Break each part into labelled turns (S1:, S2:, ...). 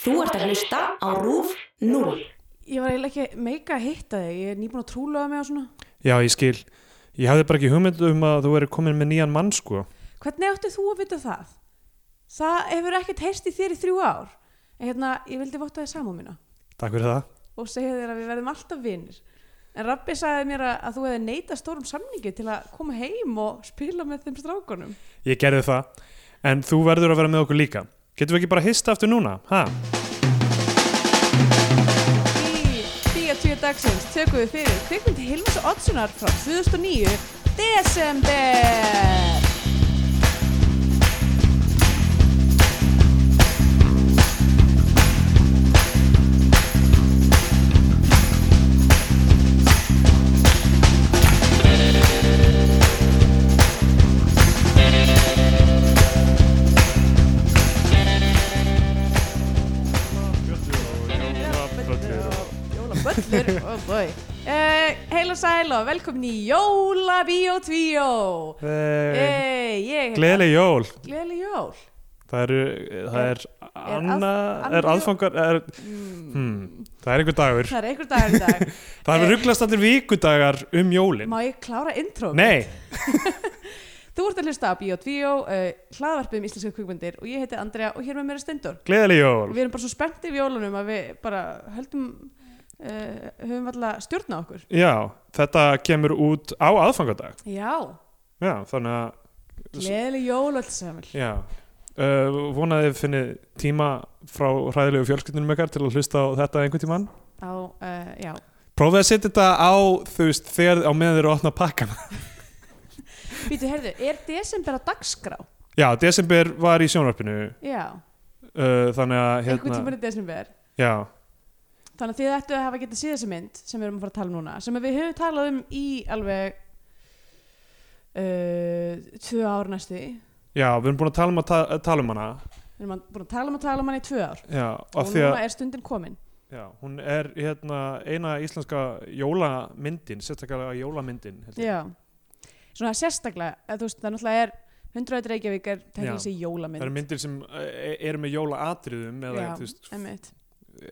S1: Þú ert að hlusta á RÚF 0.
S2: Ég var eiginlega ekki meika að hitta þig, ég er nýbúin að trúlega mig á svona.
S3: Já, ég skil. Ég hafði bara ekki hugmynd um að þú væri komin með nýjan mann, sko.
S2: Hvernig áttu þú að vita það? Það hefur ekkert heyrst í þér í þrjú ár. En hérna, ég vildi votta þér samúð mína
S3: Takk fyrir það.
S2: og segja þér að við verðum alltaf vinnir. En Rabbi sagði mér að, að þú hefði neita stórum samningi til að koma heim og spila með þeim strákunum.
S3: Ég gerði það. En þú verður að vera með okkur líka. Getum við ekki bara hista aftur núna? Ha?
S2: Í Bíotvíu dagsins tökum við fyrir kvikmyndi Hilmas Oddssonar frá 2009 desember. Jólaböllur oh boy. uh, Heil og sæl og velkomin í Jólabíó 2
S3: Hey.
S2: hey, Ég
S3: Gleðileg jól.
S2: Gleðileg jól
S3: Það, eru, það er,
S2: að-
S3: anna, er
S2: annar-
S3: aðfangar, er, hmm, það er einhver dagur.
S2: Það er einhver dagur í dag
S3: Það er rugglast allir vikudagar um jólin.
S2: Má ég klára intro?
S3: Nei,
S2: Þú ert að hlusta á Bíó 2 uh, hlaðvarpið um íslenska kvikmyndir og ég heiti Andrea og hér með mér er Stendur
S3: gleðileg jól.
S2: Við erum bara svo spenntið við jólunum að við bara höldum uh, höfum alltaf stjórna okkur
S3: Já, þetta kemur út á aðfangadag.
S2: Já,
S3: Já, þannig að
S2: gleðileg jól alls saman
S3: Já, uh, vonaði þið finnið tíma frá hræðilegu fjölskyldunum ykkar til að hlusta á þetta einhvern tíman
S2: á, uh, já,
S3: Prófið að setja þetta á, þú veist, þegar á meðan þeir eru að opna pakkana
S2: býtu, heyrðu, er desember að dagskrá?
S3: Já, desember var í sjónvarpinu uh,
S2: Já,
S3: þannig að
S2: einhvern
S3: hérna,
S2: tímann í desember
S3: Já,
S2: Þannig að þið ættu að hafa getið síðan þessa mynd sem við erum að fara að tala um núna sem við höfum talað um í alveg uh, tvö ár næstu því.
S3: já, við erum búin að tala um, að ta að tala um hana
S2: við erum að- búin að tala um að tala um hann í tvö ár
S3: Já,
S2: og
S3: af því að
S2: núna er stundin komin
S3: já, hún er hérna eina íslenska jólamyndin sérstaklega jólamyndin held ég.
S2: Já. Svona sérstaklega, eða þú veist, það náttúrulega er 100 Reykjavík er tekið
S3: Já.
S2: þessi jólamynd
S3: Það eru myndir sem eh, eru með jólaatriðum eða
S2: Já,
S3: þú veist,
S2: einmitt,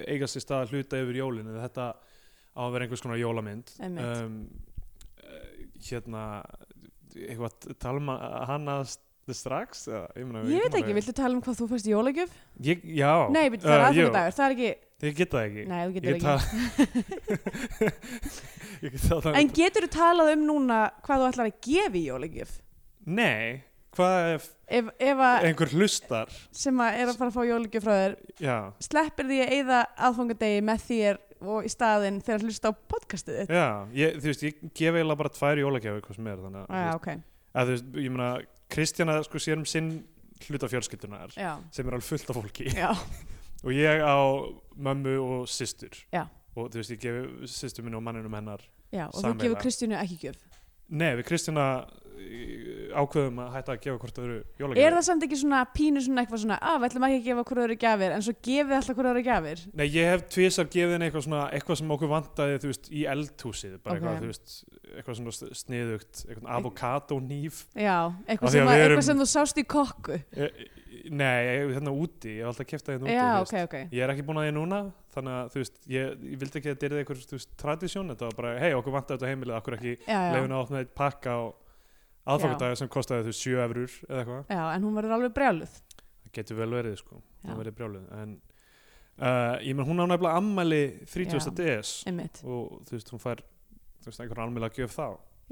S3: eiga sér stað að hluta yfir jólinu þetta á að vera einhvers konar jólamynd
S2: Einmitt.
S3: eh, hérna eitthvað t- tala um að- hana st- strax eða, ég, meina,
S2: Ég veit
S3: man
S2: ekki, viltu tala um hvað þú fæst í jólagjöf?
S3: ég, já,
S2: Nei, veit, það er
S3: Eh, jú,
S2: aðfangadagur, það er ekki
S3: ég get það ekki
S2: Nei, þú
S3: ég
S2: getur
S3: get
S2: ekki
S3: það ég get það
S2: En getur þú talað um núna hvað þú ætlar að gefa í jólagjöf?
S3: nei, hvað ef
S2: Ef, ef að
S3: einhver hlustar
S2: sem að er að fara að fá jólagjöf frá þér
S3: já,
S2: sleppir því að eyða aðfangadegi með þér og í staðinn þegar að hlusta á podcastið þitt
S3: já ég, þú veist, ég gef eiginlega bara tvær jólagjafi hvað sem er þannig
S2: ah, já, ok,
S3: að þú veist, ég meina Kristjana sko sér um sinn hluta fjölskyldunar
S2: já,
S3: sem er alveg fullt af fólki
S2: já,
S3: og ég á mömmu og systur
S2: Já.
S3: og þú veist ég gefi systur minni og manninum hennar
S2: já og þú
S3: Sameiginlega.
S2: gefur Kristjánu ekki gjöf
S3: nei við Kristina eh, ákveðum að hætta að gefa hvort öðru jólagjafir
S2: er það samt ekki svona pínu svona eitthvað svona að við ætlum ekki að gefa hverju öðru gjafir en svo gefið alltaf hverju öðru gjafir
S3: nei ég hef tvisar gefið henni eitthvað svona eitthvað sem okkur vantaði þú veist í eldhúsið bara
S2: Ok.
S3: eitthvað þú veist eitthvað svona s- sniðugt eitthvað avokadónýf
S2: já,
S3: Af
S2: eitthvað
S3: því
S2: sem,
S3: að
S2: að,
S3: við
S2: eitthvað
S3: erum-
S2: sem þú sást í kokku
S3: Eh, eh, nei hérna úti ég hef alltaf kæftið hérna úti
S2: já,
S3: þú veist.
S2: ok, ok
S3: Ég er ekki búin að því núna, þannig að þú veist, ég, ég vildi ekki að þetta er eitthvað tradisjón, þetta var bara, hei, okkur vantar þetta á heimilið, okkur ekki
S2: já, já,
S3: leiðin að opna eitt pakka á aðfangardagi sem kostaði þau 7 eurur eða eitthvað
S2: já, en hún verður alveg brjáluð
S3: það getur vel verið sko,
S2: Já.
S3: það verið brjálið en uh, ég menn hún á nefnilega ammæli 30.
S2: Já.
S3: DS
S2: einmitt,
S3: og þú veist hún fær þú veist einhvern almjöla gjöf þá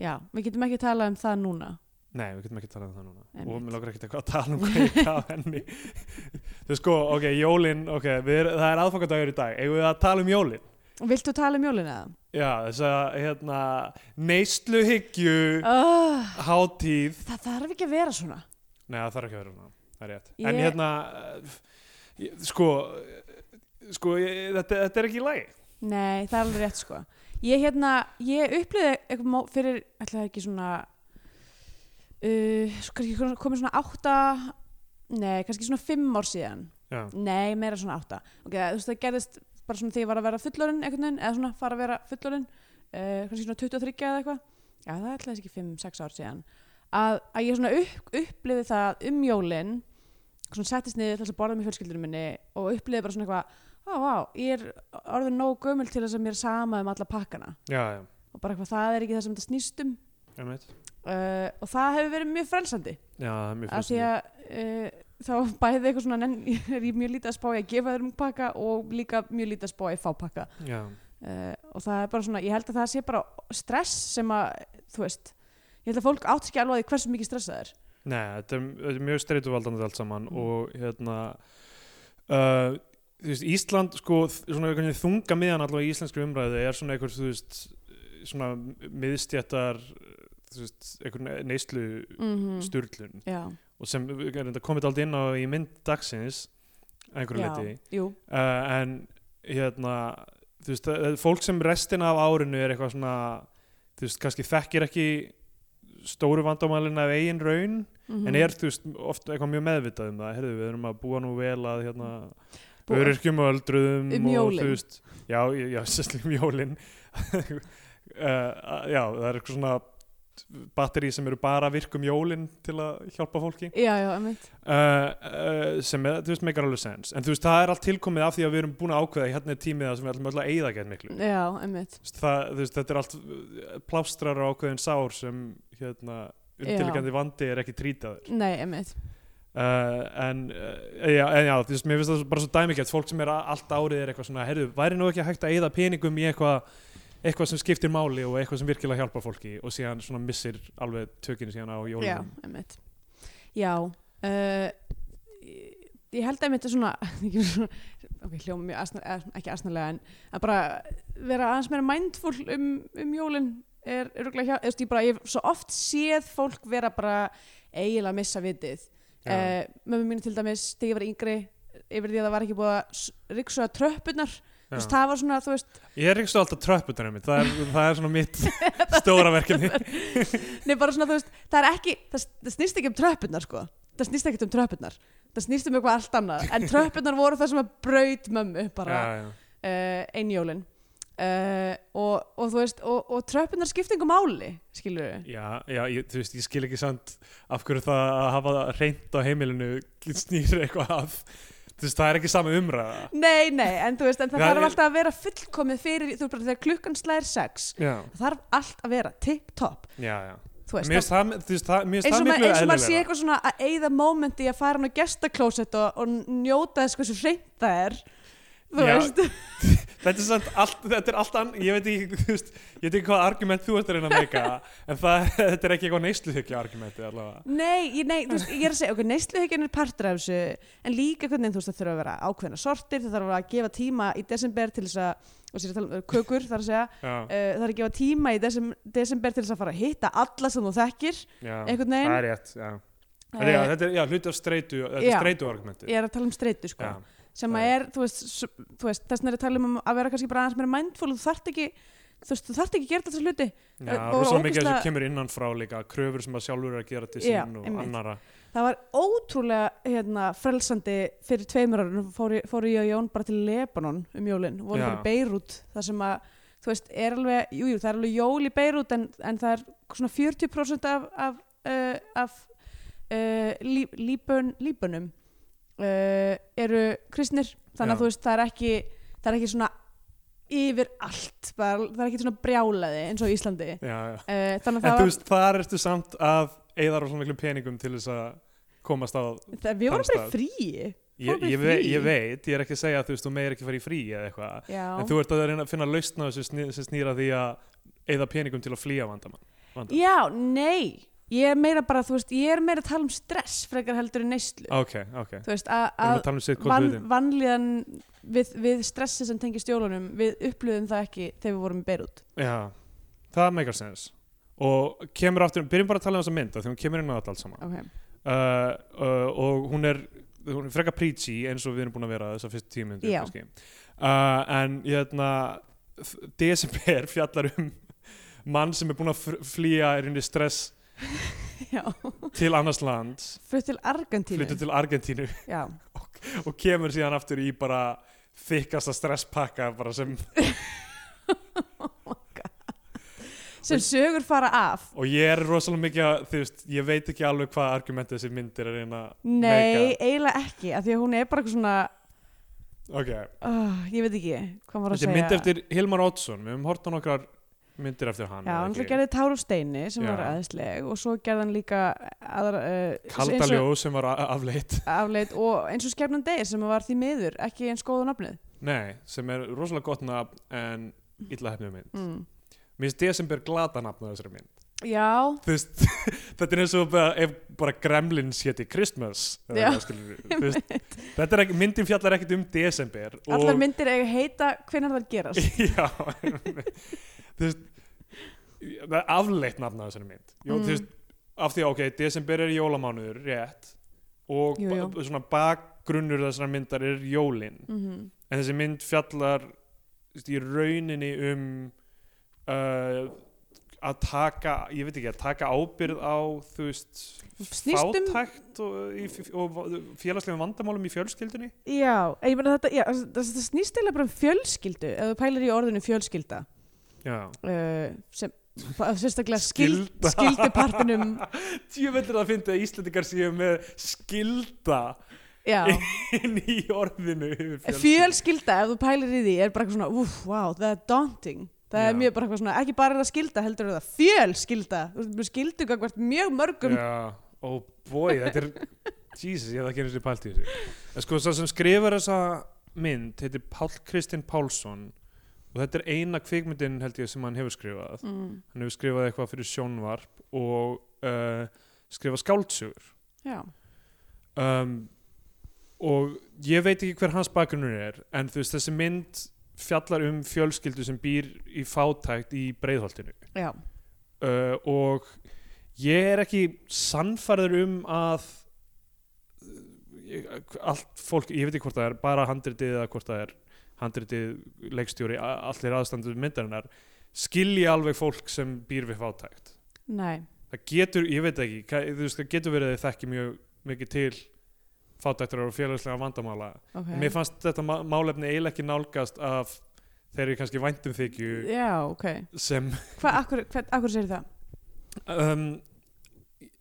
S2: já, við getum ekki talað um það núna
S3: Nei, við getum ekki talað um það núna
S2: Einmitt.
S3: og mér lókar ekkert eitthvað að tala um hvað ég gaf henni Þú veist sko, ok, jólin ok, við er, það er aðfangadagur í dag eigum við að tala um jólin
S2: viltu tala um jólina það?
S3: Já, þess að, hérna, neysluhyggju
S2: Oh,
S3: hátíð
S2: það þarf ekki að vera svona
S3: Nei, það þarf ekki að vera núna, það er rétt En
S2: Ég-
S3: hérna, eh, ég, sko, eh, sko, ég, þetta, þetta er ekki í lagi
S2: Nei, það er alveg rétt sko Ég hérna, ég upplýði eitthvað mó- fyrir, ætla það ekki svona uh, svo kannski kon- komið svona átta Nei, kannski svona fimm ár síðan
S3: Já,
S2: Nei, meira svona átta Ok, það, þú veist, það gerðist bara svona þegar ég var að vera fullorinn einhvern veginn, eða svona fara að vera fullorinn uh, kannski svona 23 eða eitthvað Já, það ætlaði ekki 5-6 ár síðan að, að ég svona upp, upplýði það um jólin svona settist niður til þess að borða með fjölskyldunum minni og upplifði bara svona eitthvað ó, vá, ég er orðin nógu gömul til þess að mér er sama um alla pakkana
S3: já, já,
S2: og bara eitthvað, það er ekki það sem þetta snýst um
S3: einmitt
S2: uh, og það hefur verið mjög frelsandi
S3: já, það er mjög
S2: af því
S3: fyrst
S2: að uh, þá bæði eitthvað svona nenn, er ég mjög lítið að spá í að gefa þér um pakka og líka mjög lítið að spá í að fá pakka
S3: já,
S2: uh, og það er bara svona, ég held að það sé bara stress sem að, þú veist ég held að fólk átt ekki alveg á því hversu mikið stressa það er
S3: nei, þetta er, þetta er mjög streytuvaldandi allt saman
S2: Mm.
S3: og hérna uh, þú veist, Ísland sko, þ- svona einhvern veginn þunga miðan allavega í íslenskri umræðu er svona einhver, þú veist svona miðstjættar þú veist, einhver neyslu
S2: mm
S3: Mhm. sturlun
S2: Já,
S3: og sem er þetta komið aldrei inn á í mynd dagsins að einhverju
S2: já,
S3: liti
S2: jú,
S3: uh, en hérna þú veist, það- það- fólk sem restina af árinu er eitthvað svona þú veist, kannski þekkir ekki stóru vandamælin af eigin raun
S2: mm
S3: en er, þú veist, oft eitthvað mjög meðvitað um það herðu, við erum að búa nú vel að hérna,
S2: Búa-
S3: öryrkjum og öldruðum
S2: Um
S3: og,
S2: jólin.
S3: þú veist, já, já, já sérstaklega um jólin uh, já, það er eitthvað svona batteri sem eru bara virk um jólin til að hjálpa fólki
S2: Já, já, emitt
S3: uh, sem er, þú veist, meikar alveg sens en þú veist, það er allt tilkomið af því að við erum búin að ákveða í hérna er tímið það sem við ætlum öll að eyða gæt miklu
S2: Já, emitt
S3: Þú veist, það, þú veist, þetta er allt uh, plástrar á ákveðin sár sem hérna, undirleikandi vandi er ekki trýtaður uh,
S2: Nei, emitt
S3: en, uh, já, en já, þú veist, mér finnst það bara svo dæmikert fólk sem er a- allt árið er eitthvað svona herru, væri nú ekki hægt að eyða peningum í eitthvað eitthvað sem skiptir máli og eitthvað sem virkilega hjálpar fólki og síðan svona missir alveg tökinu síðan á
S2: Já,
S3: jólunum
S2: emitt Já uh, ég, ég held að mitt er svona ég er svona- ok, hljóma mjög asna, eh, ekki asnalega en að bara vera aðeins meira mindful um, um jólin er öruglega hjá, þú veist, ég bara, ég hef svo oft séð fólk vera bara eiginlega missa vitið
S3: Já.
S2: uh, mömmu mínu til dæmis, þegar ég var yngri yfir því að það var ekki búið að riksuða tröppurnar, þú veist,
S3: Já.
S2: það var svona, þú veist
S3: Ég er ekki svo alltaf tröpputunum mitt, það er, það er svona mitt stóra verkefni.
S2: Nei, bara svona, þú veist, það er ekki, það, það snýst ekki um tröppurnar, sko. Það snýst ekki um tröppurnar. Það snýst um eitthvað allt annað. En tröppurnar voru það sem að braut mömmu bara ja.
S3: já,
S2: uh, einjólin. Uh, og, og þú veist, og, og tröppurnar skipta yngur máli, skilur við.
S3: já, já ég, þú veist, ég skil ekki samt af hverju það að hafa það reynd á heimilinu snýr eitthvað af, þú veist, það er ekki sama umræða.
S2: Nei, nei, en þú veist, en það
S3: Já,
S2: þarf
S3: ég-
S2: alltaf að vera fullkomið fyrir, þú veist, bara þegar klukkan slæðir sex,
S3: Já,
S2: það þarf allt að vera tip-top,
S3: já, já.
S2: þú veist.
S3: Mér finnst það, þú veist, það, mér
S2: eins og
S3: finnst það
S2: maður
S3: miklu
S2: eins og maður sé
S3: eðlilega.
S2: eitthvað svona að eigða mómenti að fara hann á gestaklósett og, og njóta þess hversu hreint það er þú
S3: Já,
S2: veist
S3: Þetta er samt allt, þetta er allt ann, ég veit ekki, þú veist, ég veit ekki hvað argument þú ert að reyna að meika, en það, þetta er ekki eitthvað neysluhyggja argumenti allavega.
S2: Nei, ég, nei, þú veist, ég er að segja, ok, neysluhyggjan er partur af þessu, en líka hvernig þú veist það þurfa að vera ákveðna sortir, það þarf að gefa tíma í desember til þess að, og sér að tala um uh, kökur, þar að segja, uh,
S3: Já,
S2: það er að gefa tíma í desem, desember til þess að fara að hitta alla sem þú þekkir,
S3: já,
S2: einhvern
S3: það
S2: veginn,
S3: er rétt, já.
S2: Eh,
S3: Þetta er- já, þetta er, já, hluti af streitu, þetta er
S2: Já.
S3: streitu argumenti.
S2: ég er að tala um streytu, sko,
S3: Já.
S2: sem að
S3: það
S2: er, þú veist, s- þú veist þess vegna er að tala um að vera kannski bara aðeins meira mindful, þú þarft ekki, þú veist, þú þarft ekki að gera þessa hluti,
S3: Já,
S2: Og- og
S3: rosalega mikið
S2: ógeðslega-
S3: þessu kemur innan frá líka kröfur sem að sjálfur er að gera til
S2: Já,
S3: sín og
S2: einmitt.
S3: annara
S2: Það var ótrúlega hérna, frelsandi fyrir tveimur árunum fóru, fóru ég og Jón bara til Lebanon um jólin, voru
S3: Já.
S2: bara í Beirut þar sem að, þú veist, er alveg jú, jú, það er alveg jól í Beirut en, en það er svona 40% af, af, uh, af uh, lí, líbön, líbönum uh, eru kristnir þannig
S3: Já.
S2: að þú veist, það er ekki það er ekki svona yfir allt bara, það er ekki svona brjálaði eins og í Íslandi uh,
S3: já, já.
S2: þannig að
S3: En
S2: það
S3: þú
S2: var
S3: veist, þar ertu samt að eigða rosalega miklum peningum til þess að komast á
S2: það, við vorum bara í
S3: Þann
S2: fríi
S3: Ég,
S2: bara í
S3: ég, ve
S2: frí.
S3: ég veit, ég er ekki að segja að þú veist, þú meir ekki fara í frí eða eitthvað
S2: Já.
S3: En þú ert að reyna að finna lausna þessu sni- sem snýra því að eigða peningum til að flýja vandamann vanda.
S2: Já, nei, ég er meira bara, þú veist, ég er meira að tala um stress frekar heldur en neyslu.
S3: Ok, ok
S2: Þú veist, að-
S3: Við erum að
S2: að
S3: tala um sitt hvort
S2: van,
S3: hlutin.
S2: vanlíðan við, við stressi sem tengi stjólunum, við upplöðum það ekki þegar við vorum í Beirut.
S3: Já, það meikar sens Og kemur aftur, byrjum bara að tala um þessa mynd af Því hún kemur inn á þetta allt saman
S2: Okay.
S3: uh, uh, og hún er, hún er freka preachy eins og við erum búin að vera þessar fyrstu tíu myndir
S2: Já.
S3: kannski uh, en hérna þ- desember fjallar um mann sem er búin að fr- flýja er unni stress
S2: Já,
S3: til annars lands
S2: flutt til Argentínu.
S3: flyttu til Argentínu
S2: Já,
S3: og kemur síðan aftur í bara þykkasta stresspakka bara sem
S2: sem sögur fara af
S3: og ég er rosalega mikið að, þú veist, ég veit ekki alveg hvað argumenti þessi myndir er reyna
S2: Nei, eiginlega ekki, af því að hún er bara eitthvað svona
S3: ok,
S2: uh, ég veit ekki hvað maður að
S3: þetta
S2: segja
S3: er mynd eftir Hilmar Oddsson, við höfum hort á nokkrar myndir eftir hann
S2: Já,
S3: eða
S2: hann
S3: ekki?
S2: gerði Tár úr steini sem
S3: Já.
S2: var aðeinsleg og svo gerði hann líka aðra, uh,
S3: kalda
S2: eins og-
S3: ljó sem var a- afleitt
S2: afleit og eins og skefnum degir sem var því miður ekki eins góða nafnið
S3: nei, sem er rosalega gott nafn en illa hefnum mynd
S2: mm.
S3: mér finnst desember glata nafn á þessari mynd
S2: Já,
S3: þú veist, þetta er eins og bara, ef bara Gremlins héti Christmas eða
S2: Já,
S3: eitthvað, skilurðu. Þú veist, þetta er ekki, myndin fjallar ekkit um desember
S2: allar myndir eiga að heita hvenær það gerast
S3: já einmitt. þú veist það er afleitt nafn að þessari mynd Jó,
S2: Mm.
S3: þú veist, af því að ok, desember er jólamánuður rétt og
S2: Jú, jú.
S3: ba- svona bakgrunnur þessara myndar er jólin
S2: mm
S3: en þessi mynd fjallar þú veist, í rauninni um uh, að taka ég veit ekki, að taka ábyrð á þú veist,
S2: Snýst um-
S3: fátækt og, uh, í f- og félagslegum vandamálum í fjölskyldunni
S2: Já, en ég meina þetta, já, þetta, þetta snýst eða bara um fjölskyldu ef þú pælir í orðinu fjölskylda
S3: já
S2: uh, sem fa- sérstaklega skild,
S3: Skylda.
S2: skildupartinum
S3: Tjöfellir að fyndi að Íslandingar séu með skilda
S2: Já,
S3: inn í orðinu yfir fjölskyldu.
S2: fjölskylda ef þú pælir í því er bara eitthvað svona, úf, wow, það er daunting það er
S3: Já.
S2: mjög bara eitthvað svona, ekki bara er það skylda heldur er það fjölskylda, þú veist, skildu gagvart mjög mörgum
S3: Já, oh boy, þetta er Jesus, ég hef ekki einu sér pælt í þessu En sko, það sem skrifar þessa mynd heitir Páll Kristinn Pálsson og þetta er eina kvikmyndin held ég sem hann hefur skrifað
S2: mm.
S3: Hann hefur skrifað eitthvað fyrir sjónvarp og uh, skrifað skáldsögur
S2: Já,
S3: um, og ég veit ekki hver hans bakgrunnur er en þú veist þessi mynd fjallar um fjölskyldu sem býr í fátækt í breiðholtinu
S2: já,
S3: uh, og ég er ekki sannfærður um að ég, allt fólk, ég veit ekki hvort það er bara handritið eða hvort það er handritið leikstjóri, a- allir aðstandur myndarinnar skilja alveg fólk sem býr við fátækt
S2: nei
S3: það getur, ég veit ekki hvað, þú veist, það getur verið að þið þekki mjög mikið til fátæktar og félagslega vandamála
S2: okay.
S3: en mér fannst þetta ma- málefni eiginlega ekki nálgast af þeirri kannski væntum þykju
S2: Já, ok.
S3: sem
S2: Hvað, akkur, hvað, akkur segir það?
S3: um,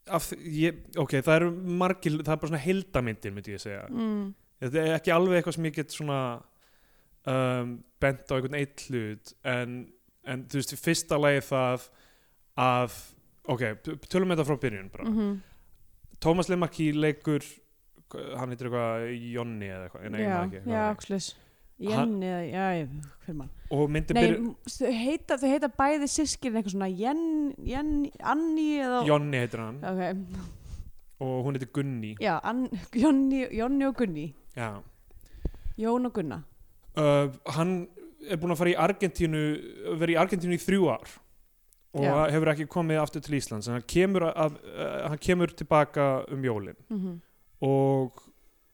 S3: af, því- ég, ok, það eru margir það er bara svona heildamyndir, myndi ég segja
S2: Mm.
S3: þetta er ekki alveg eitthvað sem ég get svona um, bent á einhvern eitt hlut en, en þú veist, í fyrsta lagi það að, ok, t- tölum þetta frá byrjun bara
S2: Mm
S3: Tómas Lemakki leikur hann heitir eitthvað Jonni eða eitthvað, nei,
S2: já,
S3: já, ekki,
S2: já,
S3: eitthvað
S2: Axlis.
S3: Hann-
S2: Jenny, eða, já, ég, hver mann.
S3: þannig. og myndin
S2: Nei,
S3: byrjar,
S2: m- þau heita, þau heita bæði sískirinn eitthvað svona Jenny, Jenny, Anni eða...
S3: Jonni heitir hann
S2: Ok,
S3: og hún heitir Gunni
S2: já, Ann, Jonni, Jonni og Gunni.
S3: já.
S2: Jón og Gunna.
S3: Uh, hann er búinn að fara í Argentínu verið í Argentínu í þrjú ár og
S2: Já.
S3: hefur ekki komið aftur til Íslands en hann kemur, af, uh, hann kemur tilbaka um jólin
S2: Mm
S3: og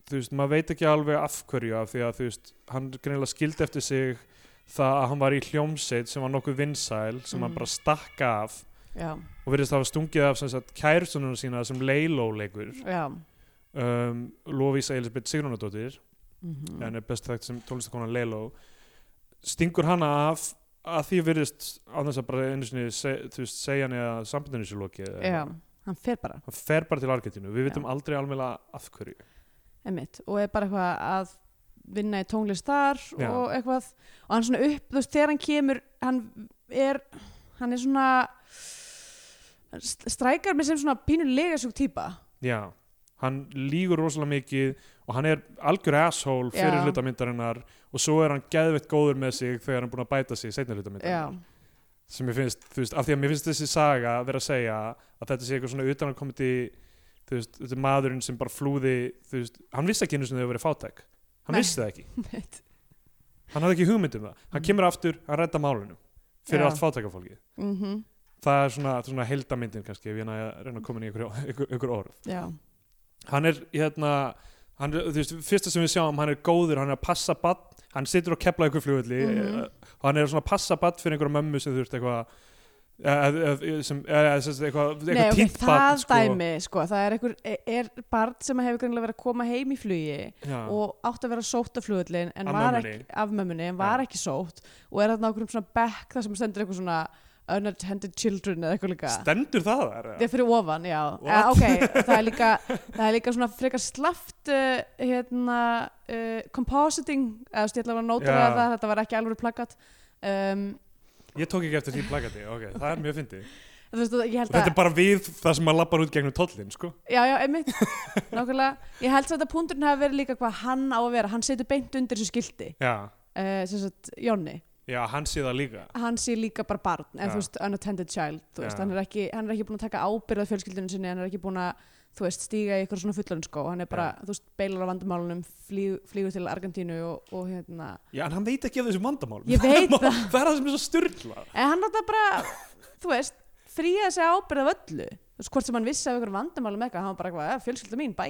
S3: þú veist, maður veit ekki alveg af hverju af því að þú veist, hann greinilega skildi eftir sig það að hann var í hljómsveit sem var nokkuð vinsæl sem
S2: Mhm.
S3: hann bara stakka af
S2: Já,
S3: og virðist hafa stungið af sem sagt kærsunum sína sem Leiló leikur
S2: já.
S3: um, Lovisa Elisabeth Sigrunadóttir
S2: Mm
S3: en er best þekkt sem tónlistakona Leiló stingur hana af að því virðist að þess að bara einu sinni se, þú veist, segja hann eða sambandinu sér lokið eða
S2: Já,
S3: eitthvað.
S2: hann fer bara,
S3: hann fer bara til Argentínu, við vitum
S2: Já.
S3: aldrei alveg af hverju
S2: emitt, og er bara eitthvað að vinna í tónlist þar
S3: Já.
S2: og eitthvað, og hann svona upp, þú veist, þegar hann kemur, hann er, hann er svona, hann st- strækar mig sem svona pínu legasjúk típa.
S3: Já, hann lígur rosalega mikið og hann er algjör asshole fyrir
S2: Já.
S3: hluta myndarinnar og svo er hann geðveitt góður með sig þegar hann er búin að bæta sig í seinni hluta
S2: Já,
S3: myndarinnar sem ég finnst, þú veist, af því að mér finnst þessi saga vera að segja að þetta sé eitthvað svona utan að komið þú veist, þetta er maðurinn sem bara flúði þú veist, hann vissi ekki einu sem þau verið fátæk hann
S2: Nei.
S3: vissi það ekki,
S2: emitt.
S3: hann hafði ekki hugmynd um það hann
S2: Mm.
S3: kemur aftur, hann redda málunum fyrir
S2: Já.
S3: allt fátækafólki
S2: Mm
S3: það er svona, svona heldamyndin kannski ef ég næ að reyna að koma inn í ykkur, ykkur, ykkur orð
S2: Já,
S3: hann er hérna hann, er- þú veist, fyrsta sem við sjáum, hann er góður hann er að passa badd, hann situr og kepla ykkur flugulli
S2: Mhm.
S3: og hann er svona að passa badd fyrir einhverja mömmu sem þurft eitthvað eð- eð- eð- sem, eð- eð- sem sagt eitthvað
S2: Nei,
S3: eitthvað
S2: ok,
S3: týnt
S2: það
S3: barn, sko.
S2: dæmi, sko, það er einhver, er barn sem hefur greinlega verið að koma heim í flugi
S3: Já,
S2: og átt að vera sótt af flugullin en
S3: Af
S2: var
S3: mömmunni.
S2: ekki, af mömmunni, en var
S3: Já.
S2: ekki sótt og er þarna okkur um svona bekk þar sem stendur eitthvað svona unattended children eða eitthvað líka
S3: Stendur það þar?
S2: Það er fyrir ofan, já.
S3: What?
S2: Eh, ok, það er líka, það er líka svona frekar slaft uh, hérna, uh, compositing, eða þú veist, ég ætla að vera að nóta
S3: Já.
S2: það, að þetta var ekki alveg plakat. Um,
S3: Ég tók ekki eftir því plakati, ok, það er mjög fyndið.
S2: þú veist, ég
S3: Og
S2: held
S3: þetta
S2: að,
S3: er bara við það sem maður lappar út gegnum tollin, sko.
S2: já, já, einmitt, nákvæmlega, ég held samt að punkturinn hafi verið líka hvað hann á að vera, hann setur beint undir þessu skildi,
S3: Já,
S2: uh, sem sagt, Jónni,
S3: já, hann sé það líka.
S2: hann sé líka bara barn, en
S3: Já.
S2: þú veist, unattended child, þú veist,
S3: Já.
S2: hann er ekki, hann er ekki búin að taka ábyrðað fjölskyldunum sinni, hann er ekki búin að, þú veist, stíga í eitthvað svona fullanskó, hann er bara, þú veist, beilar á vandamálunum, flýg, flýgur til Argentínu og, og hérna,
S3: Já, en hann veit ekki af þessum vandamálum.
S2: Ég veit
S3: það. Það er það sem er svo styrlað.
S2: en hann er þetta bara, þú veist, fríða sig ábyrðað öllu, þú veist, hvort sem hann vissi af einhverjum vandamálum eitthvað, hann var bara eitthvað, "Eh, fjölskylda mín, bæ,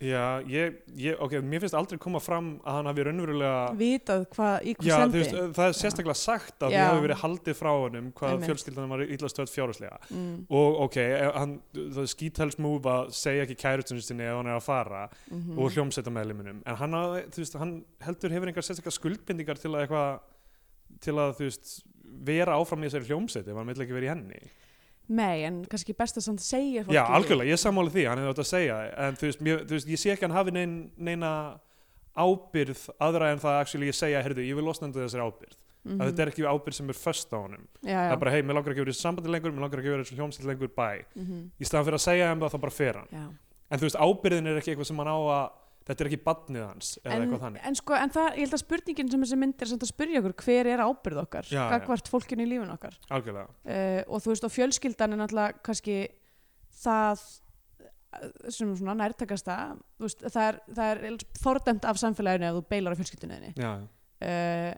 S3: Já, ég, ég, ok, mér finnst aldrei koma fram að hann hafi raunverulega...
S2: vitað hvað, í
S3: Já,
S2: hvað
S3: þú veist, eh,
S2: sendi.
S3: það er sérstaklega sagt að því
S2: Já.
S3: hafi verið haldið frá honum hvað
S2: Einmitt.
S3: fjölskyldanum var íllastöð fjárhúslega.
S2: Mm,
S3: Og ok, eh, hann, það er skítelsmúf að segja ekki kærustunum sinni ef hann er að fara
S2: mhm.
S3: og hljómsveita meðliminum. En hann, á- þú veist, hann heldur hefur einhver sérstaklega skuldbindingar til að eitthvað, til að, þú veist, vera áfram í þessari hljómsveiti ef hann vill ekki vera í henni.
S2: Nei, en kannski best að samt segja fólki.
S3: Já, algjörlega, ég er sammála því, hann hefði átt að segja en þú veist, mér, þú veist ég sé ekki að hann hafi nein, neina ábyrð aðra en það actually ég segja, heyrðu, ég vil losna undan þessari ábyrð,
S2: Mhm.
S3: að þetta er ekki ábyrð sem er föst á honum,
S2: Já,
S3: það
S2: já.
S3: er bara, hei, mér langar ekki verið sambandi lengur, mér langar ekki verið hljómsveit lengur bæ,
S2: Mhm.
S3: í staðan fyrir að segja um það þá bara fer hann,
S2: Já.
S3: en þú veist, ábyrðin er ekki eitthvað sem hann á að, þetta er ekki badnið hans, eða eitthvað þannig,
S2: en sko, en það, ég held að spurningin sem þessi mynd er samt að spyrja okkur, hver er ábyrð okkar
S3: Já, já.
S2: gagvart fólkinu í lífun okkar
S3: algjörlega
S2: uh, og þú veist, og fjölskyldan er náttúrulega kannski það eh, sem er svona nærtakasta þú veist, það er, það er eiginlega fordæmt af samfélaginu ef þú beilar á fjölskyldunni
S3: já,
S2: uh,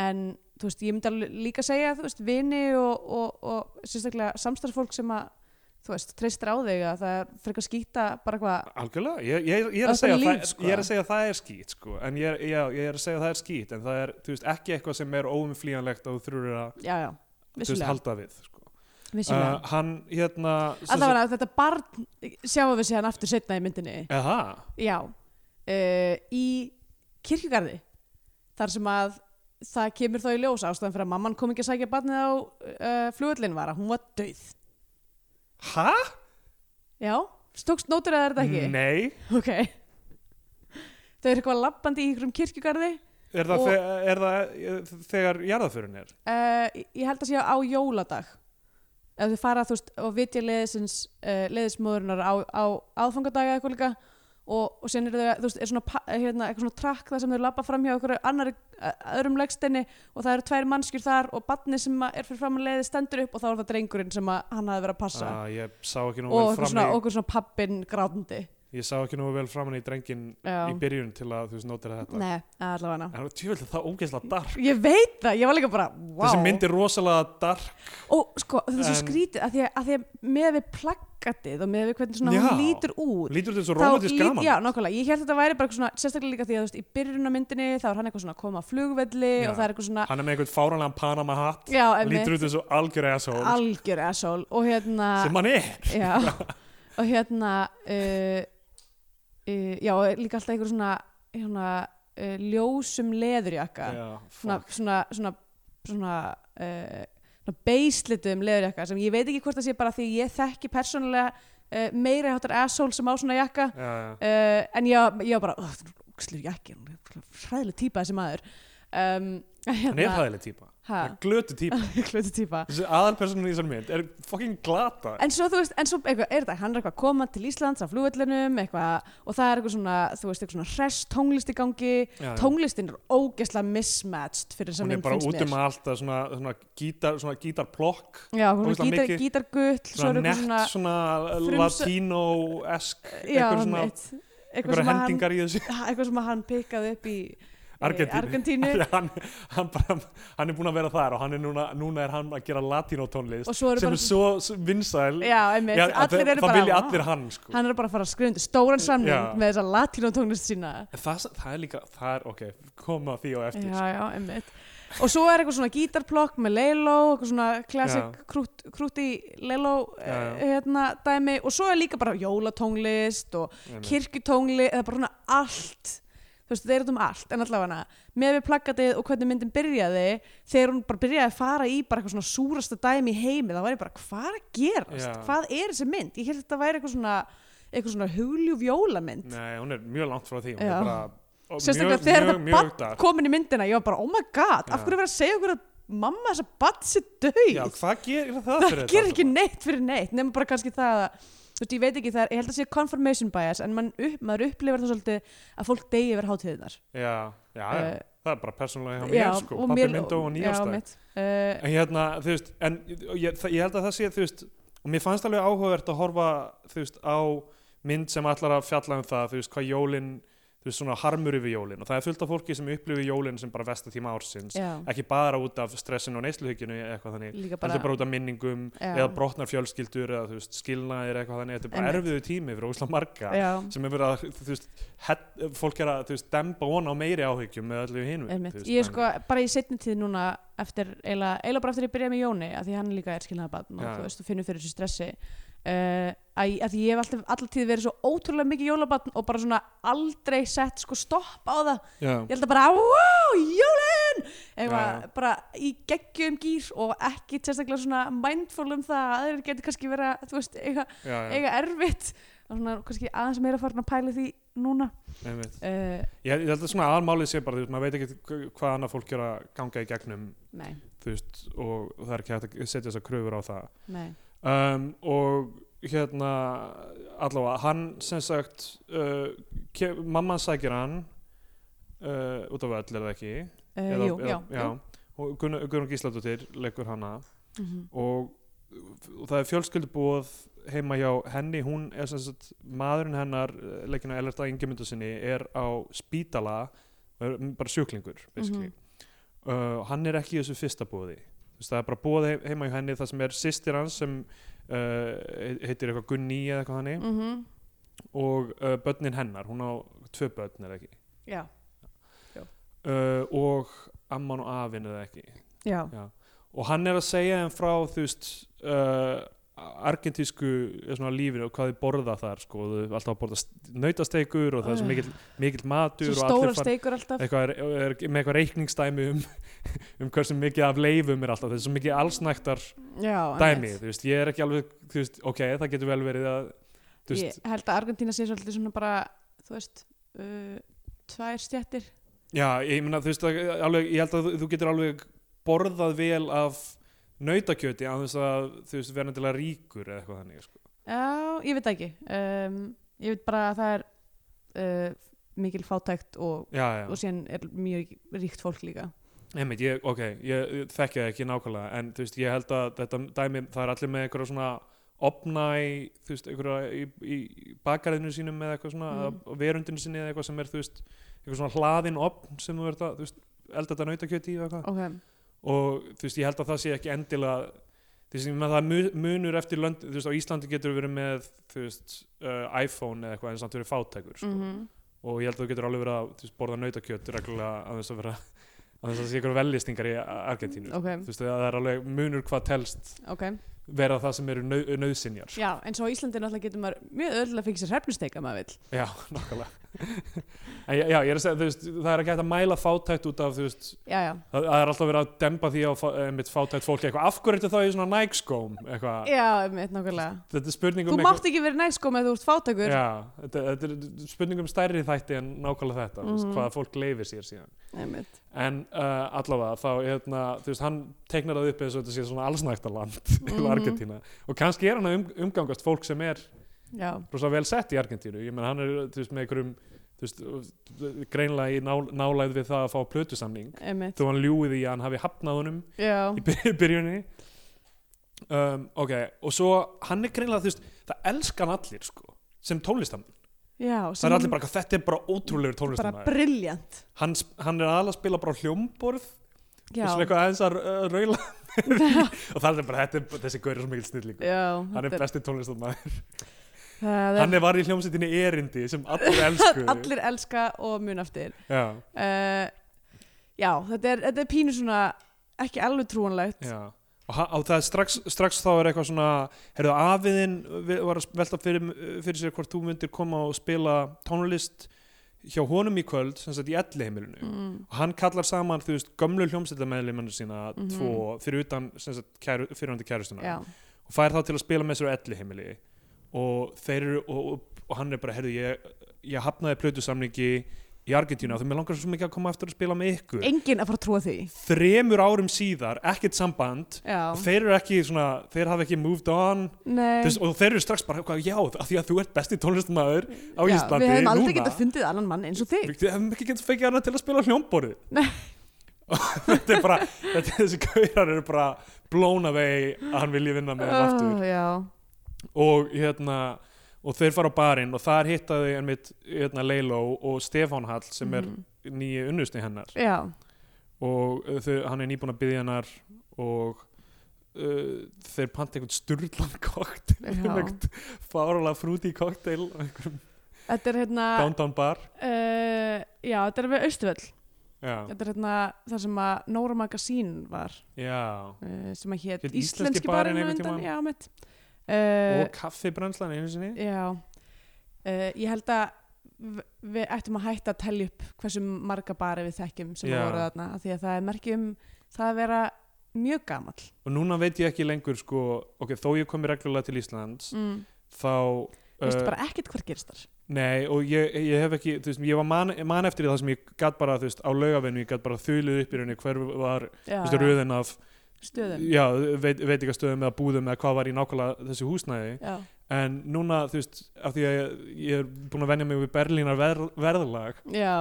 S2: en þú veist, ég myndi alveg líka segja þú veist, vini og, og, og sérstaklega samstarfsfólk sem að þú veist, treystir á þig að það er frekar skýta bara hvað,
S3: algjörlega, ég, ég, ég,
S2: Það
S3: er að
S2: er
S3: segja,
S2: bara
S3: líf,
S2: líf,
S3: það,
S2: sko.
S3: ég er að segja að það er skýt sko. en ég, er- já, ég er að segja að það er skýt en það er, þú veist, ekki eitthvað sem er óumflýjanlegt og þú þurfur að
S2: já, já,
S3: þú veist,
S2: vissulega,
S3: halda við sko.
S2: vissulega.
S3: uh, hann hérna sem sagt-
S2: Allavega þetta barn sjáum við séðan aftur setna í myndinni
S3: Eða,
S2: Já uh, Í kirkjugarði Þar sem að það kemur þá í ljós ástæðan fyrir að mamman kom ekki að sækja barnið á uh, flugullin var að hún var döið
S3: hæ?
S2: Já, stókst nótur að þetta ekki
S3: Nei,
S2: Ok Þau eru eitthvað lappandi í einhverjum kirkjugarði
S3: er það,
S2: Og-
S3: þe er það eh, þegar jarðaförun er?
S2: uh, Ég held að sé á jóladag Ef þau fara þú veist og vitja leðisins uh, leðismóðurinnar á, á aðfangadaga eitthvað líka og, og sen er það, þú veist, er svona, pa- hérna, eitthvað svona trakk það sem þau labba fram hjá einhverju annari ö- öðrum legstenni og það eru tvær mannskjur þar og badni sem að er fyrir fram að leiði stendur upp og þá er það drengurinn sem að hann hafi verið að passa
S3: Ah, ég sá ekki nú
S2: og
S3: vel
S2: okkur
S3: fram
S2: svona,
S3: í,
S2: okkur svona pappin grátandi
S3: ég sá ekki nú vel fram í drengin
S2: Já.
S3: í byrjun til að þú veist nótir þetta
S2: Nei, allavega hana
S3: En tjóðlega það er ógeðslega dark
S2: Ég veit það, ég var líka bara, wow
S3: Þessi mynd er rosalega dark
S2: Og sko, það er svo
S3: En-
S2: skrítið að því að, að, því að með við plakatið og með við hvernig svona hún
S3: Já.
S2: lítur út
S3: Lítur þetta svo
S2: þá
S3: romantisk
S2: lít-
S3: gaman
S2: Já, nákvæmlega, ég held að þetta væri bara eitthvað svona sérstaklega líka því að þú veist, í byrjunarmyndinni þá er hann eitthvað svona að koma á flugvelli
S3: Já.
S2: og það er eitthvað svona,
S3: Hann er með einhvern fáranlegan Panama hatt
S2: já, emmi,
S3: Lítur þetta svo algjör asshole
S2: algjör asshole og hérna,
S3: sem hann er
S2: já og hérna uh, uh, já, og líka alltaf einhver svona hérna, uh, ljósum leðurjakka,
S3: Já,
S2: svona
S3: fuck.
S2: svona, svona, svona uh, svona beislitum leðurjakka sem ég veit ekki hvort það sé bara því ég þekki persónulega uh, meira hátar asshole sem á svona jakka
S3: Já, já.
S2: uh, en ég, var- ég var bara "Ugh, þetta er ógslur jakki, hún er hræðileg típa þessi maður um,
S3: Hann er hæðileg típa
S2: Ha?
S3: Hann er Glötu típa
S2: hluti típa
S3: Þessi aðalpersonum í þessar mynd er fucking glata
S2: en svo þú veist, en svo eitthvað, er þetta, hann er eitthvað að koma til Íslands á flugvellinum, eitthvað og það er eitthvað svona, þú veist, eitthvað svona hress tónlist í gangi,
S3: Já, já.
S2: tónlistin er ógeðslega mismatched fyrir þess að
S3: hún er
S2: mynd
S3: bara
S2: finnst
S3: út
S2: mér
S3: um allt að svona, svona, gítar, svona gítarplokk
S2: já, hún er
S3: ógeðslega
S2: gítar,
S3: mikið-
S2: gítargull svo er
S3: svona nett,
S2: eitthvað
S3: svona,
S2: svona, frumsa-
S3: latino-esk
S2: já,
S3: eitthvað svona,
S2: mitt, eitthvað
S3: eitthvað
S2: sem að hann
S3: hendingar í þessu
S2: eitthvað sem að hann pikkaði upp í eh,
S3: Argentínu.
S2: Argentínu
S3: hann, hann, bara, hann er búin að vera þar og hann er núna, núna er hann að gera latino-tónlist
S2: og svo eru
S3: sem
S2: bara
S3: er svo s- vinsæl
S2: já, einmitt,
S3: Já, að
S2: allir
S3: það-
S2: eru
S3: það
S2: bara
S3: vilja
S2: "Vá."
S3: allir hann sko.
S2: hann er bara að fara að skrifa undir stóran samning
S3: Já.
S2: með þessa latinotónlist sína
S3: En það, það er líka, það er, ok, koma því á eftir
S2: já, já, einmitt og svo er eitthvað svona gítarplokk með leiló eitthvað svona classic krút, krút í leiló
S3: Já, já.
S2: eh, hérna, dæmi og svo er líka bara jólatónlist og
S3: Einmitt.
S2: kirkjutónli eða bara svona allt Þú þú veist, þetta er út um allt en allavega með við plakkaðið og hvernig myndin byrjaði þegar hún bara byrjaði að fara í bara eitthvað svona súrasta dæmi í heimi þá var ég bara, hvað er að gerast?
S3: Já.
S2: Hvað er þessi mynd? Ég held að þetta væri eitthvað svona eitthvað svona huljúvjólamynd
S3: Nei, hún er mjög langt frá því hún
S2: Já.
S3: er bara, og
S2: Sérstaklega
S3: mjög-
S2: þegar
S3: mjög-
S2: þetta
S3: mjög
S2: barn
S3: dark.
S2: komin í myndina ég var bara, oh my god, af
S3: Já.
S2: hverju er verið að segja okkur að mamma þessa barn sé döið?
S3: Já, hvað gerir það fyrir sko.
S2: það gerir ekki neitt fyrir neitt nema bara kannski það að þú veist, ég veit ekki það er, ég held að sé confirmation bias en man, upp, maður upplifir það svolítið að fólk degi yfir hátíðunar
S3: Já, já, já.
S2: Eh,
S3: það er bara persónulega hjá mér sko, pappi mynd og nýjástæk
S2: uh,
S3: En hérna, þú veist, en ég, það- ég held að það sé, þú veist, og mér fannst alveg áhugavert að horfa, þú veist, á mynd sem allar að fjalla um það, þú veist, hvað jólin, þú veist, svona harmur yfir jólin og það er fullt af fólki sem upplifi jólin sem bara versta tíma ársins,
S2: já,
S3: ekki bara út af stressinu og neysluhyggjunu eða eitthvað þannig,
S2: líka
S3: bara,
S2: bara,
S3: heldur bara út af minningum
S2: Já.
S3: eða brotnar fjölskyldur eða, þú veist, skilnaðir eða eitthvað þannig, þetta er bara
S2: Einmitt.
S3: erfiðu tími fyrir ósla marga
S2: já,
S3: sem er verið að, þú veist, het, fólk er að, þú veist, demba von á meiri áhyggjum með öllu hinu.
S2: einmitt ég er sko bara í setni tíð núna eftir, eiginlega, eiginlega bara eftir ég byrjaði með Jóni að því hann líka er skilnaðabann
S3: Já.
S2: og þú veist, þú finnur fyrir þessu stressi uh, að, að því ég hef alltaf, alltaf tíð verið svo ótrúlega mikið jólabann og bara svona aldrei sett sko stopp á það
S3: Já.
S2: ég held að bara, wow, jólin
S3: Já.
S2: eitthvað, bara í geggjum gýr og ekki sérstaklega svona mindful um það að þeir geti kannski vera, þú veist, eiga,
S3: Já, já,
S2: eiga erfitt og svona kannski aðeins meira farin að pæla í því núna
S3: einmitt.
S2: uh,
S3: Ég, ég held að svona aðalmálið sé bara, þú veist, maður veit ekki hva- hvað annað fólk er að ganga í gegnum,
S2: nei,
S3: þú veist, og það er ekki hægt að setja þessar kröfur á það.
S2: nei
S3: Um, og hérna, allavega, hann sem sagt, uh, ke- mamman sækir hann, uh, út af öll er það ekki?
S2: uh, jú, já,
S3: já. Og Gunnar, Gunnar Gísladóttir leikur hana
S2: Mhm.
S3: og, og það er fjölskyldubóð heima hjá henni, hún er sem sagt maðurinn hennar, eh, leikinn á Elerta Ingemyndu sinni, er á spítala er bara sjúklingur basically
S2: Mhm.
S3: uh, hann er ekki í þessu fyrsta bóði Þú veist, það er bara bóð he- heima hjá henni það sem er sýstir hans sem uh, he- heitir eitthvað Gunni eða eitthvað hannig
S2: Mhm.
S3: og uh, börnin hennar, hún á tvö börn er það ekki
S2: já,
S3: uh, og amman og afinn er það ekki
S2: já,
S3: og hann er að segja þeim frá þú veist uh, argentísku eh, svona, lífinu og hvað þau borða þar sko, þau eru alltaf að borða st- nautasteikur og það er svo
S2: Ugh.
S3: mikill, mikill matur
S2: Ah. svo
S3: og allir
S2: stórar
S3: fara-
S2: steikur alltaf
S3: eitthvað er, er, með eitthvað reikningsdæmi um, um hversu mikið af leifum er alltaf það er svo mikið allsnæktar
S2: já,
S3: dæmi
S2: einmitt.
S3: þú veist, ég er ekki alveg þú veist, ok, það getur vel verið að þú
S2: ég
S3: veist,
S2: held að Argentína sé svolítið svona bara þú veist uh, tvær stjættir
S3: já, ég meina þú veist, það- alveg, ég held að þú, þú getur alveg borðað vel af nautakjöti að þess að þú veist, vera nættilega ríkur eða eitthvað þannig sko.
S2: Já, ég veit það ekki um, Ég veit bara að það er uh, mikil fátækt og,
S3: já, já.
S2: og síðan er mjög ríkt fólk líka
S3: Einmitt, ég, ok, ég ég þekki það ekki nákvæmlega en þú veist, ég held að þetta dæmi það er allir með einhverja svona opna í, þú veist, einhverja í, í bakariðinu sínum eða eitthvað svona
S2: Mm.
S3: mm. verundinu sinni eða eitthvað sem er, þú veist eitthvað svona hlaðin opn sem þú verður að, þú veist, elda þetta nautakjöti í eða eitthvað
S2: Ok,
S3: og þú veist, ég held að það sé ekki endilega þú veist, ég meina það mu- munur eftir lönd, þú veist, á Íslandi getur verið með þú veist, uh, iPhone eða eitthvað en samt verið fátækur, sko
S2: mm
S3: og ég held að þú getur alveg verið að þú veist, borða nautakjöt reglulega að þess að vera að þess að sé ykkur veljistingar í Argentínu
S2: ok,
S3: þú veist það er alveg munur hvað telst
S2: ok
S3: vera það sem eru nau, nauðsynjar
S2: Já, eins og á Íslandi náttúrulega getur maður mjög öll að fengja sér hrefnusteik að maður vill
S3: já, nokkulega en já, já, ég er að segja, þú veist, það er ekki hægt að mæla fátætt út af, þú veist,
S2: Já, já,
S3: það, það er alltaf verið að dempa því á fá- einmitt fátætt fólki eitthvað, af hverju ertu þá í svona nægskóm eitthvað,
S2: já, einmitt nákvæmlega
S3: þetta er spurning
S2: Þú
S3: um
S2: mátt ekki verið næskó með þú ert fátækur
S3: já, þetta, þetta er spurning um stærri þætti en nákvæmlega þetta, þú veist,
S2: Mhm.
S3: hvað fólk leifir sér síðan
S2: Einmitt.
S3: en uh, allavega þá hérna, þú veist, hann teiknar það upp eins og þetta sé svona allsnægtaland mm
S2: Mhm.
S3: Argentína og kannski er hann að um, umgangast fólk sem er
S2: Já,
S3: rosa vel sett í Argentínu ég menn hann er þú veist, með einhverjum þú veist, greinlega í nál, nálæð við það að fá plötusamning
S2: einmitt
S3: þó hann ljúið í að hann hafi hafnað honum
S2: Já,
S3: í byr- byrjunni um, ok, og svo hann er greinlega þú veist, það elskar hann allir sko, sem tónlistamann
S2: já
S3: það er allir bara, eitthvað, þetta er bara
S2: Mhm.
S3: ótrúlegur
S2: bara
S3: tónlistamann
S2: brilljant
S3: hann, sp- hann er aðalega að spila bara á hljómborð
S2: Já,
S3: og svona eitthvað aðeins að uh, raula og það er bara, þetta, er- þessi gaur er svo mikil snillingur
S2: já
S3: hann er
S2: þetta
S3: besti tónlistamæður
S2: það
S3: hann er var í hljómsveitinni erindi sem allir elsku
S2: Allir elska og mun aftir
S3: já,
S2: uh, já, þetta er, þetta er pínu svona ekki alveg trúanlegt
S3: já. og, ha- og það er strax, strax þá er eitthvað svona heyrðu afiðin var að velta fyrir, fyrir sér hvort þú myndir koma og spila tónlist hjá honum í kvöld sem sagt í elli heimilinu
S2: mm,
S3: og hann kallar saman þú veist gömlu hljómsveitameðlimennir sína
S2: Mhm.
S3: tvo fyrir utan sem sagt kæru, fyrirhandi kærustuna
S2: já,
S3: og fær þá til að spila með sér á elli heimili og þeir eru og, og, og hann er bara, heyrðu, ég, ég hafnaði plötusamningi í Argentínu og þau mér langar svo mikið að koma aftur að spila með ykkur
S2: enginn að fara að trúa því
S3: þremur árum síðar, ekkert samband
S2: já,
S3: og þeir eru ekki svona, þeir hafa ekki moved on
S2: nei
S3: Þess, og þeir eru strax bara, hvað, já, af því að þú ert besti tónlistmaður á
S2: já,
S3: Íslandi
S2: við hefum
S3: núna
S2: aldrei getað fundið annan mann eins og þig
S3: Við hefum ekki getað fengið hana til að spila hljómborðið
S2: Nei.
S3: Og þetta er bara, þetta, þessi gaurar eru bara blown away að hann vilji vinna með hann
S2: Ó,
S3: aftur
S2: já,
S3: og hérna og þeir fara á barinn og þar hittaði einmitt hérna, Leiló og Stefán Hall sem
S2: Mhm.
S3: er nýju unnusti hennar
S2: já,
S3: og uh, þau, hann er nýbúin að byggja hennar og uh, þeir panta einhvern sturlan koktel
S2: Já.
S3: einhvern fáralega frúti koktel á einhverjum
S2: þetta er hérna uh,
S3: downtown bar
S2: já, þetta er við Östuvöll
S3: já,
S2: þetta er hérna þar sem að Nóra Magasín var
S3: já.
S2: uh, sem að hét
S3: Hét Íslenski
S2: Íslenski
S3: barinn
S2: barinn á
S3: einhvern
S2: undan
S3: tímann?
S2: já, mitt uh,
S3: og kaffibrennslan einu sinni
S2: já uh, ég held að v- við ættum að hætta að tellja upp hversu marga bari við þekkjum sem
S3: Já.
S2: voru þarna af því að það er merki um það að vera mjög gamall
S3: og núna veit ég ekki lengur sko, ok, þó ég komi reglulega til Íslands
S2: mm.
S3: þá
S2: veistu
S3: uh,
S2: bara ekkert hvað gerist þar
S3: nei, og ég, ég hef ekki þú veist, ég var man, man eftir það sem ég gatt bara þú veist, á laugavinu, ég gatt bara þulið upp í rauninni hver var,
S2: já,
S3: þú veist,
S2: já.
S3: röðin af
S2: stöðum
S3: já, veit, veit ekki að stöðum eða búðum eða hvað var í nákvæmlega þessu húsnæði
S2: já.
S3: en núna, þú veist, af því að ég, ég er búin að venja mig við Berlínar ver, verðlag
S2: já,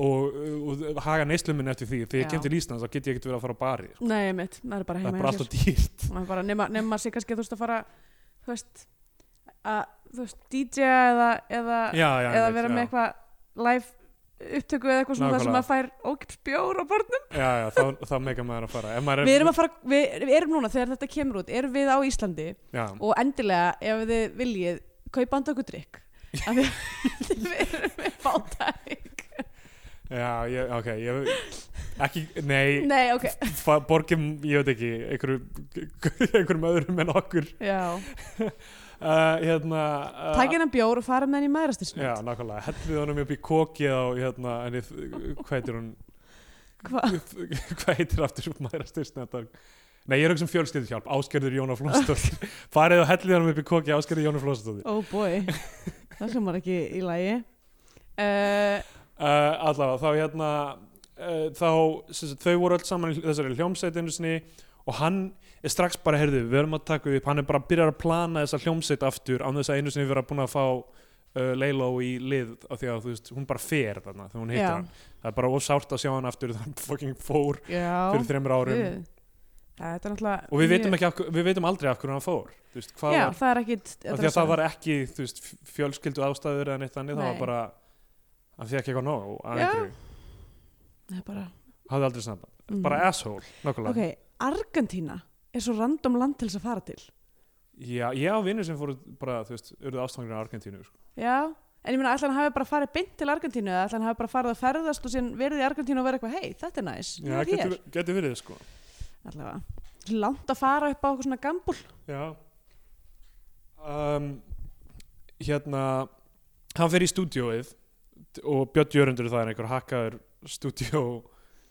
S3: og, og, og haga neysluminn eftir því þegar
S2: Já.
S3: ég kem til Íslands, þá get ég ekkert verið að fara á bari sko.
S2: nei mitt, það er bara
S3: það
S2: heima
S3: er
S2: hjá
S3: bara
S2: sér.
S3: alltaf dýrt
S2: maður bara nema, nema sér kannski þú veist að fara þú veist að þú veist DJ eða eða,
S3: já, já,
S2: eða
S3: einmitt,
S2: vera
S3: já.
S2: með eitthvað live upptöku eða eitthvað svona það sem
S3: Nákvæmlega.
S2: maður fær ógips bjór á barnum
S3: já, já, þá, þá mega maður að fara Ef maður
S2: við erum að fara, við, við erum núna þegar þetta kemur út erum við á Íslandi
S3: já,
S2: og endilega ef þið viljið kaupa andu okkur drikk af því að við erum með fátæk
S3: já, ég, ok ég, ekki, nei,
S2: nei ok,
S3: nei. borgum, ég veit ekki einhverju, einhverjum öðrum en okkur
S2: já
S3: uh, hérna uh,
S2: takk hennan bjór og fara með henni í
S3: já,
S2: maðurastisnönd
S3: nákvæmlega, hellið honum upp í kokið á, hérna, henni, hvað heitir hún
S2: hvað,
S3: hvað heitir aftur maður að styrst nei, ég er auðvitað sem fjölskylduhjálp, Áskerður Jóna Flónsdóttir farið og hellið honum upp í kokið Áskerður Jóna Flónsdóttir
S2: oh boy það sem var ekki í lagi uh,
S3: Uh, allavega, þá hérna uh, þá, sem sagt, þau voru öll saman í þessari hljómsveit einu sinni og hann er strax bara, heyrðu, við erum að taka upp hann er bara að byrja að plana þessa hljómsveit aftur án þess að einu sinni vera búin að fá uh, Leiló í lið af því að þú veist, hún bara fer þarna þegar hún hittir
S2: Já.
S3: hann það er bara ósárt að sjá hann aftur þegar hann fucking fór
S2: Já,
S3: fyrir þreymur árum
S2: guð. Það þetta er náttúrulega
S3: og við veitum,
S2: mjög-
S3: ekki, af hver- við veitum aldrei af hverju hann fór þú veist, hvað
S2: Já,
S3: var,
S2: það er ekki
S3: af því að það var e- ekki þú veist, fjölskyldu ástæður eða neitt þannig það
S2: Nei.
S3: var bara, hann fekk eitthvað nóg af
S2: Já.
S3: einhverju.
S2: Það er bara
S3: hafði aldrei samband
S2: mm.
S3: bara asshole, nokkulega
S2: Ok, Argentína er svo random land til þess að fara til
S3: já, ég á vinnur sem fóru bara, þú veist, urðu ástangurinn á Argentínu sko.
S2: Já, en ég meina ætla hann hafi bara farið beint til Argentínu eða ætla hann hafi bara farið að ferðast og síðan verið í Argentínu og verið eitthvað hei, þetta er næs,
S3: já,
S2: ég er
S3: getur, getur verið, sko
S2: hér Allavega, langt að fara upp á eitthvað svona gambúl
S3: já um, hérna hann fer í stúdíóið og Björn Jörundur er það er einhver hakkaður stúdíó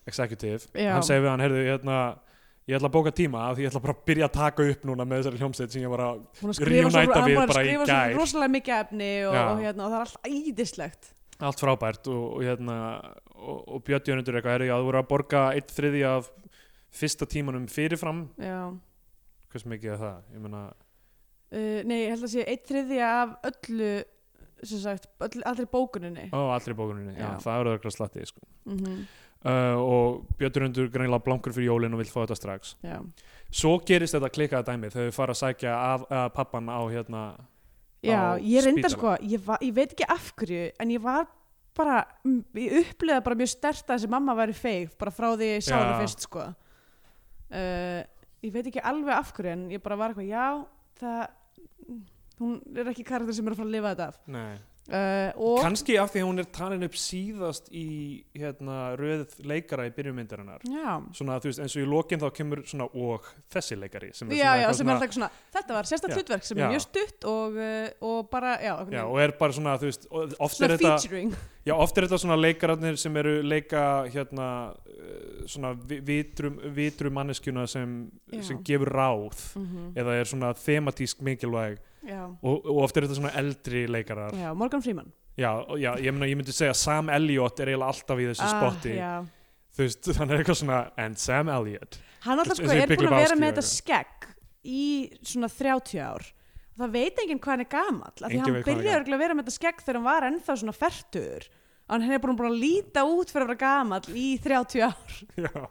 S3: executive
S2: Já.
S3: hann segir við hann, heyrðu, hérna ég ætla að bóka tíma af því ég ætla bara að byrja að taka upp núna með þessari hljómsveit sem ég var að
S2: Hún er að skrifa svo,
S3: Reunite-a
S2: hann
S3: við
S2: búinn að
S3: bara í
S2: skrifa
S3: gær.
S2: svo rosalega mikið efni og,
S3: Já.
S2: og, hérna, og það er alltaf æðislegt
S3: allt frábært og, og, hérna, og, og Björn Jörundur er eitthvað, heyrðu, já, þú voru að borga eitt þriði af fyrsta tímanum fyrirfram
S2: Já,
S3: hversu mikið er það, ég meina
S2: uh, nei, ég held að sé eitt þriðja af öllu sem sagt, öll, allri bókuninni
S3: Ó, allri bókuninni, já,
S2: Já.
S3: það eru örugglega slatti sko.
S2: Mhm,
S3: uh, og Björn Rundur greinlega blankur fyrir jólin og vill fá þetta strax
S2: Já,
S3: svo gerist þetta klikkaða dæmi þegar við fara að sækja af, að pappan á hérna
S2: já
S3: Á
S2: ég reyndar sko,
S3: spítala.
S2: ég, va, ég veit ekki af hverju en ég var bara, m- ég upplegaði bara mjög stert að þessi mamma væri feig bara frá því ég sá
S3: Já.
S2: hana fyrst sko uh, Ég veit ekki alveg af hverju en ég bara var eitthvað, já það, hún er ekki karakter sem er að fara að lifa þetta af
S3: nei,
S2: uh, og
S3: kannski af því að hún er talin upp síðast í hérna, röð leikara í byrjumyndarinnar
S2: já,
S3: svona þú veist eins og í lokin þá kemur svona og þessi leikari sem er
S2: já, já,
S3: eitthvað
S2: sem er alltaf svona þetta var sérstakt
S3: Já.
S2: hlutverk sem
S3: Já.
S2: er mjög stutt og, uh, og bara, já, einhvern
S3: já,
S2: veginn.
S3: og er bara svona þú veist og oft er
S2: svona
S3: þetta
S2: featuring
S3: Já, oft er þetta svona leikararnir sem eru leika hérna eh, svona vi- vitrum, vitrum manneskjuna sem,
S2: Já.
S3: sem gefur ráð
S2: Mhm,
S3: eða er svona thematísk mikilvæg
S2: já,
S3: og, og oft er þetta svona eldri leikarar
S2: já, Morgan Freeman
S3: já, og- já ég, meina, ég myndi segja Sam Elliot er eiginlega alltaf í þessu spotti
S2: ah, já.
S3: þú veist, hann er eitthvað svona and Sam Elliot
S2: hann alltaf
S3: Eins
S2: sko
S3: og í
S2: er
S3: Big
S2: búin að vera
S3: Lebowski
S2: með
S3: og
S2: þetta skegg í svona 30 ár það veit enginn hvað hann er gamall af því
S3: Enginn
S2: hann
S3: veit hvað hann er
S2: byrjaði örugglega að vera með þetta skegg þegar hann var ennþá svona fertur hann er búin að, búin að líta út fyrir að vera gamall í 30 ár
S3: já,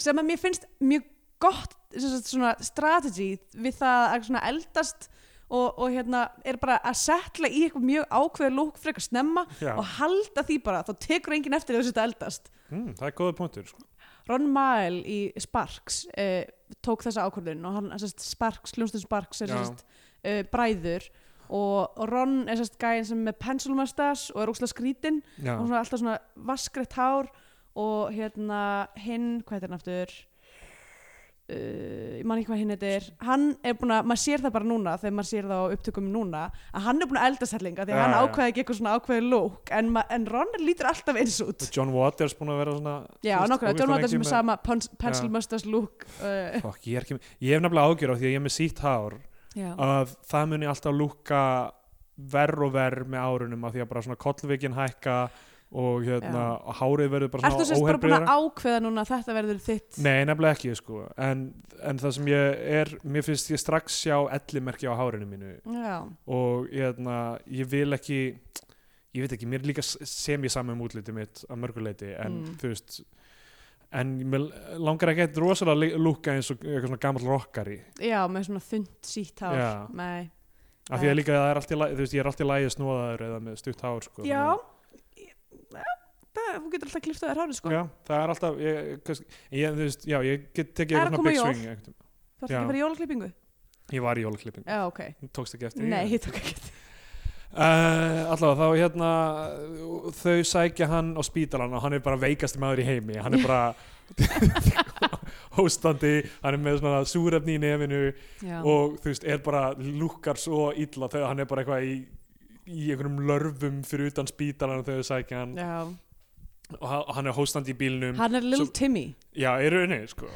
S2: sem að mér finnst mjög gott sem sagt, svona strategy við það að svona eldast og, og hérna er bara að setla í eitthvað mjög ákveðið lúk frekar snemma
S3: já.
S2: og halda því bara, þá tekur enginn eftir þessu þetta eldast
S3: Mm, það er góða punktur sko.
S2: Ron Mael í Sparks uh, tók þessa ákvörðun og hann, sest, Sparks, hljómsdun Sparks er
S3: Já.
S2: sest, uh, bræður og og Ron er sest gæðin sem er með pencil mustache og er óslega skrítinn
S3: já,
S2: og svona alltaf svona vaskreitt hár og hérna hinn, hvað heitir hann aftur Uh, ég man ekki hvað hinn þetta er hann er búin að, maður sér það bara núna þegar maður sér það á upptökum núna að hann er búin að eldast hellinga því að
S3: Já,
S2: hann
S3: já.
S2: ákvaði ekki eitthvað svona ákvaði lók en, ma- en Ron lítur alltaf eins út
S3: John Waters búin að vera svona þú
S2: Já, nokkruða,
S3: veist, ógeðslega
S2: John Waters
S3: lengi
S2: sem er
S3: með-
S2: sama pens- pencil
S3: Já.
S2: mustache look uh,
S3: Fuck, ég, er ekki, ég hef nefnilega ágjör á því að ég er með sítt hár
S2: Já,
S3: að það muni alltaf lúka verr og verr með árunum af því að bara svona kollvikin hækka og hérna, hárið verður bara
S2: Ertu sérst
S3: svona
S2: bara búin að
S3: óherbriðara
S2: ákveða núna að þetta verður þitt
S3: Nei, nefnilega ekki, sko en, en það sem ég er, mér finnst ég strax sjá ellimerki á hárinu mínu
S2: Já,
S3: og hérna, ég vil ekki ég veit ekki, mér er líka s- sem ég saman um útlitið mitt að mörguleiti en
S2: Mm.
S3: þú veist en mér langar ekki eitthvað rosalega li- lúka eins og eitthvað svona gamall rockari
S2: já, með svona þund sítt hár
S3: Já.
S2: Nei.
S3: af því að líka það er allt í lagi, þú veist, ég er allt í lagi snúðaður eða með stutt hár, sko
S2: Já
S3: þannig að-
S2: Ég- Já, það, hún getur alltaf kliftað þér hárið sko
S3: Já, það er alltaf ég, kannski, ég, þú veist, já, ég get tekið
S2: Það er að
S3: eitthvað svona
S2: koma
S3: big
S2: jól.
S3: swing einhvern tímann.
S2: Þú ert ekki
S3: Já.
S2: að fara í jólaklippingu
S3: Ég var í jólaklippingu,
S2: Já, ok
S3: tókst ekki eftir því.
S2: Nei, ég tók ekki eftir.
S3: Uh, allavega þá hérna þau sækja hann á spítalan og hann er bara veikasti maður í heimi hann er bara hóstandi, hann er með svona súrefni í nefinu
S2: Já.
S3: og þú veist, er bara lukkar svo illa þegar hann er bara eitthvað í, í einhverjum lörfum fyrir utan spítalan þegar þau sækja hann
S2: Já.
S3: og ha- og hann er hóstandi í bílnum
S2: Hann er Little
S3: Svo-
S2: Timmy
S3: Já, í rauninni, sko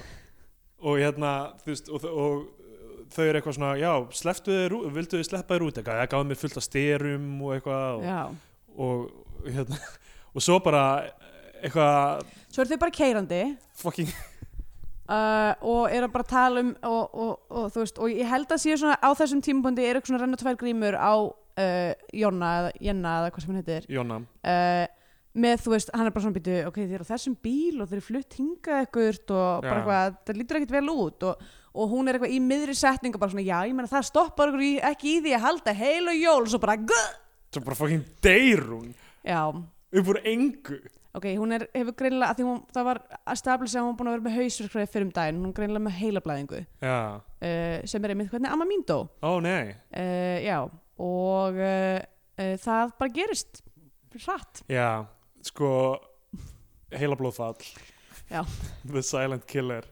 S3: og hérna, þú veist og, og, og þau eru eitthvað svona, já, sleftu þau vildu þau sleppa þér út eitthvað, það gáði mér fullt af styrum og eitthvað og,
S2: Já
S3: og hérna, og svo bara eitthvað
S2: Svo eru þau bara keirandi
S3: fucking,
S2: uh, og er að bara tala um og, og, og þú veist, og ég held að síðan svona á þessum tímabundi er eitthvað svona renna tvær grímur á uh, Jonna eða Jenna eða hvað sem hann heitir
S3: Jóna
S2: uh, með þú veist, hann er bara svona býtu ok, þið eru á þessum bíl og þið eru flutt hingað ekkert og bara
S3: Já.
S2: eitthvað, það lítur ekkert vel út og, og hún er eitthvað í miðri setning og bara svona, já, ég meina það stoppar okkur í, ekki í því að halda heil og jól, svo bara guð
S3: svo bara fucking deyr hún
S2: já,
S3: upp úr engu
S2: ok, hún er, hefur greinilega að því hún, það var að stabilisa að hún var búin að vera með hausverkfræði fyrir um daginn, hún er greinilega með heilablæðingu
S3: Já,
S2: uh, sem er einmitt hvernig amma mín dó
S3: ó nei
S2: uh, já, og uh, uh, það bara gerist hratt,
S3: Já, sko heila blóðfall
S2: Já.
S3: The Silent Killer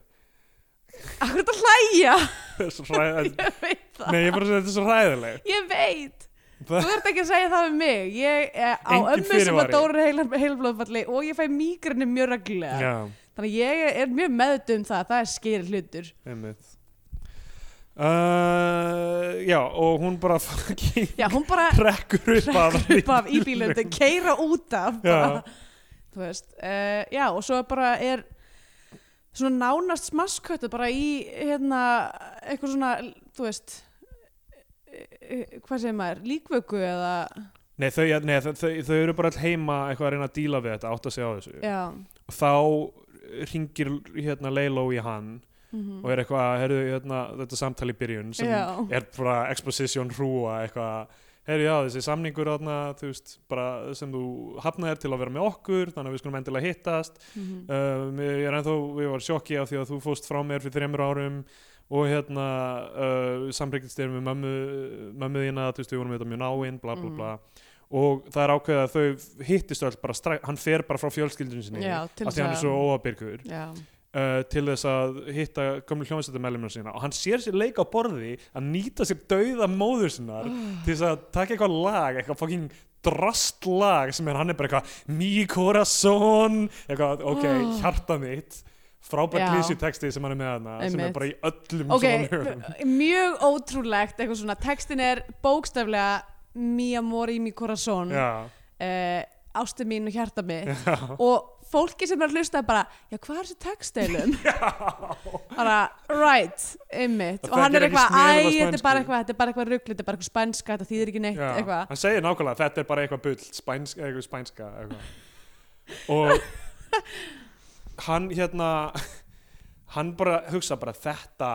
S2: akkur þetta hlæja
S3: Það er svo hræð-
S2: ég veit það,
S3: Nei, ég bara segi þetta er svo ræðileg
S2: ég veit
S3: Það-
S2: þú ert ekki að segja það við mig ég er á
S3: Engin
S2: ömmu sem
S3: fyrirvari.
S2: að dóra heilblóðfalli og ég fæ mígrinu mjög reglulega
S3: Já
S2: þannig að ég er mjög meðut um það það er skeri hlutur
S3: Einmitt. Uh, já, og hún bara fucking
S2: já, hún bara
S3: rekkur upp að
S2: hrekkur upp af í bílöndi, keira út af bara,
S3: Já.
S2: þú veist uh, já, og svo bara er svona nánast smasköttu bara í hérna, eitthvað svona þú veist eh, eh, hvað segir maður, líkvöku eða,
S3: Nei, þau, nei þau, þau, þau eru bara all heima eitthvað að reyna að díla við þetta, átt að segja á þessu
S2: já
S3: og þá ringir hérna Leilo í hann
S2: mhm.
S3: og er eitthvað, heyrðu, hérna, þetta samtali í byrjun sem
S2: Já.
S3: er bara exposition hrúa eitthvað, heyrðu, já, þessi samningur þarna, þú veist, bara sem þú hafnaðir til að vera með okkur, þannig að við skulum endilega hittast
S2: Mhm.
S3: Eh, uh, ég er ennþá, ég var sjokki af því að þú fóst frá mér fyrir þreymur árum og hérna uh, samreikist erum við mömmu mömmu þína, þú veist, við vorum við þetta mjög náinn bla bla
S2: Mm.
S3: bla og það er ákveðið að þau hittist öll bara stræk, hann fer bara frá fjölskyldunum sinni
S2: Já, til
S3: að því hann er
S2: þess
S3: svo
S2: að-
S3: óabyrgur
S2: Já,
S3: uh, til þess að hitta gömlu hljómsveitamellumina sína og hann sér sér leika á borði að nýta sér dauða móður sinnar
S2: Ah.
S3: til þess að taka eitthvað lag, eitthvað fucking drastlag sem er hann er bara eitthvað mi corazón, eitthvað ok,
S2: Ah.
S3: hjarta mitt frábært
S2: Já.
S3: glísjutexti sem hann er með hana sem er
S2: Einmitt.
S3: bara í öllum
S2: ok,
S3: svona lögum
S2: mjög ótrúlegt eitthvað svona, textin er bókstaflega mi amor y mi corazón uh,
S3: Já,
S2: ástu mín og hjarta mitt
S3: já,
S2: og fólki sem er að hlusta er bara já, hvað er þessi textilum? bara, right, einmitt
S3: Það
S2: og hann er
S3: þekkir ekki
S2: eitthvað, æ,
S3: sneið af
S2: þetta er
S3: spænsku."
S2: bara eitthvað þetta er bara eitthvað ruggl, þetta er bara eitthvað spænska þetta þýðir ekki neitt,
S3: já.
S2: eitthvað
S3: hann segir nákvæmlega þetta er bara eitthvað bull, spænska, eitthvað spænska eitthvað. og hann hérna hann bara hugsa bara þetta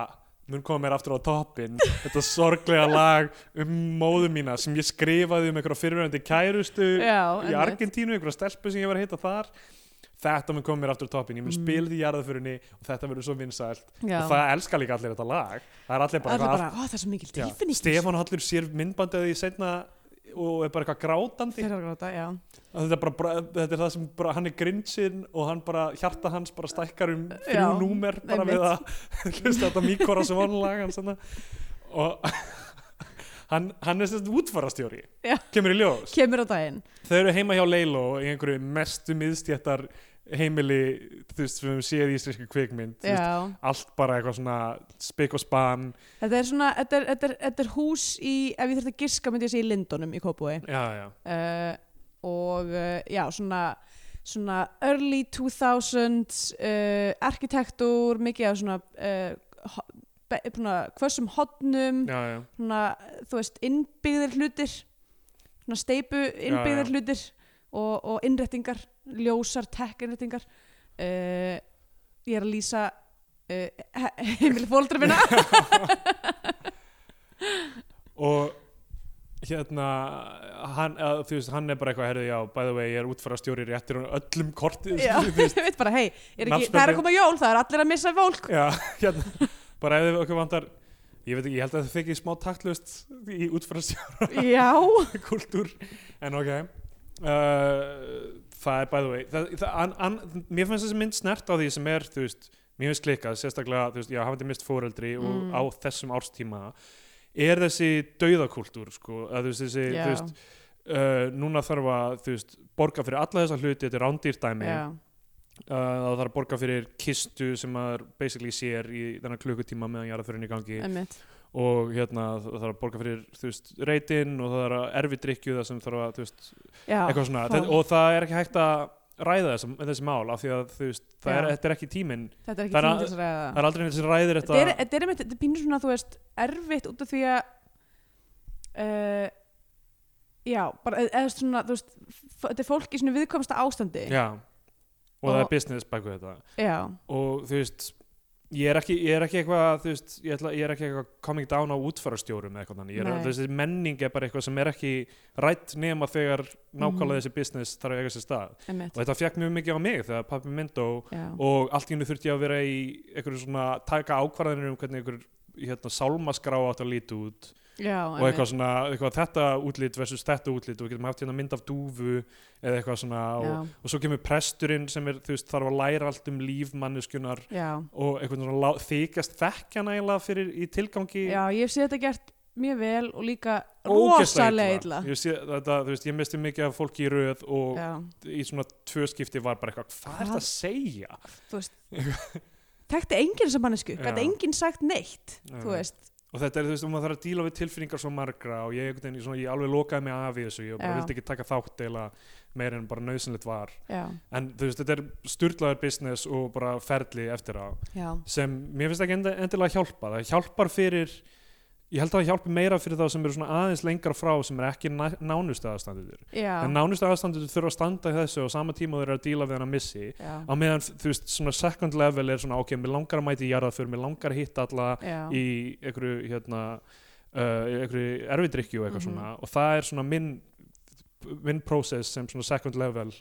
S3: mun koma mér aftur á toppin þetta sorglega lag um móðu mína sem ég skrifaði um einhverja fyrirverandi kærustu
S2: já,
S3: í
S2: einmitt,
S3: Argentínu, einhverja stelpu sem ég var að hitta þar þetta mun koma mér aftur á toppin ég mun
S2: Mm.
S3: spila því jarðaförinni og þetta verður svo vinsælt
S2: já
S3: og það elska líka allir þetta lag það er allir bara,
S2: allir
S3: "Hvað-
S2: bara, ó, það er svo mikil
S3: Já,
S2: tilfinning
S3: Stefán Hallur sér myndbandið í setna og er bara eitthvað grátandi
S2: þeirra gráta, já
S3: að þetta, er bara, bara, þetta er það sem bara, hann er grinsinn og hann bara, hjarta hans bara stækkar um þrjú
S2: Já,
S3: númer bara við að hlusta þetta mikora svonlag hans þarna. og hann, hann er sérst útfarastjóri
S2: Já.
S3: kemur í ljós
S2: kemur á daginn,
S3: þau eru heima hjá Leilo í einhverju mestu miðstjættar heimili þú veist, sem við höfum séð í íslensku kvikmynd þú veist,
S2: já
S3: allt bara eitthvað svona spik og span
S2: þetta er svona, þetta er, þetta er, þetta er hús í ef ég þurfti að giska myndi ég segja í Lindunum í Kópúi
S3: já, já,
S2: uh, og uh, já, svona, svona early 2000s uh, arkitektur, mikið af svona uh, ho- be- svona hvössum hodnum,
S3: já, já.
S2: svona þú veist, innbyggðir hlutir svona steipu innbyggðir
S3: já.
S2: hlutir og, og innrettingar ljósar tech innrettingar uh, ég er að lýsa uh, heimili fóldra minna
S3: og hérna hann, að, þú veist, hann er bara eitthvað herði, já, by the way, ég er útfæra stjóri réttir og öllum kortið
S2: Já,
S3: þú veist,
S2: ég veit bara, hei, er ekki, það er
S3: Nafnspjaldið.
S2: að koma jól, það er allir að missa fólk
S3: já, hérna, bara ef okkur vantar ég veit ekki, ég held að það þykir smá taktlust í útfæra
S2: Já,
S3: kultúr en ok uh, það er by the way það, það, an, an, mér finnst þessi mynd snert á því sem er þú veist, mér finnst klikkað sérstaklega, þú veist, já, hafandi mist fóreldri
S2: Mm.
S3: og á þessum árstíma er þessi dauðakultúr sko, að þú veist, þessi,
S2: já,
S3: þú veist uh, núna þarf að þú veist, borga fyrir alla þessa hluti, þetta er rándýrdæmi uh,
S2: já.
S3: það þarf að borga fyrir kistu sem maður basically sér í þennan klukkutíma meðan jarðaförinni í gangi
S2: Einmitt.
S3: og hérna það þarf að borga fyrir þú veist, reytin og það þarf að erfi drikju það sem þarf að þú veist,
S2: Já,
S3: eitthvað svona
S2: fá.
S3: það, og það er ekki hægt að ræða þessi, þessi mál af því að þú veist, það er,
S2: Já.
S3: þetta er ekki tíminn
S2: þetta er ekki
S3: það er
S2: tíma
S3: að-
S2: til þess að ræða
S3: það er aldrei neitt sem ræðir
S2: Þetta er,
S3: þetta
S2: þetta er einmitt, þetta er pínur svona, þú veist, erfitt út af því að uh, Já, bara eða- eða svona, þú veist f- Þetta er fólk í svona viðkomsta ástandi
S3: já, og það
S2: Og-
S3: er business bak við þetta
S2: já,
S3: og þú veist ég er ekki, ég er ekki eitthvað þú veist, ég, ætla, ég er ekki eitthvað coming down á útfarastjórum eða eitthvað þannig, Ég er-
S2: Nei.
S3: þessi menning er bara eitthvað sem er ekki rætt nema þegar nákvæmlega
S2: Mhm.
S3: þessi business þarf að eiga sér stað
S2: einmitt
S3: og þetta fjekk mjög mikið á mig þegar pappi minn dó
S2: já.
S3: og allt í hennu þurfti ég að vera í einhverju svona taka ákvarðanir um hvernig einhver hérna, sálmaskrá átt að líti út
S2: já,
S3: og eitthvað svona, eitthvað þetta útlit versus þetta útlit og við getum haft hérna mynd af dúfu eða eitthvað svona og,
S2: já,
S3: og svo kemur presturinn sem er, þú veist, þarf að læra allt um líf manneskjunar
S2: já,
S3: og einhvern svona lá- þykjast þekkja nægilega fyrir í tilgangi
S2: já, ég sé þetta gert mjög vel og líka
S3: Ógeðslega
S2: rosalega illa
S3: Ég sé, þetta, þú veist, ég misti mikið af fólki í röð og
S2: Já,
S3: í svona tvö skipti var bara eitthvað hvað er
S2: Hvað?
S3: þetta að segja?
S2: þú veist Tekti enginn sem mannesku,
S3: Já.
S2: gæti enginn sagt neitt Þú
S3: Já.
S2: veist,
S3: og þetta er, þú veist, og maður þarf að díla við tilfinningar svo margra og ég, einhvern veginn, svona, ég alveg lokaði mig af í þessu ég bara
S2: Já.
S3: vildi ekki taka þátt eila meira en bara nöðsynlegt var
S2: já,
S3: en þú veist, þetta er sturlaður business og bara ferli eftir á
S2: já
S3: sem mér finnst ekki endi- endilega hjálpa það hjálpar fyrir ég held að það hjálpi meira fyrir þá sem eru svona aðeins lengra frá sem er ekki næ- nánustu aðstandendur
S2: Já,
S3: en nánustu aðstandendur þurfa að standa í þessu og sama tíma og þeir eru að díla við hann að missi
S2: já,
S3: á meðan þú veist svona second level er svona ok, mér langar að mæti í jarðaför, mér langar að hitta alla
S2: já,
S3: í einhverju hérna, uh, í einhverju erfidrykju og eitthvað
S2: Mhm.
S3: svona og það er svona minn minn process sem svona second level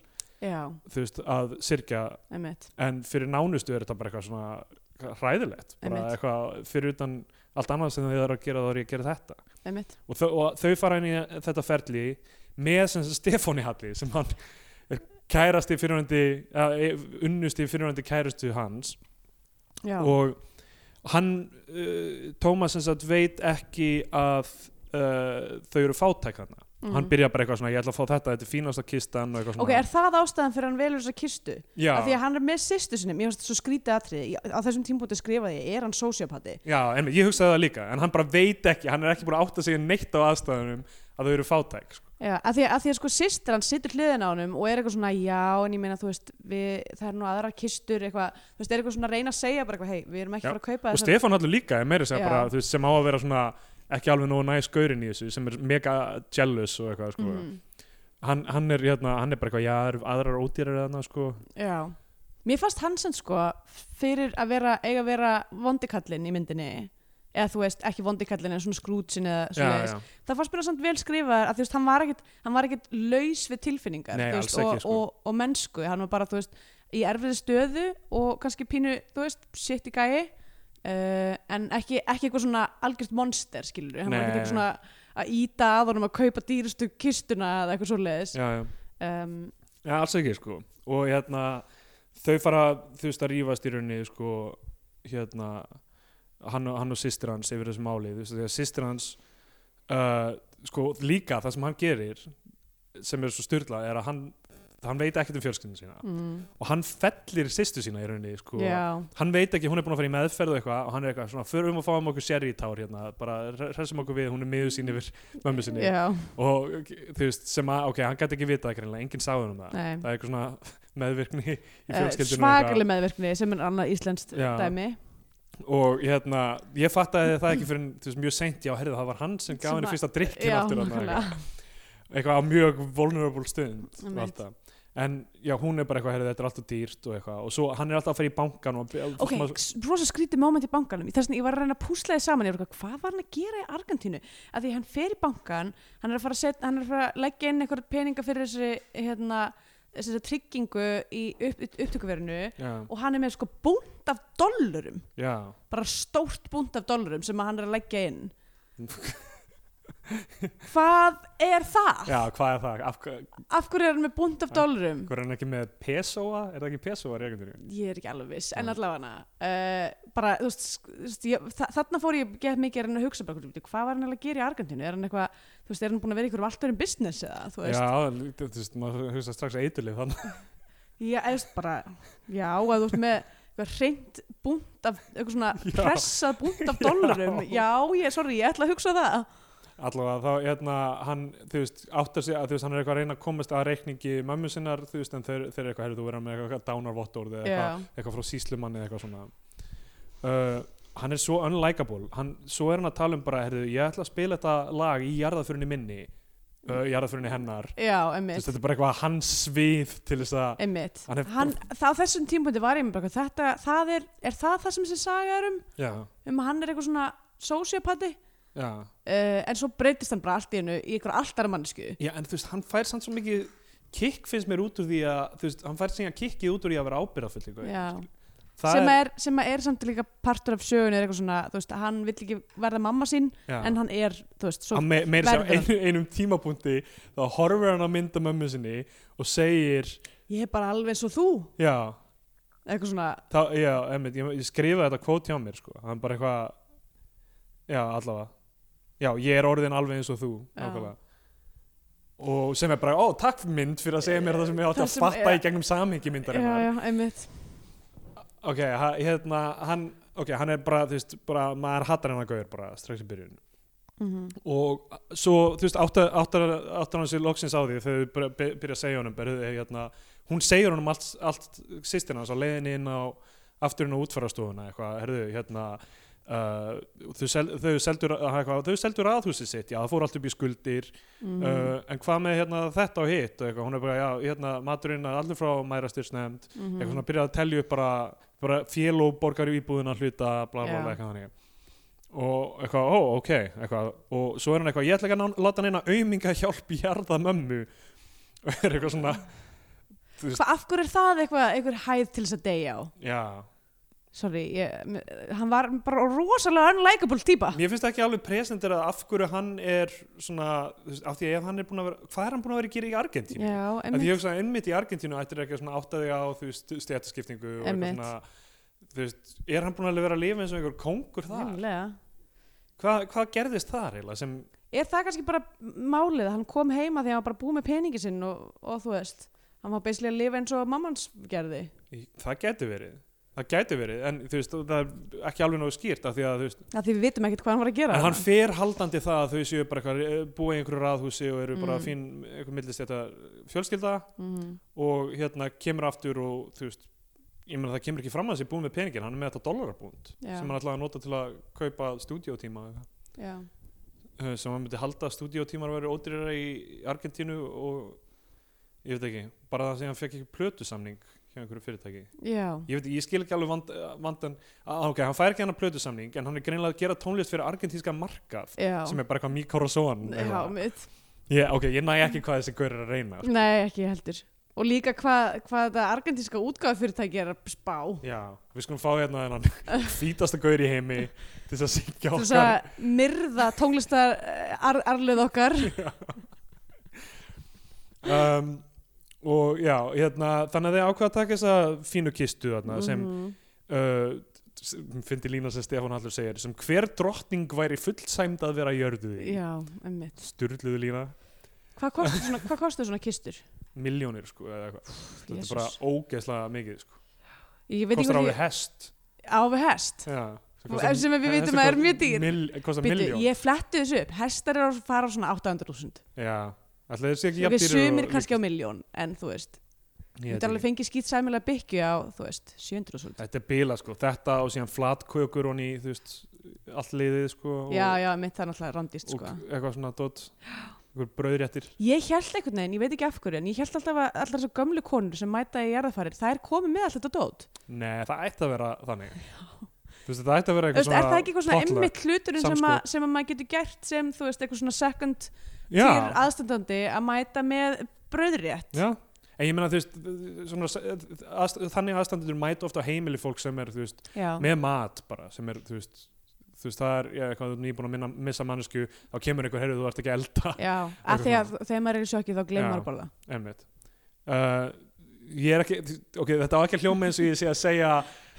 S2: já,
S3: þú veist að sirkja
S2: einmitt
S3: en fyrir nánustu er þetta bara eitthvað svona hræðilegt bara
S2: Einmitt.
S3: eitthvað fyrir utan allt annað sem þau eru að gera þá er ég að gera þetta
S2: einmitt
S3: og þau, og þau fara inn í þetta ferli með sem sagt Stefáni Halli sem hann er kærasti fyrirhundi unnusti fyrirhundi kærastu hans
S2: já,
S3: og hann uh, Tómas sem sagt veit ekki að uh, þau eru fátæk þarna
S2: mm.
S3: hann byrja bara eitthvað svona, ég ætla að fá þetta, þetta er fínasta kistan og eitthvað svona
S2: ok, er það ástæðan fyrir að hann velur þessa kistu?
S3: já,
S2: af því að hann er með sýstu sinni, mér finnst þetta svo skrítið atrið á þessum tímpúti skrifaði ég, er hann sociopati
S3: já, en ég hugsaði það líka en hann bara veit ekki, hann er ekki búin að átta sig neitt á aðstæðunum að þau eru fátæk sko.
S2: já, af því að, af því að sko sýstir hann sittur hliðin á honum og er eitthvað svona, já, en ég meina þú veist við, það er nú aðrar kistur, eitthvað þú veist, er eitthvað svona að reyna að segja bara eitthvað, hei, við erum ekki
S3: Já,
S2: bara að kaupa
S3: og Stefán allur líka er meira að
S2: Já.
S3: segja bara, þú veist, sem á að vera svona ekki alveg nógu næs gaurin í þessu sem er mega jealous og eitthvað sko.
S2: Mhm,
S3: hann, hann, er, hérna, hann er bara eitthvað, já, það eru aðrar ódýrar þarna sko.
S2: já, mér fannst hann sem sko, fyrir að vera eiga að vera vondikallin í myndinni eða þú veist, ekki vondikallin en svona skrútsin eða
S3: já,
S2: svona
S3: já,
S2: það fannst mér samt vel skrifaður að þú veist, hann var ekkit, hann var ekkit laus við tilfinningar
S3: Nei,
S2: þú veist,
S3: alls ekki,
S2: og,
S3: sko.
S2: og, og mennsku, hann var bara, þú veist í erfiði stöðu og kannski pínu þú veist, shit í gæi uh, en ekki, ekki eitthvað svona algjört monster, skilur hann var
S3: Nei.
S2: ekkit eitthvað svona að íta að honum að kaupa dýrustu kistuna eða eitthvað svoleiðis
S3: já, já.
S2: um,
S3: Já, alls ekki sko og hérna þau fara þú veist að rífast í rauninni sko hérna hann, og- hann og sýstir hans yfir þessu máli þú veist því að sýstir hans uh, sko líka það sem hann gerir sem er svo styrla er að hann hann veit ekkert um fjölskyldinu sína
S2: mm,
S3: og hann fellir sýstu sína í rauninni sko
S2: já,
S3: hann veit ekki, hún er búin að fara í meðferð og eitthvað og hann er eitthvað svona, förum og fáum um okkur sherry í tár hérna, bara resum okkur við, hún er miður sín yfir mömmu sinni
S2: já,
S3: og þú veist sem að, ok, hann gæti ekki vitað greinlega, enginn sáður um það
S2: nei
S3: það er eitthvað svona meðvirkni í
S2: Eh,
S3: fjölskyldunum
S2: svakaleg meðverkni sem er annað íslenskt
S3: Já.
S2: dæmi
S3: og hérna, ég fattaði það ekki fyrir veist, mjög seint, já, herrið, það var hann sem gaf
S2: Sem
S3: henni
S2: að-
S3: fyrsta drikkin aftur þarna,
S2: nákvæmlega.
S3: eitthvað, eitthvað á mjög vulnerable stund og
S2: Einmitt.
S3: allt það. en já, hún er bara eitthvað, herrið, þetta er alltaf dýrt og eitthvað, og svo hann er alltaf að fara í bankan og og-
S2: ok,
S3: svona-
S2: s- rosa skrítið moment í bankanum þess að ég var að reyna að púsla þið saman ég var eitthvað, hvað var hann að gera í Argentínu að því hann fer í bankan, hann er að fara að, set, hann er að, fara að leggja inn eitthvað peninga fyrir þessi hérna, þessi tryggingu í upp, upp- upptökuverinu
S3: já,
S2: og hann er með sko búnt af dollurum
S3: já,
S2: bara stórt búnt af dollurum sem að hann er að leggja inn hvað er það?
S3: já, hvað er það af hver
S2: af hverju er hann með búnt af dollurum?
S3: hver er hann ekki með pesóa, er það ekki pesóa í Argentínu?
S2: ég er ekki alveg viss, en
S3: Nei.
S2: allavega uh, bara, þú veist, sk- þú veist ég, þa þarna fór ég gett mikið að reyna að hugsa bara, "Bíddu, hvað var hann eiginlega að gera í Argentínu er hann eitthvað, þú veist, er hann búin að vera í einhverjum allt verið business eða, þú veist,
S3: já, þú veist, maður hugsa strax að eiturlif þannig
S2: já, eða, þú veist, bara já, að þú veist, með eitthvað hreint búnt af, eitthvað svona
S3: Já.
S2: pressað búnt af dollurum, já, ég, sorry ég ætla að hugsa það,
S3: allavega þá hérna hann þú veist áttar sig að þú veist hann er eitthvað að reyna að komast að reikningi mömmu sinnar þú veist en þeir, þeir eru eitthvað heyrðu þú vera með eitthvað, eitthvað dánarvottorð eða eitthvað,
S2: já,
S3: eitthvað frá síslumanni eða eitthvað svona uh, hann er svo unlikable hann, svo er hann að tala um bara heyrðu ég ætla að spila þetta lag í jarðaförinni minni uh,
S2: Mm.
S3: jarðaförinni hennar
S2: já,
S3: þú veist
S2: emmitt
S3: þetta er bara eitthvað hans svið til þess að
S2: Einmitt.
S3: Hann er-
S2: Hann, það á þessum tímpundi var ég með bara, eitthvað, þetta, það er, er það það sem þessi saga er um,
S3: já,
S2: um að hann er eitthvað svona sociopati
S3: já.
S2: uh, en svo breytist hann bara allt í hennu í ykkur alltara mannesku
S3: já en þú veist hann fær samt svo mikið kikk finnst mér út úr því að þú veist hann fær síðan kikkið út úr því að vera ábyrðafull
S2: Já.
S3: það
S2: sem, er, sem er samt líka partur af sögunni er eitthvað svona, þú veist, hann vill ekki verða mamma sín
S3: já.
S2: en hann er, þú veist, svo
S3: hann me meira sér á
S2: verður
S3: einu, einum tímapunkti þá horfir hann á mynda mömmu sinni og segir
S2: ég er bara alveg svo þú
S3: já,
S2: eitthvað svona,
S3: þá, já einmitt, ég, ég skrifa þetta kvót hjá mér sko. hann bara eitthvað já, allavega já, ég er orðin alveg eins og þú
S2: Já.
S3: nákvæmlega. og sem er bara, ó, takk mynd fyrir að segja mér það sem ég átti
S2: Það
S3: að
S2: sem
S3: fatta
S2: er-
S3: í gegnum samhengi myndar
S2: já, já, einmitt
S3: ok, ha- hérna, hann ok, hann er bara, þú veist, bara maður hattar hann að gauður bara strax í byrjun
S2: mm
S3: og svo, þú veist, áttar, áttar, áttar hann sér loksins á því þegar þau byrja- byrja að segja honum bara, "Hey, hérna, hún segir honum allt, allt sýstina hans á leiðinni inn á afturinn á útfarastofuna eitthvað, herðu, hérna Uh, þau, sel, þau, seldur, eitthvað, þau seldur aðhúsið sitt, já það fór allt upp í skuldir
S2: Mm.
S3: uh, en hvað með hérna, þetta og hitt og eitthvað, hún er bara, já, hérna, maturinn er allir frá mærastyrsnefnd
S2: Mm.
S3: eitthvað svona byrjaði að telja upp bara, bara fél og borgar í íbúðuna hluta bla bla bla
S2: Já.
S3: eitthvað þannig og eitthvað, ó ok eitthvað, og svo er hann eitthvað, ég ætla ekki að ná- láta hann eina auminga hjálp í jarða mömmu og er eitthvað svona
S2: Hva, af hverju er það eitthvað, eitthvað hæð til þess að deyja á
S3: já,
S2: sorry, ég, m- hann var bara rosalega unlikable típa
S3: Mér finnst ekki alveg presendir að af hverju hann er svona, þú veist, af því ef hann er búin að vera, hvað er hann búin að vera að gera í Argentínu?
S2: já,
S3: að
S2: emmitt
S3: ég hugsa að einmitt í Argentínu ættir ekki að svona átta þig á þú veist stjættaskiptingu og eitthvað
S2: Einmitt.
S3: svona þú veist, er hann búin að vera að lifa eins og einhver kongur þar? Hva, hvað gerðist þar eiginlega sem
S2: er það kannski bara málið að hann kom heima þegar hann var bara búið með peningi sinn og, og þú veist, hann var beislega að lifa eins og mammans gerði
S3: það gæti verið það gæti verið, en þú veist það er ekki alveg nógu skýrt af því að þú veist
S2: að því við vitum ekkert hvað hann var að gera
S3: en hann fer haldandi það að þau séu bara eitthvað búið í einhverju ráðhúsi og eru bara
S2: Mm.
S3: fín eitthvað millistjæta fjölskylda
S2: Mhm.
S3: og hérna kemur aftur og þú veist ég meina það kemur ekki fram að þessi búið með peningin hann er með þetta dollarabúnd
S2: Já.
S3: sem hann ætlaði að nota til að kaupa stúdíótíma eða eitthvað.
S2: Já.
S3: Eh, sem hann myndi halda að stúdíótímar væri ódýrara í Argentínu og ég veit ekki, bara það sem hann fekk ekki plötusamning hjá einhverju fyrirtæki
S2: Já.
S3: ég veit, ég skil ekki alveg vand, vandan að, ok, hann fær ekki hann að plötusamning en hann er greinilega að gera tónlist fyrir argentínska markað
S2: Já.
S3: sem er bara eitthvað mikorosoan
S2: Já, mitt.
S3: yeah, ok, ég næ ekki hvað þessi gaur er að reyna sko.
S2: Nei, ekki heldur. Og líka hvað hva þetta argentinska útgáðfyrirtæki er að spá.
S3: já, við skulum fá hérna þennan fítasta gaur í heimi til þess að syngja
S2: Til þess
S3: okkar
S2: að myrða tónlistar eh, ar arlið okkar.
S3: um, og já, hérna þannig að þið ákveða að taka þessa fínu kistu þarna, Hérna sem
S2: Mhm.
S3: uh, fyndi lína sem Stefán Hallur segir sem hver drottning væri fullsæmd að vera jörduð í
S2: Já, emmitt.
S3: styrluðu lína,
S2: Hvað kostur svona, hvað kostar svona kistur?
S3: miljónir sko, eða eitthvað, þetta
S2: Jesus.
S3: er bara ógeðslega mikið sko.
S2: Ég veit ekki
S3: kostar
S2: hvað
S3: alveg
S2: ég...
S3: hest
S2: Á við hest.
S3: já, sem
S2: Og sem við vitum
S3: sem
S2: að er
S3: kost-
S2: mjög dýr.
S3: mil- kostar
S2: Biti,
S3: miljón
S2: ég fletti þessu upp. Hestar eru að fara á svona 800.000.
S3: já, alltaf þessi ekki
S2: Ok,
S3: jafndýrir
S2: sumir
S3: og-
S2: kannski á miljón, en þú veist.
S3: Ég
S2: Þú
S3: veit
S2: ert alveg
S3: ekki.
S2: fengið skýt sæmilega byggju á, þú veist, 700.000.
S3: þetta er bila sko, þetta og síðan flatkökur og ný, þú veist, allt liðið sko, og,
S2: Já, já, mitt það er náttúrulega randist,
S3: og
S2: sko.
S3: eitthvað svona dot, eitthvað brauðréttir
S2: Ég held einhvern veginn, ég veit ekki af hverju, en ég held alltaf að allar þessar gömlu konur sem mæta í jarðafarir, það er komið með allt þetta dót.
S3: Nei, það ætti að vera þannig Þú veist, það ætti að vera
S2: Þú
S3: eitthvað
S2: veist, er það ekki eitthvað svona
S3: potluck.
S2: einmitt hluturinn sem, að,
S3: samskot.
S2: sem að maður getur gert sem, þú veist, eitthvað svona second
S3: Já,
S2: tier aðstandandi að mæta með bröðrétt?
S3: já En ég meina, þú veist, svona, eh, aðst, þannig aðstandendur mæta ofta á heimili fólk sem er, þú veist,
S2: Já,
S3: með mat bara, sem er, þú veist, þú veist, það er, já, eitthvað, þú er nýbúin að minna, missa mannesku, þá kemur einhver, heyrðu, þú ert ekki að elda,
S2: já, að því að þegar maður er í sjokki þá
S3: Já.
S2: gleymar maður að borða.
S3: einmitt. Uh, ég er ekki, ok, þetta á ekki að hljóma eins og ég sé að segja,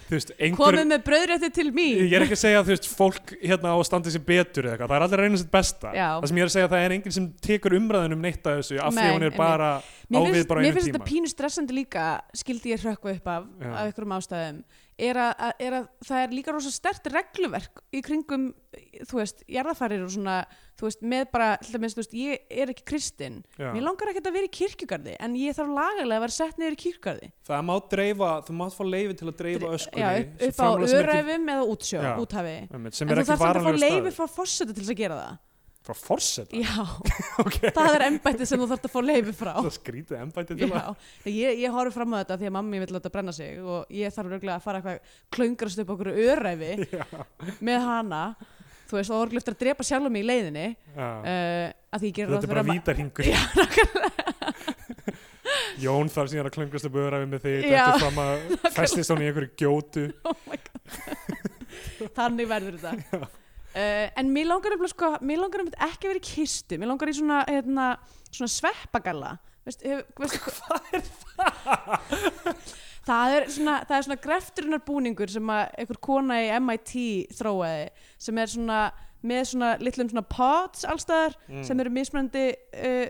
S3: þú veist, einhver,
S2: Komið með bröðrétti til mín!
S3: ég er ekki að segja, þú veist, fólk hérna á að standa sér betur eða eitthvað, það er allir að reyna sitt besta.
S2: Já.
S3: Það sem ég er að segja, það er enginn sem tekur umræðunum neitt af þessu, af því
S2: Nei,
S3: að hún er
S2: einmitt.
S3: bara, á
S2: Mér
S3: við
S2: finnst,
S3: bara á
S2: mér
S3: einum
S2: finnst þetta
S3: tíma.
S2: pínu stressandi líka skildi ég hrökkva upp af,
S3: Já.
S2: af einhverjum ástæðum er að, að, er að það er líka rosa stert regluverk í kringum þú veist, jarðafarir og svona þú veist, með bara, hluta minnst, þú veist, ég er ekki kristinn,
S3: Já.
S2: mér langar ekkert að vera í kirkjugarði en ég þarf lagalega að vera sett niður í kirkjugarði
S3: Það má dreifa, þú mátt fá leifi til að dreifa
S2: Já,
S3: öskunni
S2: upp,
S3: sem
S2: upp á
S3: framlega sem ekki-
S2: öræfum eða útsjó,
S3: Já.
S2: úthafi
S3: Einmitt,
S2: En
S3: sem er
S2: þú
S3: ekki
S2: þarf samt að fá
S3: varanlega
S2: leifi
S3: staður
S2: frá fórseta til þess að gera það
S3: frá forseta
S2: Já,
S3: okay.
S2: það er embættið sem þú þarf að fá leifi frá
S3: það skrítið embætti til að
S2: Já, ég, ég horf fram á þetta því að mammi vill láta brenna sig og ég þarf röglega að fara eitthvað klöngrast upp okkur öræfi með hana þú veist, þá orglega eftir að drepa sjálf mig í leiðinni
S3: Já.
S2: uh, að því ég gerir
S3: þetta er bara vítarhingur
S2: Já,
S3: Jón þarf síðan að klöngast upp öðræfi með þig
S2: Já.
S3: þetta fram að festist hún í einhverju gjótu
S2: þannig verður þetta uh, en mér langar nefnilega sko, mér langar nefnilega ekki að vera í kistu mér langar í svona, hérna, svona sveppagalla veist, hef, veist, hvað er það? Það er, svona, það er svona grefturinnarbúningur sem að einhver kona í MIT þróaði sem er svona með svona litlum svona pods allstaðar sem eru mismunandi uh,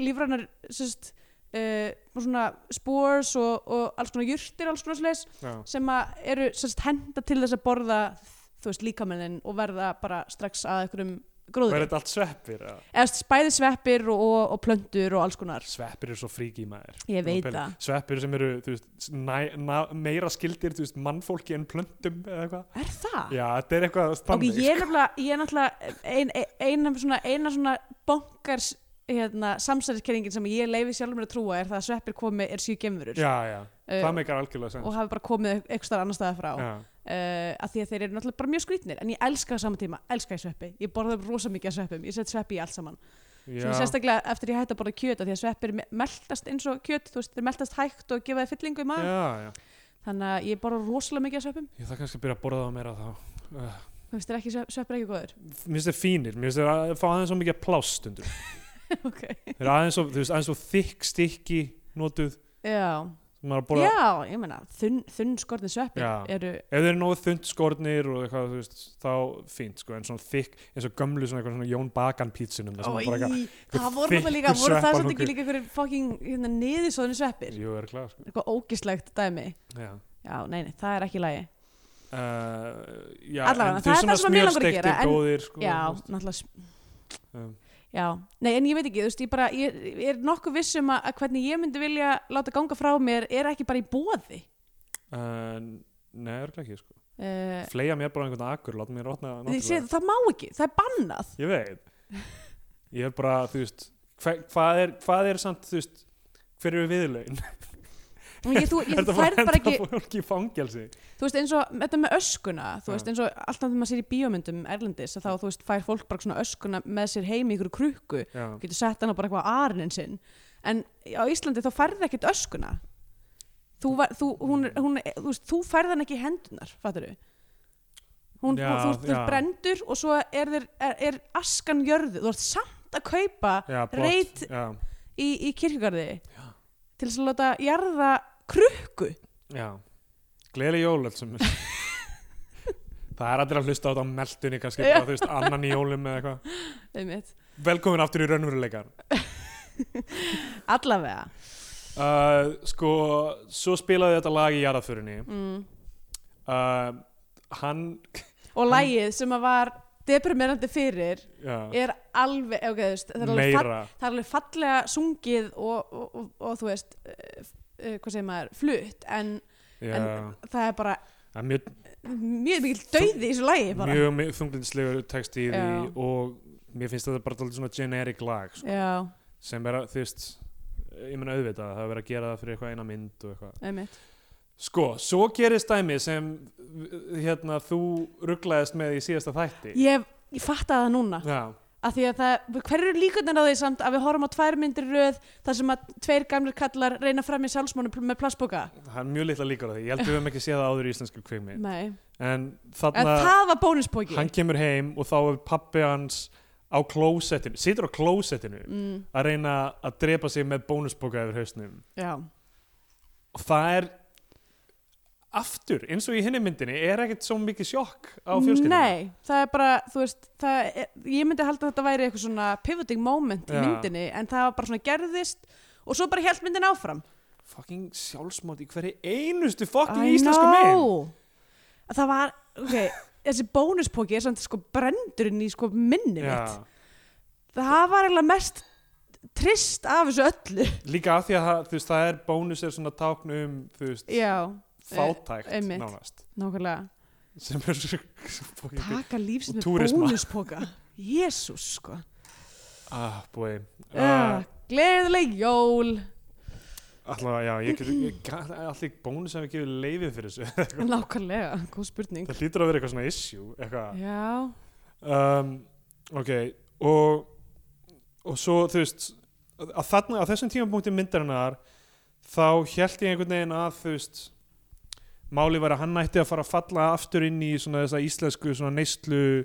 S2: lífrænar sérst, uh, svona spores og, og alls konar jurtir alls konar slis
S3: Já.
S2: sem að eru sérst, henda til þess að borða þú veist líkamennin og verða bara strax að einhverjum
S3: og er
S2: gróður
S3: þetta allt sveppir eða?
S2: eða bæði sveppir og, og, og plöntur og alls konar
S3: sveppir eru svo fríki maður
S2: ég veit
S3: Pæli.
S2: það
S3: sveppir sem eru þú veist, næ, na, meira skildir þú veist, mannfólki en plöntum eða eitthvað
S2: er það?
S3: já, sko. þetta er eitthvað
S2: Ah. ok,
S3: þannig,
S2: ég er nefnilega, ég er nefnilega ein, ein, eina svona, eina svona bonkars hérna, samsæðiskenningin sem ég leifi sjálfur mér að trúa er það að sveppir komi er síu gemurur
S3: sko. já, já,
S2: Eh,
S3: það meikar algjörlega sens
S2: og hafi bara komið eitthvað starf annar staðar frá uh,
S3: Já.
S2: að því að þeir eru náttúrulega bara mjög skrýtnir en ég elska það saman tíma, elska ég sveppi ég borða rosa mikið af sveppum, ég set sveppi í allt saman
S3: Já.
S2: svona sérstaklega eftir ég hætti að borða kjöt af því að sveppir me- meltast eins og kjöt þú veist, þeir meltast hægt og gefa þeir fyllingu í maður
S3: já, já.
S2: þannig að ég borða rosalega mikið af sveppum
S3: Ég þarf kannski að byrja að borða það meira þá. Uh,
S2: Mér finnst þér ekki svepp- sveppir ekki góður
S3: mér finnst þeir fínir, mér finnst þeir að fá aðeins svo mikið plástundur.
S2: Ok
S3: Þeir eru aðeins svo, þú veist, aðeins svo þykk stykki notuð
S2: Já,
S3: sem maður að borða.
S2: já, ég meina þunn, þunn skorðin sveppir
S3: Já.
S2: eru
S3: Ef þeir eru nógu þund skornir og eitthvað, þú veist, þá fínt, sko, en svona þykk, eins og gömlu svona eitthvað svona Jón Bakan pítsinum. þar sem
S2: Ó,
S3: maður bara eitthvað-
S2: í,
S3: eitthvað
S2: Það voru það
S3: þykkur
S2: líka, voru það
S3: sveppar
S2: svolítið ekki
S3: nokkuð.
S2: líka einhverjir fucking hérna, niðursóðinu sveppir
S3: Jú, er klar, sko.
S2: eitthvað ógislegt dæmi
S3: Já.
S2: Já, nei, nei, það er ekki í lagi
S3: Uh, já,
S2: Allavega,
S3: en
S2: það er
S3: þeir
S2: það sem mig langar að
S3: smjörsteiktir
S2: gera, en-
S3: góðir, sko,
S2: Já,
S3: þú veist,
S2: náttúrulega s-
S3: um,
S2: Já, nei, en ég veit ekki, þú veist, ég bara ég, ég er nokkuð viss um að, að hvernig ég myndi vilja láta ganga frá mér er ekki bara í bóði
S3: uh, Nei, er ekki, sko.
S2: uh,
S3: Fleia mér bara einhvern akur, láta mér rotna
S2: Þið
S3: náttúrulega.
S2: séð, það má ekki, það er bannað
S3: Ég veit Ég er bara, þú veist hva, hvað, er, hvað er samt, þú veist Hver eru viðlaun?
S2: Ég- Þú, ég,
S3: Ertu
S2: þú
S3: að fara
S2: færð bara ekki
S3: henda fólki í fangelsi?
S2: þú veist eins og þetta með öskuna þú
S3: Já.
S2: veist eins og alltaf þegar maður sér í bíómyndum erlendis að þá þú veist fær fólk bara svona öskuna með sér heim í ykkur krukku
S3: Já,
S2: þú getur sett hana bara eitthvað á arnin sinn en á Íslandi þá færði ekkert öskuna þú, var, þú, hún, er- hún, er- þú, veist, þú færði hana ekki í hendunar fattur þú hún,
S3: Já,
S2: já, þú, þú, þú
S3: já.
S2: brendur og svo er, þér, er, er askan jörðu þú ert samt að kaupa
S3: já, plott,
S2: reit-
S3: já,
S2: í, í kirkjugarði til þess að láta jarða krukku
S3: já. Gleðileg jól allsum Það er allir að hlusta á þetta á meldunni kannski
S2: Já.
S3: bara, þú veist, annan í jólum eða eitthvað
S2: einmitt.
S3: Velkomin aftur í raunveruleikan
S2: allavega
S3: uh, Sko, svo spilaði þetta lag í jarðaförinni
S2: mm.
S3: uh, Hann,
S2: og lægið sem að var deprimerandi fyrir
S3: já,
S2: er alveg, ok, þú veist það er alveg, fall,
S3: meira
S2: það er alveg fallega sungið og, og, og, og þú veist uh, uh, hvað segir maður, flutt en, en
S3: Já,
S2: það er bara
S3: það er mjög
S2: mjög mikil dauði í þessu lægi bara
S3: mjög mi- þunglindislegur text í því
S2: Já.
S3: og mér finnst þetta bara dálítið svona generic lag sko,
S2: já,
S3: sem er að, þú veist ég meina auðvitað, það er verið að gera það fyrir eitthvað eina mynd og eitthvað.
S2: einmitt
S3: Sko, svo gerist dæmi sem hérna, þú rugglaðist með í síðasta þætti
S2: ég, ég fatta það núna
S3: Já,
S2: af því að það, hver eru líkurnar á því samt að við horfum á tvær myndir í röð þar sem að tveir gamlir kallar reyna fram í sjálfsmónu með plastboka
S3: það er mjög litla líkur á því ég held við höfum ekki séð það áður í íslensku kvikmynd
S2: nei,
S3: en
S2: en
S3: þarna,
S2: það var bónuspóki
S3: hann kemur heim og þá er pappi hans á klósettinu, situr á klósettinu
S2: mm,
S3: að reyna að drepa sig með bónusbóka yfir hausnum
S2: já,
S3: og það er aftur, eins og í hinni myndinni er ekkert svo mikið sjokk á fjölskyldinu
S2: Nei, það er bara, þú veist, það er, ég myndi halda að þetta væri eitthvað svona pivoting moment í
S3: Já.
S2: myndinni en það var bara svona gerðist og svo bara held myndin áfram.
S3: fucking sjálfsmóti, hverju einustu fucking
S2: I
S3: íslensku mynd
S2: know. Það var, ok, þessi bónuspóki er samt sko brendurinn í sko minni mitt.
S3: Já,
S2: Það var eiginlega mest trist af þessu öllu.
S3: líka af því að það- þú veist, það er bónus er svona tákn um þú veist,
S2: Já,
S3: fátækt
S2: eh, einmitt.
S3: nánast
S2: nákvæmlega.
S3: sem er svo- svo fucking big.
S2: Taka lífsins
S3: Og
S2: með
S3: túrisma.
S2: bónuspóka. Jésús, sko.
S3: ah, búi
S2: Uh,
S3: uh,
S2: Gleðileg jól.
S3: allavega, já, ég get ég gat- allir bónus sem við gefið leifið fyrir þessu
S2: Nákvæmlega, góð spurning.
S3: það hlýtur að vera eitthvað svona issue eitthvað
S2: Já.
S3: um, ok og, og svo þú veist að þarna, á þessum tímapunkti myndarinnar þá hélt ég einhvern veginn að þú veist máli var að hann ætti að fara að falla aftur inn í svona þessa íslensku svona neyslu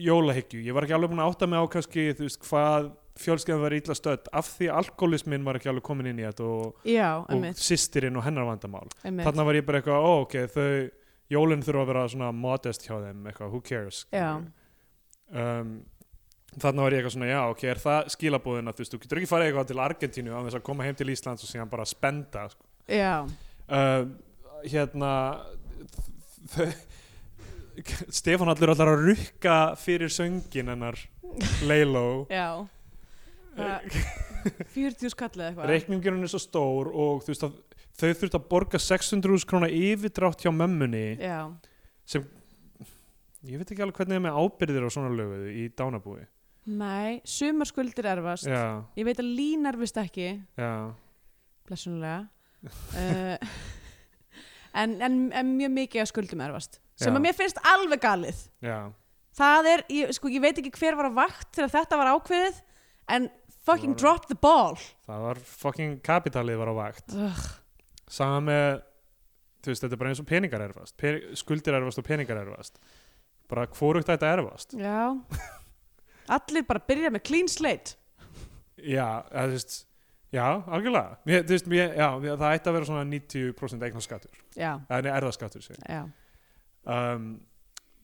S3: jólahyggju, ég var ekki alveg búin að átta mig á kannski þú veist hvað fjölskeðan var illa stödd af því alkoholismin var ekki alveg komin inn í þetta og,
S2: Já,
S3: og
S2: einmitt,
S3: systirinn og hennar vandamál
S2: einmitt.
S3: þarna var ég bara eitthvað, ó ok, þau jólinn þurfa að vera svona modest hjá þeim eitthvað, who cares
S2: Já.
S3: um, þarna var ég eitthvað svona, já ok, er það skilabúðin að þú veist, þú getur ekki farið eitthvað til Argentínu á þess að koma heim til Íslands og síðan bara spenda sko.
S2: Já,
S3: um, hérna þau Stefán Allur allar að rukka fyrir söngin hennar Leiló
S2: já. Það- 40 skall eða eitthvað.
S3: reikningurinn er svo stór og þú veist að þau þurft að borga 600.000 króna yfirdrátt hjá mömmunni
S2: Já,
S3: sem ég veit ekki alveg hvernig er með ábyrðir á svona löguðu í dánabúi
S2: nei, sumar skuldir erfast.
S3: já,
S2: Ég veit að Lín erfist ekki,
S3: já,
S2: blessunulega. uh, en, en, en mjög mikið af skuldum erfast. Sem
S3: Já.
S2: að mér finnst alveg galið.
S3: já
S2: Það er, ég, sko, ég veit ekki hver var að vakt þegar þetta var ákveðið, en fucking
S3: Það var-
S2: drop the ball.
S3: það var fucking kapitalið var á vakt
S2: Ugh,
S3: sama með þú veist, þetta er bara eins og peningar erfast Pen skuldir erfast og peningar erfast bara hvorugt þetta erfast
S2: Já Allir bara byrja með clean slate
S3: já, eða, þú veist, já, algjörlega mér, þú veist, mér, já, mér, það ætti að vera svona 90% eignarskattur,
S2: Já,
S3: eða erðaskattur sem.
S2: já,
S3: um,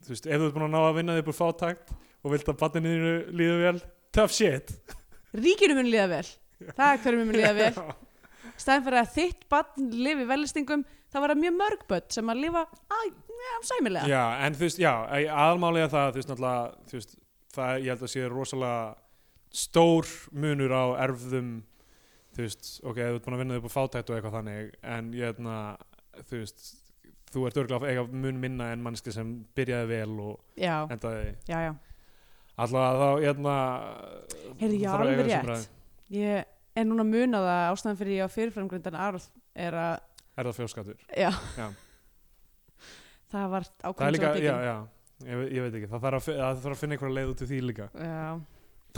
S3: þú veist, ef þú ert búin að ná að vinna þig upp úr fátækt og vilt að barninu þínu líðu vel tough shit
S2: ríkinu mun líða vel Það er hverju mun líða vel Stæðan fyrir að þitt barn lifi í velistingum þá var það mjög mörg börn sem að lifa að, ja, sæmilega
S3: já, en þú veist, já, aðalmálega það þú veist, náttúrulega, þú veist, það ég held að sé rosalega stór munur á erfðum þú veist, ok, ef þú ert búin að vinna þig upp úr fátækt og eitthvað þannig, en ég held að þú veist, þú ert örgulega eiga mun minna en mannski sem byrjaði vel og
S2: Já,
S3: endaði
S2: já, já
S3: alltaf þá, ég held
S2: Heyrðu, já,
S3: að
S2: alveg rétt Ég er núna að muna það að ástæðan fyrir ég á fyrirframgrundan Arð er að,
S3: er það fjórskattur
S2: já,
S3: Já.
S2: það var
S3: það er
S2: ákvæmst
S3: líka, já, já ég, ve- ég veit ekki, það þarf, að, fi- það þarf að finna einhverja leið út úr því líka
S2: já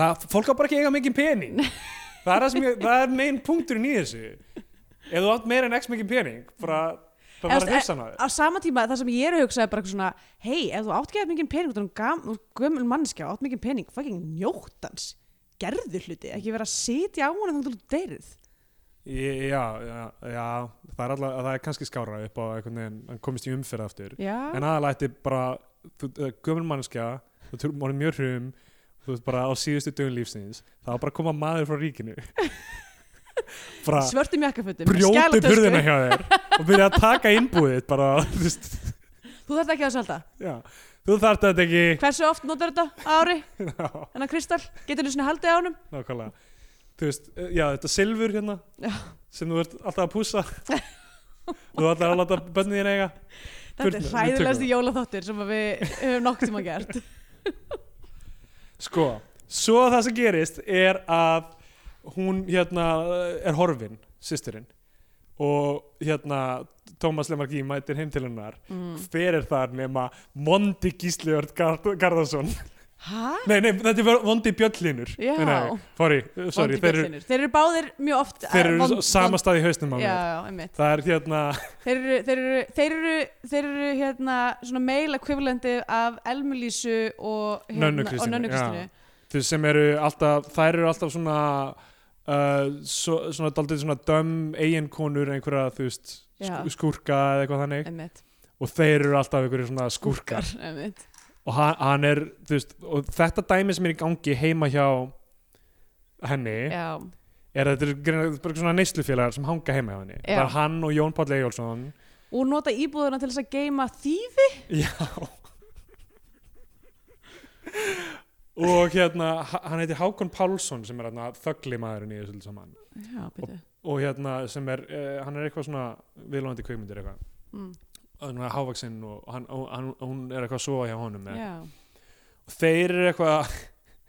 S3: það, fólk á bara ekki eiga mikið pening það er, það sem ég, það er megin punkturinn í þessu ef þú átt meira en x mikið pening bara,
S2: Eða,
S3: það var að
S2: e-
S3: hefsa hana
S2: á sama tíma það sem ég er að hugsa er bara eitthvað svona hei, ef þú átt ekki mikið pening þú ert orðin gam- þú ert gömul mannskja og átt mikið pening fucking njóttans, gerðu hluti ekki vera að sitja á hana þannig að þú deyrið
S3: Ég- já, já, já, það er alltaf það er kannski skára upp á einhvern veginn hann komist í umferð aftur
S2: já,
S3: en aðalega ætti bara þú, eh, gömul mannskja, þú erum orðin mjög hrum þú veist bara á síðustu dögum lífsins það var bara að koma maður frá ríkinu bara
S2: svörtum jakkafötum
S3: brjóti
S2: skælatösku.
S3: burðina hjá þér og byrja að taka innbúðið bara, þú veist,
S2: þú þarft ekki að salta,
S3: já þú þarft þetta ekki
S2: hversu oft notar þetta á ári
S3: já,
S2: þennan kristall, getur þú svona haldið á honum
S3: nákvæmlega þú veist, eh, já, þetta silfur hérna
S2: Já.
S3: sem þú ert alltaf að pússa þú ætlar að láta bönnið þín eiga
S2: þetta er
S3: Turnar, við tökum
S2: hræðilegasti jólaþáttur sem að við höfum nokkuð tíma gert
S3: sko, svo það sem gerist er að hún hérna er horfin, systurinn og hérna Tómas Lemarki mætir heim til hennar
S2: mm.
S3: hver er þar nema Mondi Gísliörd Garð Garðarsson
S2: hæ?
S3: Nei, nei, þetta er vondi bjöllinur
S2: Já.
S3: nei, nei, sorry, sorry
S2: Vondi
S3: þeir, eru-
S2: bjöllinir. þeir eru báðir mjög oft eh,
S3: þeir eru
S2: vond-
S3: vond, sama
S2: vond-
S3: stað í hausnum á
S2: já,
S3: mér
S2: já, einmitt
S3: Það er hérna,
S2: Þeir eru, þeir eru, þeir eru, þeir eru hérna svona meil ekvivalenti af Elmulísu og hérna,
S3: Nönnu Kristínu,
S2: og Nönnu Kristínu.
S3: já. þú veist, sem eru alltaf þær eru alltaf svona uh, svo, svona daldið svona döm eiginkonur einhverja, þú veist
S2: Já.
S3: sk- skúrka eða eitthvað þannig
S2: Einmitt.
S3: og þeir eru alltaf einhverju svona skúrkar
S2: Einmitt.
S3: og hann, hann er, þú veist og þetta dæmi sem er í gangi heima hjá henni
S2: Já,
S3: er að þetta er greinilega bara svona neyslufélagar sem hanga heima hjá henni
S2: Já.
S3: það er hann og Jón Páll Egilson
S2: og nota íbúðuna til þess að geima þýfi.
S3: Já Og hérna, h- hann heiti Hákon Pálsson sem er hérna þögglimaðurinn í þessu öllu saman
S2: Já, byrju.
S3: og hérna sem er, uh, hann er eitthvað svona viðlóðandi kveikmyndir eitthvað
S2: Mm.
S3: og hann er hávaksinn og, hann, og hann, hún er eitthvað að sofa hjá honum eða-
S2: Já,
S3: og þeir eru eitthvað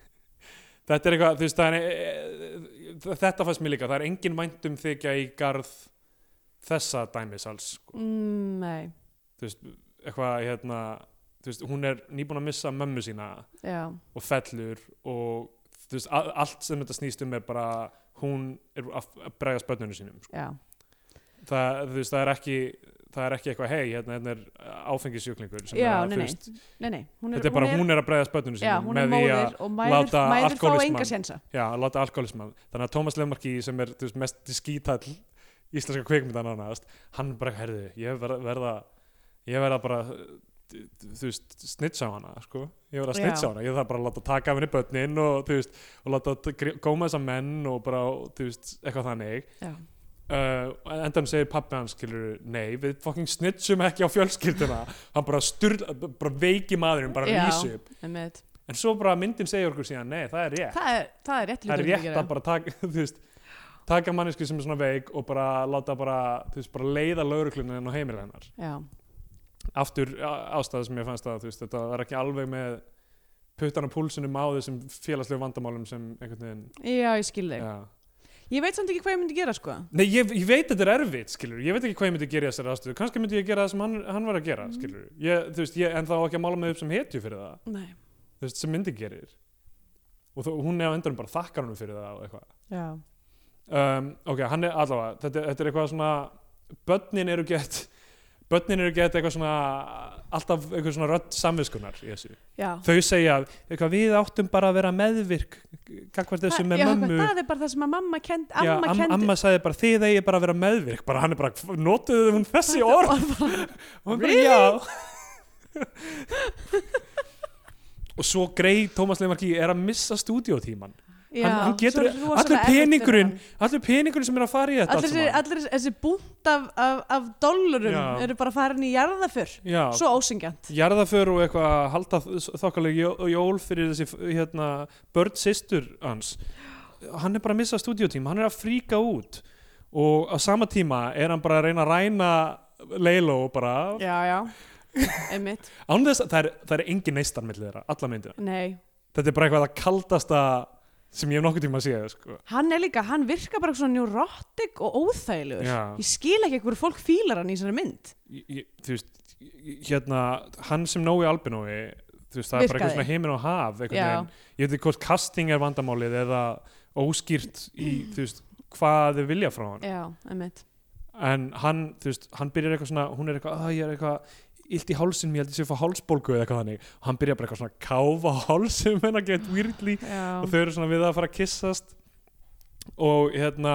S3: þetta er eitthvað, þú veist það er, eh, þetta fannst mér líka það er engin væntum þykja í garð þessa dæmis alls sko.
S2: mm, nei,
S3: þú veist, eitthvað hérna þú veist, hún er nýbúin að missa mömmu sína
S2: já,
S3: og fellur og þú veist, a- allt sem þetta snýst um er bara hún er að að bregðast börnunum sínum sko.
S2: já,
S3: það, þú veist, það er ekki það er ekki eitthvað, hei, hérna, hérna er áfengisjúklingur sem
S2: Já, nei,
S3: að, þú
S2: nei.
S3: veist,
S2: nei, nei. Hún
S3: þetta er bara, hún er að bregðast börnunum
S2: já,
S3: sínum
S2: hún er móðir og mæður,
S3: láta
S2: mæður fá
S3: alkohólismann.
S2: enga sénsa.
S3: já, að láta alkoholismann þannig að Tómas Lefmarki sem er þú veist, mest skítall íslenska kveikmyndan ánægast hann bara, herðu, ég verða, verða ég verða bara þú þú veist, snitsa á hana sko. ég verða að
S2: Já.
S3: snitsa á hana, ég þarf bara að láta taka af henni börnin og þú veist, og láta t- gr- góma þessa menn og bara, þú veist, eitthvað þannig
S2: Já,
S3: uh, endan segir pappi hans, skilur nei, við fucking snitsum ekki á fjölskyldina hann bara styrla, bara veiki maðurinn bara
S2: Já.
S3: lýsi upp,
S2: einmitt.
S3: en svo bara myndin segir okkur síðan, nei, það er rétt
S2: Það er, það er rétt
S3: það er
S2: hluturinn
S3: rétt að bara taka þú veist, taka mannesku sem er svona veik og bara láta bara, þú veist, bara leiða lauruklunin inn á heimil hennar
S2: Já,
S3: aftur ástæða sem ég fannst að þú veist, þetta er ekki alveg með puttan á púlsunum á þessum félagslegu vandamálum sem einhvern veginn
S2: já, ég skil þig.
S3: ja.
S2: Ég veit samt ekki hvað ég myndi gera, sko.
S3: Nei, ég, ég veit þetta er erfitt, skilur ég veit ekki hvað ég myndi gera í þessari ástöðu, kannski myndi ég gera það sem hann, hann var að gera,
S2: Mhm.
S3: skilur ég, þú veist, ég, en þá ekki að mála mig upp sem hetju fyrir það
S2: Nei,
S3: þú veist, sem myndi gerir og þó, hún er á endanum bara þakkar hann fyrir það og eitthvað
S2: já,
S3: um, ok, hann er allavega þetta, þetta er eitthvað svona börnin eru gett börnin eru gett eitthvað svona alltaf eitthvað svona rödd samviskunar í þessu
S2: já.
S3: þau segja eitthvað við áttum bara að vera meðvirk kakvart þessu
S2: Það-
S3: með
S2: já,
S3: mömmu
S2: það er bara það sem að mamma kend
S3: Já,
S2: amma
S3: am,
S2: kend
S3: amma sagði bara þið eigi bara að vera meðvirk bara hann er bara, notuðu hún þessi orð og hann bara,
S2: Really?
S3: já og svo grei Tómas Leimarki er að missa stúdíótíman
S2: já,
S3: Hann- hann
S2: svo
S3: getur-
S2: er rosalega
S3: allur
S2: erfitt fyrir
S3: peningurinn-
S2: hann.
S3: allur peningurinn sem er að fara í
S2: allir
S3: þetta allt
S2: þessi,
S3: saman.
S2: allir þessi- þessi búnt af, af, af dollurum
S3: Já.
S2: eru bara farin í jarðaför
S3: já,
S2: svo ósengjant
S3: jarðaför og eitthvað að halda þokkalegi jól fyrir þessi hérna, börn sýstur hans hann er bara að missa stúdíótíma, hann er að fríka út og á sama tíma er hann bara að reyna að ræna Leilo og bara
S2: já, já, einmitt
S3: án þess að það er, það er engin neistan millir þeirra, alla myndina
S2: nei,
S3: þetta er bara eitthvað það kaldasta sem ég hef nokkuð tíma að sé sko.
S2: hann er líka, hann virkar bara svona neurotic og óþægilegur
S3: Já.
S2: ég skil ekki hverju fólk fílar hann í þessari mynd
S3: Ég- ég- þú veist, ég- hérna hann sem nógu albinói þú veist, það er bara eitthvað
S2: Virkaði.
S3: svona heimin og haf einhvern
S2: Já.
S3: veginn. ég veit ekki hvort casting er vandamálið eða óskýrt í þú veist, hvað þau vilja frá hann
S2: Mm. já, einmitt
S3: en hann, þú veist, hann byrjar eitthvað svona hún er eitthvað, að ég er eitthvað illt í hálsinn, ég held ég sé að fá hálsbólgu eða eitthvað þannig og hann byrjar bara eitthvað svona að káfa á hálsum en að geta weirdly
S2: já,
S3: og þau eru svona við að fara að kyssast og hérna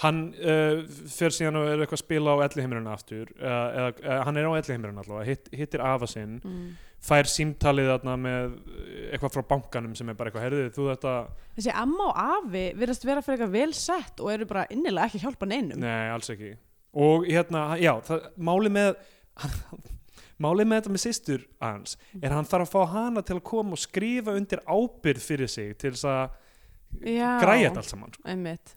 S3: hann uh, fer síðan og er eitthvað að spila á elliheimirinn aftur uh, eða uh, hann er á elliheimirinn allavega, hitt, hittir afa sinn
S2: mm.
S3: fær símtalið þarna með eh, eitthvað frá bankanum sem er bara eitthvað herðið þú þetta,
S2: þessi amma og afi virðast vera fyrir eitthvað vel sett og eru bara innilega ekki að hjálpa neinum
S3: nei alls ekki og hérna, já, það, máli með málið með þetta með systur hans er að hann þarf að fá hana til að koma og skrifa undir ábyrð fyrir sig til þess að
S2: Já.
S3: græja þetta allt saman
S2: einmitt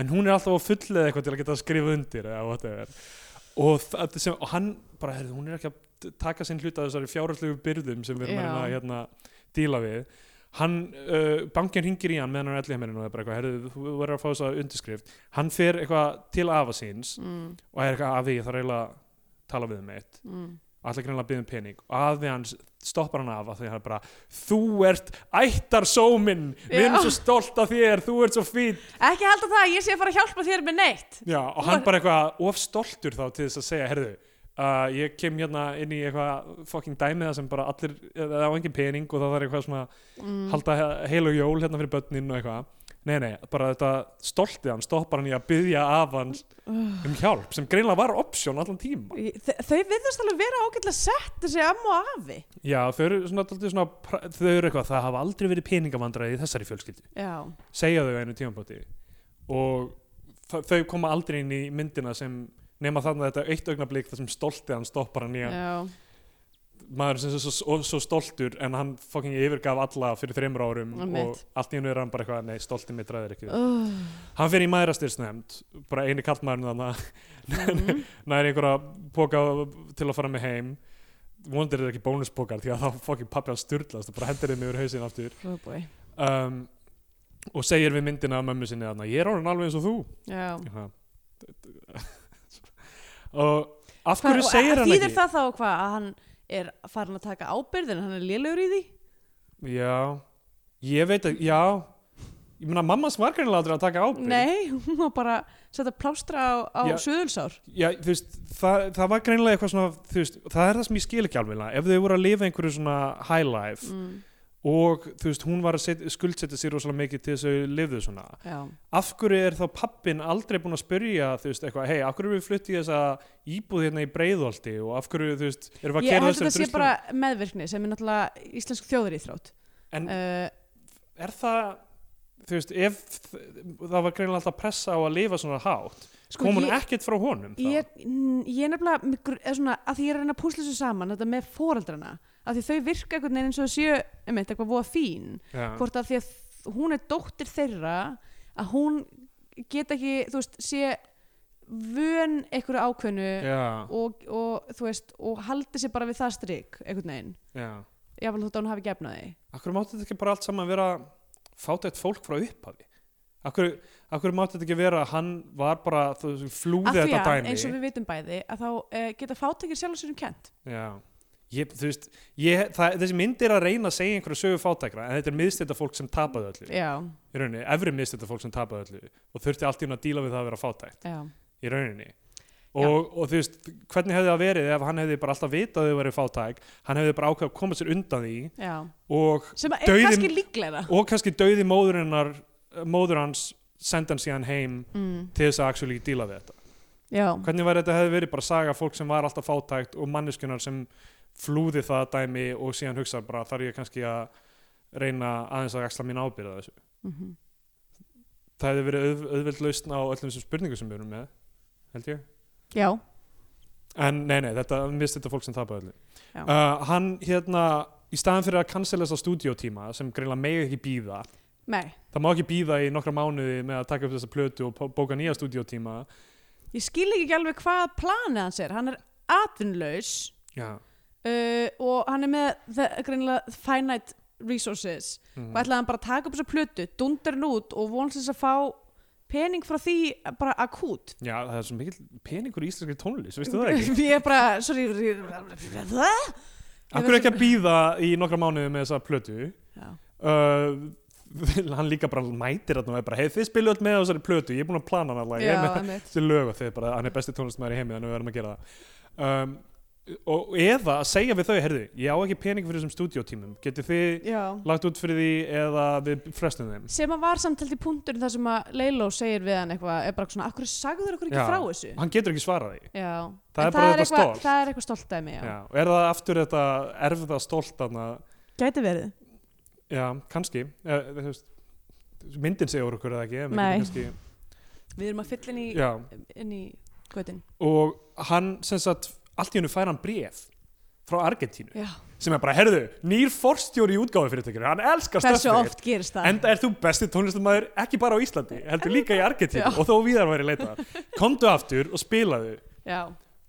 S3: en hún er alltaf á fullu eða eitthvað til að geta að skrifa undir eða whatever og, það sem, og hann bara, heyrðu, hún er ekki að taka sinn hluta af þessari fjárhaldlegu byrðum sem við erum að, reyna að
S2: Já.
S3: hérna, díla við hann, uh, bankin ringir í hann meðan hann er elliheimirinn og er bara eitthvað, heyrðu, þú verður að fá þess að undirskrift hann fer eitthvað til afa síns
S2: mm,
S3: og er eitthvað, afi, ég þarf eiginlega að tala við um eitt
S2: mm.
S3: allar greinlega að biðja um pening og afi hans stoppar hann af af því að hann er bara þú ert ættarsómin við erum
S2: Já.
S3: svo stolt af þér, þú ert svo fín
S2: ekki halda það að ég sé að fara að hjálpa þér með neitt
S3: Já, og hann bara eitthvað of stoltur þá til þess að segja, herðu, uh, ég kem hérna inn í eitthvað fucking dæmiða sem bara allir, það á engin pening og það er eitthvað svona,
S2: mm.
S3: halda he- heil og jól hérna fyrir börnin og eitthvað. Nei, nei, bara þetta stoltið hann, stoppar hann í að byggja af hann um hjálp sem greinlega var option allan tíma.
S2: Þe- þau virðast alveg vera ágætlega sett þessi amma og afi
S3: Já, þau eru svona, dálítið svona, pra- þau eru eitthvað, það hafa aldrei verið peningavandræði í þessari fjölskyldu.
S2: já,
S3: segja þau á einu tímapunkti og þa- þau koma aldrei inn í myndina sem nema þarna þetta eitt augnablík þar sem stoltið hann stoppar hann í að
S2: já,
S3: maður sem er svo, svo, svo stoltur en hann fucking yfirgaf alla fyrir þreymur árum og
S2: Einmitt.
S3: allt í hennu er hann bara eitthvað nei, stoltið mitt ræðir ekki við."
S2: Uh,
S3: hann fyrir í maðurastyrstnefnd, bara eini kallmaðurinn þannig
S2: mm.
S3: nær einhverja póka til að fara með heim vonandi er þetta ekki bónuspókar því að þá fucking pappi hann styrlast og bara hendur þeim yfir hausinn aftur
S2: oh boy.
S3: um, og segir við myndina að mömmu sinni þarna, ég er orðin alveg eins og þú
S2: já
S3: Já. Hérna, og af hverju segir hann
S2: þýðir
S3: ekki
S2: það þá hvað að hann er farin að taka ábyrðin hann er lélegur í því
S3: já, ég veit að já, ég meina mamma smarkanilega aldrei að taka ábyrg
S2: nei, hún má bara setja plástra á, á
S3: Já.
S2: suðulsár
S3: já, þú veist, það, það var greinilega eitthvað svona þú veist, það er það sem ég skil ekki alveg eiginlega. ef þau voru að lifa einhverju svona high life
S2: mm,
S3: og þú veist, hún var að set, skuldsetja sér rosalega mikið til þess að þau lifðu svona
S2: já,
S3: af hverju er þá pappin aldrei búin að spyrja þú veist, eitthvað, hei, af hverju erum við flutt í þessa íbúð hérna í breiðolti og af hverju, þú veist, erum við að
S2: ég
S3: kera
S2: held að
S3: þessari
S2: þetta sé
S3: druslu-
S2: bara meðvirkni sem er náttúrulega íslensk þjóðuríþrótt
S3: En-
S2: uh,
S3: er það þú veist, ef það var greinilega alltaf pressa á að lifa svona hátt
S2: sko,
S3: kom hún
S2: ég-
S3: ekkert frá honum þá?
S2: Ég, er- mm, ég er nefnilega mig gru- eða svona, að því ég er að reyna að púsla þessu saman þetta með foreldrana, að því þau virka einhvern veginn eins og þau séu, einmitt, eitthvað voða fín
S3: Já.
S2: hvort að því að þ- hún er dóttir þeirra að hún get ekki, þú veist, sé vön einhverju ákveðnu
S3: Já,
S2: og, og, þú veist, og haldi sér bara við það strik, einhvern veginn
S3: já.
S2: jáfnvel þótt að hún hafi gefnaði
S3: Akkur mátti þetta ekki bara allt saman vera fátætt fólk frá upphafi Akkur, akkur mátti þetta ekki vera að hann var bara þú, veist,
S2: að
S3: flúði
S2: því
S3: þetta
S2: að,
S3: dæmi
S2: eins og við vitum bæði að þá uh, geta fátækir sjálf sér um kent
S3: Já Ég, þú veist, ég, það, þessi mynd er að reyna að segja einhverju sögu fátækra en þetta er miðstætta fólk sem tapaði öllu
S2: já,
S3: í rauninni, efri miðstætta fólk sem tapaði öllu og þurfti allt í hún að díla við það að vera fátækt
S2: já
S3: í rauninni og, og þú veist, hvernig hefði það verið ef hann hefði bara alltaf vitað að þau verið fátæk hann hefði bara ákveð að koma sér undan því
S2: já.
S3: og,
S2: sem er
S3: Dauðinn-
S2: kannski líklega
S3: og kannski dauði móðurinnar móður hans senda hann síðan heim
S2: mm.
S3: til þess að actually díla við þetta
S2: já,
S3: hvernig var þetta hefði verið bara saga fólk sem var alltaf fátækt og manneskunar sem flúði það dæmi og síðan hugsa bara þarf ég kannski að reyna aðeins að axla mín ábyrða þessu
S2: mm -hmm.
S3: það hefði verið auð, auðveld lausn á öllum þessum spurningum sem við erum með held ég
S2: já.
S3: En nei, nei, þetta, mist þetta fólk sem tapar öllu.
S2: Já.
S3: Uh, hann hérna, í staðan fyrir að cancela þessa stúdiótíma sem greinlega megi ekki býða,
S2: nei,
S3: það má ekki býða í nokkra mánuði með að taka upp þessa plötu og pó- bóka nýja stúdiótíma.
S2: ég skil ekki alveg hvað planið hans er hann er atvinnlaus
S3: Já.
S2: uh, og hann er með the- greinilega finite resources
S3: Mm.
S2: og ætlaði hann bara að taka upp þessa plötu dundar hann út og vonst þess að fá pening frá því bara akút
S3: Já, það er svo mikill peningur í íslenskri tónlist, veistu það ekki?
S2: ég er bara, sorry það?
S3: Akkur ekki að býða í nokkra mánuði með þessa plötu.
S2: Já.
S3: Uh, hann líka bara mætir þarna og er bara, hei, þið spilu öll með á þessari plötu, ég er búin að plana hann allavega, ég er með
S2: já, einmitt.
S3: þessi lög og þeir bara, hann er besti tónlistmæður í heimi þannig við verðum að gera það um, og eða að segja við þau, heyrðu ég á ekki pening fyrir þessum stúdiótímum getið þið
S2: já.
S3: lagt út fyrir því eða við frestum þeim
S2: sem að var samtaldi punktur þar sem að Leiló segir við hann eitthvað er bara svona, akkur sagður okkur ekki
S3: Já.
S2: frá þessu já,
S3: hann getur ekki svarað því Það
S2: En
S3: er bara þetta
S2: eitthvað,
S3: stolt.
S2: það er eitthvað stolt af mig, já.
S3: já. og er það aftur þetta erfða stolt þarna,
S2: gæti verið,
S3: já, kannski eða, þú veist, myndin segur okkur eða ekki en við
S2: Nei.
S3: getum kannski,
S2: við erum að fylla inn í
S3: já,
S2: inn í götin
S3: og hann sem sagt, allt í hennu fær hann bréf frá Argentínu
S2: já.
S3: sem er bara, heyrðu, nýr forstjóri í útgáfi fyrirtækjur, hann elskar
S2: hversu
S3: stöfnir
S2: oft gerist það
S3: Enda er þú besti tónlistamæður ekki bara á Íslandi, heldur líka í Argentínu
S2: Já.
S3: og þó viðar væri leitað. Komdu aftur og spilaðu
S2: já,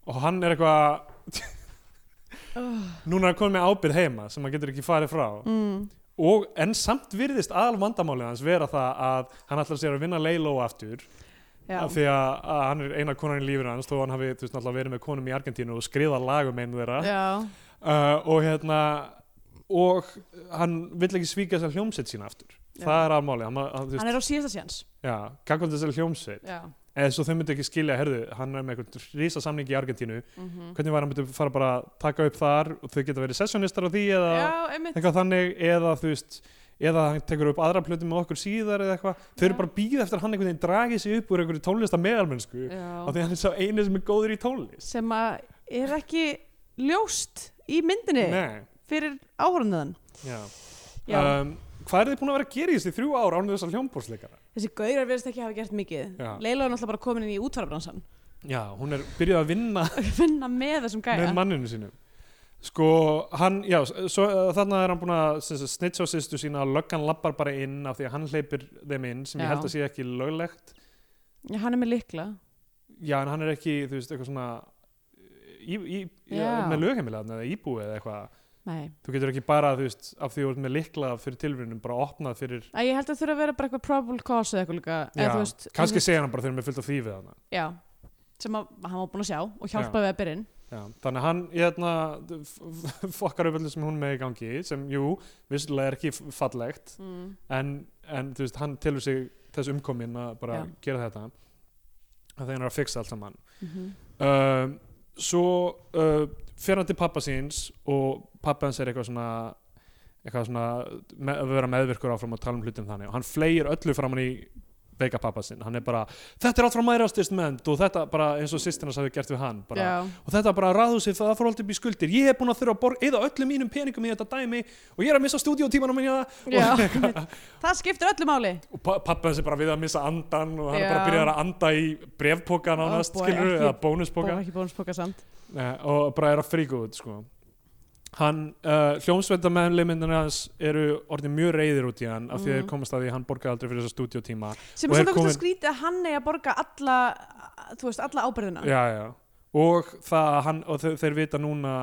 S3: og hann er eitthvað núna er hann komið með ábyrð heima sem hann getur ekki farið frá
S2: mm.
S3: og en samt virðist aðal vandamálið hans vera það að hann ætlar sér að vinna Leiló aftur
S2: já.
S3: af því að, að hann er eina konan í lífur hans þó hann hafi þú veist náttúrulega verið með konum í Argentínu og skriðað lagum einu þeirra
S2: já,
S3: uh, og hérna og hann vill ekki svíka þessar hljómsett sína aftur
S2: Já.
S3: það er aðmálið hann, hann, þú veist,
S2: hann er á síðasta sjans
S3: Já, gagvand þessari hljómsveit
S2: já,
S3: eða svo þau myndi ekki skilja, herðu, hann er með einhvern rísa samning í Argentínu,
S2: Mhm.
S3: hvernig var hann myndi fara bara að taka upp þar og þau geta verið sessionistar á því eða
S2: já einmitt
S3: eitthvað þannig, eða þú veist eða hann tekur upp aðra plötu með okkur síðar eða eitthvað, þau eru
S2: Já.
S3: bara að býða eftir að hann einhvern veginn dragi sig upp úr einhverju tónlista meðalmennsku af
S2: já.
S3: því hann er sá einu sem er góður í tónlist
S2: sem að er ekki ljóst í myndinni
S3: Nei,
S2: fyrir áhörðan
S3: já,
S2: já,
S3: Um, Hvað er þið búin að vera að gera í þessi þrjú ár ánum þessar hljómbórsleikara?
S2: þessi gaurar verðist ekki hafa gert mikið
S3: Já.
S2: Leiló er náttúrulega bara komin inn í útvarabransan
S3: Já, hún er byrjuð að vinna
S2: finna með þessum gæja
S3: með manninu sínum sko, hann, já, s- svo, uh, þarna er hann búin að sem sagt, snitsa á sýstu sína og löggan lappar bara inn af því að hann hleypir þeim inn sem ég
S2: Já.
S3: held að sé ekki löglegt
S2: Já, hann er með likla
S3: já, en hann er ekki, þú veist, eitthvað svona í, í, já.
S2: Já.
S3: með lögheimilega eða íbúið eða eitthvað
S2: Nei.
S3: þú getur ekki bara, þú veist, af því þú ert með likla fyrir tilvíðunum, bara opnað fyrir
S2: Æ, ég held að þurfa að vera bara eitthvað probable cause eða eitthvað líka
S3: já,
S2: eða, þú veist,
S3: kannski segja hann bara þegar hann er fullt af því við hann
S2: já, sem að, hann var búin að sjá og hjálpa við að byrjinn
S3: Já, þannig að hann hérna, f- f- fokkar upp öllu sem hún er með í gangi sem, jú, vissulega er ekki f- fallegt
S2: mm.
S3: en, en þú veist, hann telur sig þess umkomin að bara
S2: Já.
S3: gera þetta að þegar hann er að fixa allt saman
S2: mm -hmm.
S3: um, svo uh, fer hann til pappa síns og pappa hans er eitthvað svona eitthvað svona me, að vera meðvirkur áfram og tala um hlutin þannig og hann fleir öllu fram hann í veika pappa sinn, hann er bara þetta er allt frá mærastist mennt og þetta bara eins og sýstina hafi gert við hann bara,
S2: já,
S3: og þetta bara ráðhúsið það fór alltaf upp í skuldir ég hef búin að þurfa að borga, eða öllu mínum peningum í þetta dæmi og ég er að missa stúdíótímanum minna
S2: já einmitt. það skiptir öllu máli
S3: og pappa hans er bara við að missa andan og hann er
S2: Já. Oh,
S3: bara að byrja að anda í brefpoka nánast,
S2: boy,
S3: skilur,
S2: ekki-
S3: eða bónuspoka
S2: og ekki bónuspoka samt
S3: Nei, og bara er að fríka út sko. hann, uh, hljómsveita meðlumindin hans eru orðin mjög reyðir út í hann af því að
S2: Mhm.
S3: þeir komast að því að hann borgaði aldrei fyrir þessa stúdiótíma
S2: sem
S3: Og
S2: er
S3: er
S2: svona komin...
S3: komin-
S2: skrítið að hann er að borga alla þú veist, alla ábyrðina
S3: já, já. og það að hann og þeir, þeir vita núna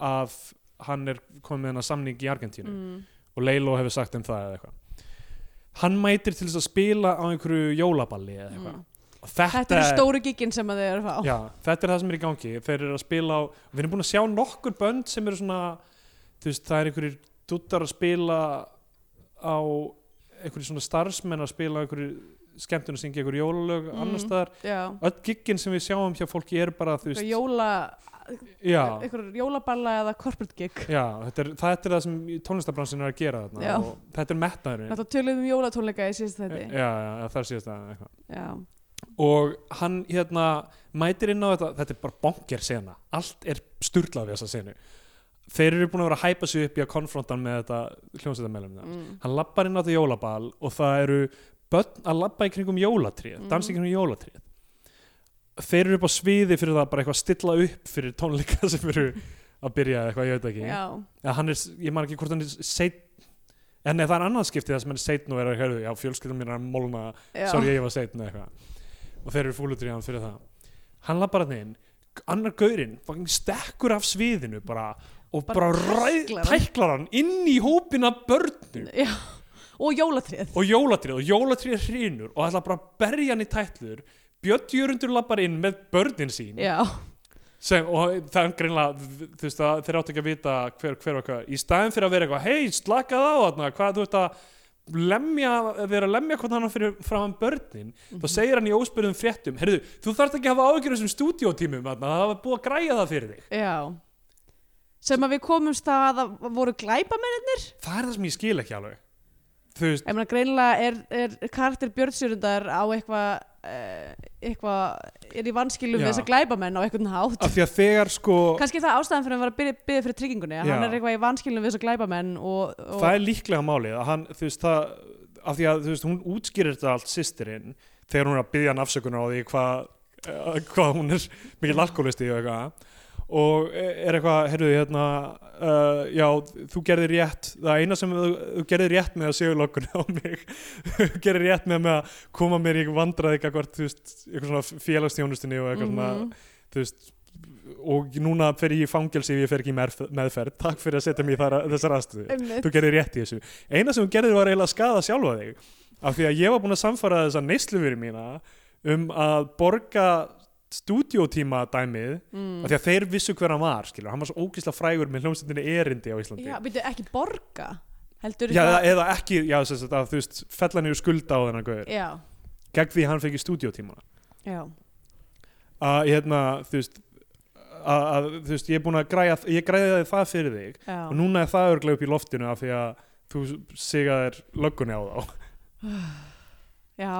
S3: að hann er komið með hennar samning í Argentínu
S2: mm.
S3: og Leilo hefur sagt um það eða eitthvað hann mætir til þess að spila á einhverju jólaballi eða eitthvað
S2: Mm.
S3: og þetta,
S2: þetta er stóru giginn sem að þau eru að fá
S3: Já, þetta er það sem er í gangi þeir eru að spila á, við erum búin að sjá nokkur bönd sem eru svona þú veist, það er einhverjir duttar að spila á einhverjir svona starfsmenn að spila á einhverjir skemmtun að syngja ykkur jólalög
S2: Mm.
S3: annars staðar,
S2: já,
S3: öll giggin sem við sjáum hjá fólki er bara, þú veist,
S2: eitthvað jóla
S3: já,
S2: eitthvað jólaballa eða corporate gig
S3: já þetta er, þetta er það sem tónlistabransin er að gera þarna
S2: Já.
S3: og þetta er metnaðurinn
S2: Þetta töluðum við um jólatónleika í síðast
S3: já,
S2: þetta
S3: já, já, það er síðast að eitthvað
S2: Já,
S3: og hann hérna mætir inn á þetta, þetta er bara bonger sena allt er sturglað við þessa senu þeir eru búin að vera að hæpa sig upp í að konfronta hann með þetta hljómsveitamælum
S2: mm.
S3: hann lappar inn á þetta jólabal og það eru börn að lappa í kringum jólatrið
S2: Mhm.
S3: dansa í kringum jólatrið þeir eru upp á sviði fyrir það bara eitthvað að stilla upp fyrir tónleika sem eru að byrja eða eitthvað, ég veit ekki
S2: já,
S3: Eða hann er, ég man ekki hvort hann er seitt en nei, það er annað skipti það sem hann er seitt nú er að hérðu, já, fjölskyldum mín er að molna
S2: já.
S3: sorry ég var seitin eða eitthvað og þeir eru fúlutur í hann fyrir það hann lappar hann inn, annar gaurinn fucking stekkur af sviðinu bara og
S2: Bara
S3: bara, bara
S2: tæklar hann.
S3: tæklar hann inn í hópina börnum
S2: já. Og jólatrið
S3: og jólatrið og jólatrið hrýnur og ætla bara að berja hann í tætlur Björn Jörundur lappar inn með börnin sín
S2: Já,
S3: sem, og það er greinlega þú veist að þeir áttu ekki að vita hver, hver og hvað í staðin fyrir að vera eitthvað, hei slakað á þarna hvað þú veist að lemja, vera að lemja hvort hann fyrir fram börnin þá segir hann í óspyrðum fréttum heyrðu, þú þarft ekki að hafa áhyggjur af þessum stúdíótímum þarna, það hafa búið að græja það fyrir þig
S2: já Sem að við komumst að það voru glæpamennir
S3: það er það sem ég skil ekki alveg þú veist,
S2: Ég meina greinilega er, er karakter Björnsjörundar á eitthvað eh, eitthvað er í vanskilum
S3: Já.
S2: við þess að glæpamenn á eitthvað hátt
S3: af því að þegar sko
S2: Kannski er það ástæðan fyrir að hann var að byrja, byrja fyrir tryggingunni að
S3: Já.
S2: hann er eitthvað í vanskilum við þess að glæpamenn og, og
S3: það er líklega málið að hann, þú veist, það, af því að þú veist, hún útskýrir þetta allt sýstirinn þegar hún er að byggja hann afsökunar á því hvað eh, hvað hún er mikil alkoholisti og eitthvað og er eitthvað, heyrðu, hérna uh, já, þú gerðir rétt það eina sem þú, þú gerðir rétt með að séu lokkuna á mig þú gerðir rétt með, með að koma mér í vandraði eitthvað, þú veist, eitthvað svona félagstjónustinni og eitthvað
S2: Mhm.
S3: svona, þú veist og núna fer ég í fangelsi ef ég fer ekki í merf- meðferð, takk fyrir að setja mig í þar, þessar aðstöðu
S2: Einmitt.
S3: þú gerðir rétt í þessu eina sem þú gerðir var eiginlega að skada sjálfa þig af því að ég var búin að samfara þessa neysluveri mína um að borga stúdiótíma dæmið
S2: Mm.
S3: af því að þeir vissu hver hann var skilur, hann var svo ógislega frægur með hljómsveitinni erindi á Íslandi
S2: Já, byrju, ekki borga heldur
S3: Já, eða,
S2: eitthvað-
S3: eða ekki, já, sem sagt, að, þú veist, fellan eru skulda á þennan gauður
S2: já,
S3: gegn því að hann fekk í stúdiótíma
S2: já,
S3: að, hérna, þú veist að, að, þú veist, ég er búin að græja ég græjaði það fyrir þig
S2: já.
S3: og núna er það örglega upp í loftinu af því að þú sigaðir löggunni á þá
S2: já,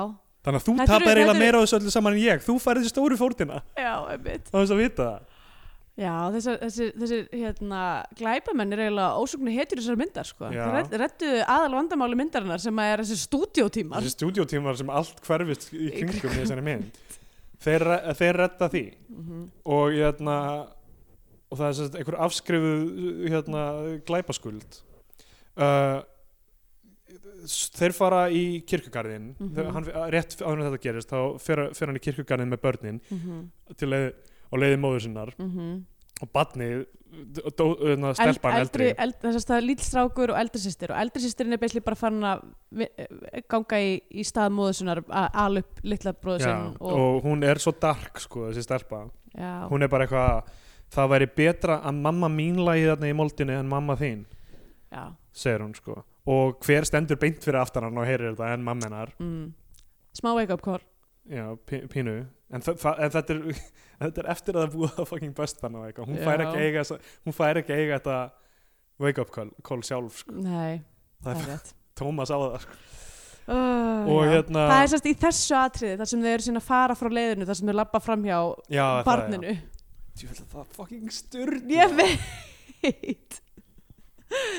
S3: Þannig að þú
S2: Þetta eru-
S3: tapar eiginlega
S2: þetta eru-
S3: meira á þessu öllu saman en ég. Þú færði þessi stóru fórtina
S2: já, einmitt
S3: á þess að vita það.
S2: já, þessir, þessir, þessir hérna, glæpamenn er eiginlega ósugnu hetjur þessar myndar, sko
S3: Já.
S2: það rettu aðal vandamáli myndarinnar sem að er þessi stúdiótímar
S3: Þessi stúdiótímar sem allt hverfist í kringum í þessari mynd. Þeir, þeir retta því
S2: Mhm,
S3: og, hérna, og það er sérst einhver afskrifu hérna, glæpaskuld. Uh, s- þeir fara í kirkugarðin, mm
S2: Mhm.
S3: hann, rétt áður en þetta gerist, þá fer, fer hann í kirkugarðin með börnin
S2: mhm.
S3: til leið, og leiði móður sinnar og badnið, hérna, stelpan eldri.
S2: eld, þessast það er lítstrákur og eldri sýstir og eldri sýstirinn er beislega bara farin að vi- eh, ganga í, í stað móðusunar að ala upp litla bróðu
S3: Já,
S2: sinn
S3: og, hún er svo dark sko þessi stelpa
S2: já,
S3: hún er bara eitthvað það væri betra að mamma mín lagi þarna í moldinu en mamma þín
S2: já,
S3: segir hún sko og hver stendur beint fyrir aftan hann og heyrir þetta en mamma hennar
S2: mm. smá wake up call
S3: já, pí- pínu en, þa- þa- en þetta, er, þetta er eftir að það er búið að fucking bestan og eitthvað hún fær
S2: Já.
S3: ekki að eiga, þessa- hún fær ekki að eiga þetta wake up call, call sjálf sko.
S2: nei,
S3: Það
S2: það
S3: er-
S2: er rétt
S3: Thomas á það sko.
S2: Uh,
S3: Og
S2: já.
S3: hérna-
S2: Það er sérst í þessu atriði þar sem þau eru síðan að fara frá leiðinu þar sem þau labba fram hjá
S3: já,
S2: barninu
S3: það, já. það er fucking styrn
S2: Ég veit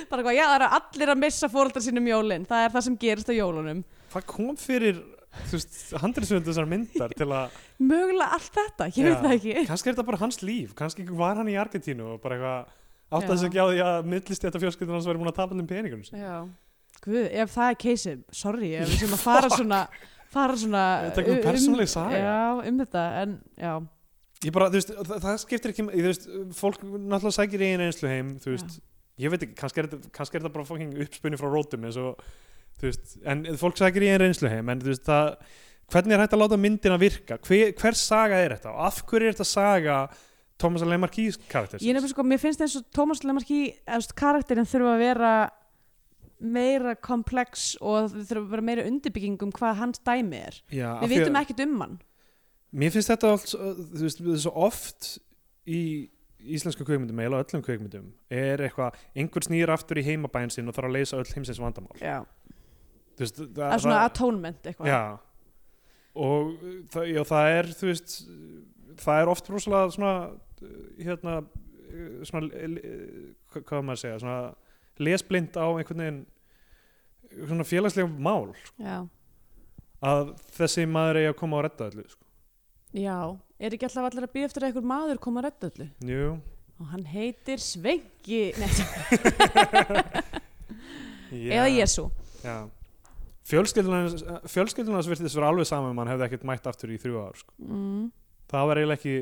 S2: Bara hvað, já það eru allir að missa fóreldar sínum jólin Það er það sem gerist á jólunum
S3: hvað kom fyrir handriðsvöldu þessar myndar til að
S2: Mögulega allt þetta, ég veit
S3: Já.
S2: það ekki
S3: kannski er þetta bara hans líf, kannski var hann í Argentínu og bara eitthvað átt að
S2: Já.
S3: þess ekki á því að millist þetta fjölskyldur hans væri múin að tapa þeim peningum sinni.
S2: Já Guð, ef það er keisi, sorry ef við sem að fara svona fara svona uh,
S3: Þetta er einhver persónuleg saga.
S2: Já, um þetta, en já
S3: ég bara, þú veist, það, það skiptir ekki þú veist, fólk náttúrulega sækir í einu einslu heim þú veist, ég veit ekki, kannski er þetta kannski er þetta bara fucking uppspunni frá rótum eins og, þú veist, en fólk sækir í einu einslu heim en þú veist, það, hvernig er hægt að láta myndina virka, hver, hver saga er þetta og af hverju er þetta saga Thomas Lemarkís karakter
S2: Ég nefnir sko, mér finnst eins og Tómas Lemarki, eða þú veist, karakterin þurfa að vera meira komplex og það þurfa að vera meira undirbygging um hvað hans dæmi er
S3: Já, af
S2: við
S3: því að-
S2: vitum ekkert um hann
S3: Mér finnst þetta allt, svo- þú veist, það er svo oft í íslensku kveikmyndum, eiginlega öllum kveikmyndum, er eitthvað, einhver snýr aftur í heimabæn sinn og þarf að leysa öll heimsins vandamál.
S2: já.
S3: Þú veist, það,
S2: það er svona sko. atonement eitthvað
S3: Já, og það, já, það er, þú veist, það er oft rosalega svona, hérna, svona, hvað hvað á maður að segja, svona lesblind á einhvern veginn, svona félagslega mál
S2: já.
S3: að þessi maður eigi að koma og redda öllu, sko.
S2: já. er ekki alltaf allir að býja eftir að einhver maður koma að redda öllu
S3: Jú,
S2: og hann heitir Svenki Nei,
S3: já.
S2: eða Jésu
S3: Já. Fjölskyldunar sem eh, virtist vera alveg saman mann hefði ekkert mætt aftur í þrjú ár sko.
S2: mm.
S3: það var eiginlega ekki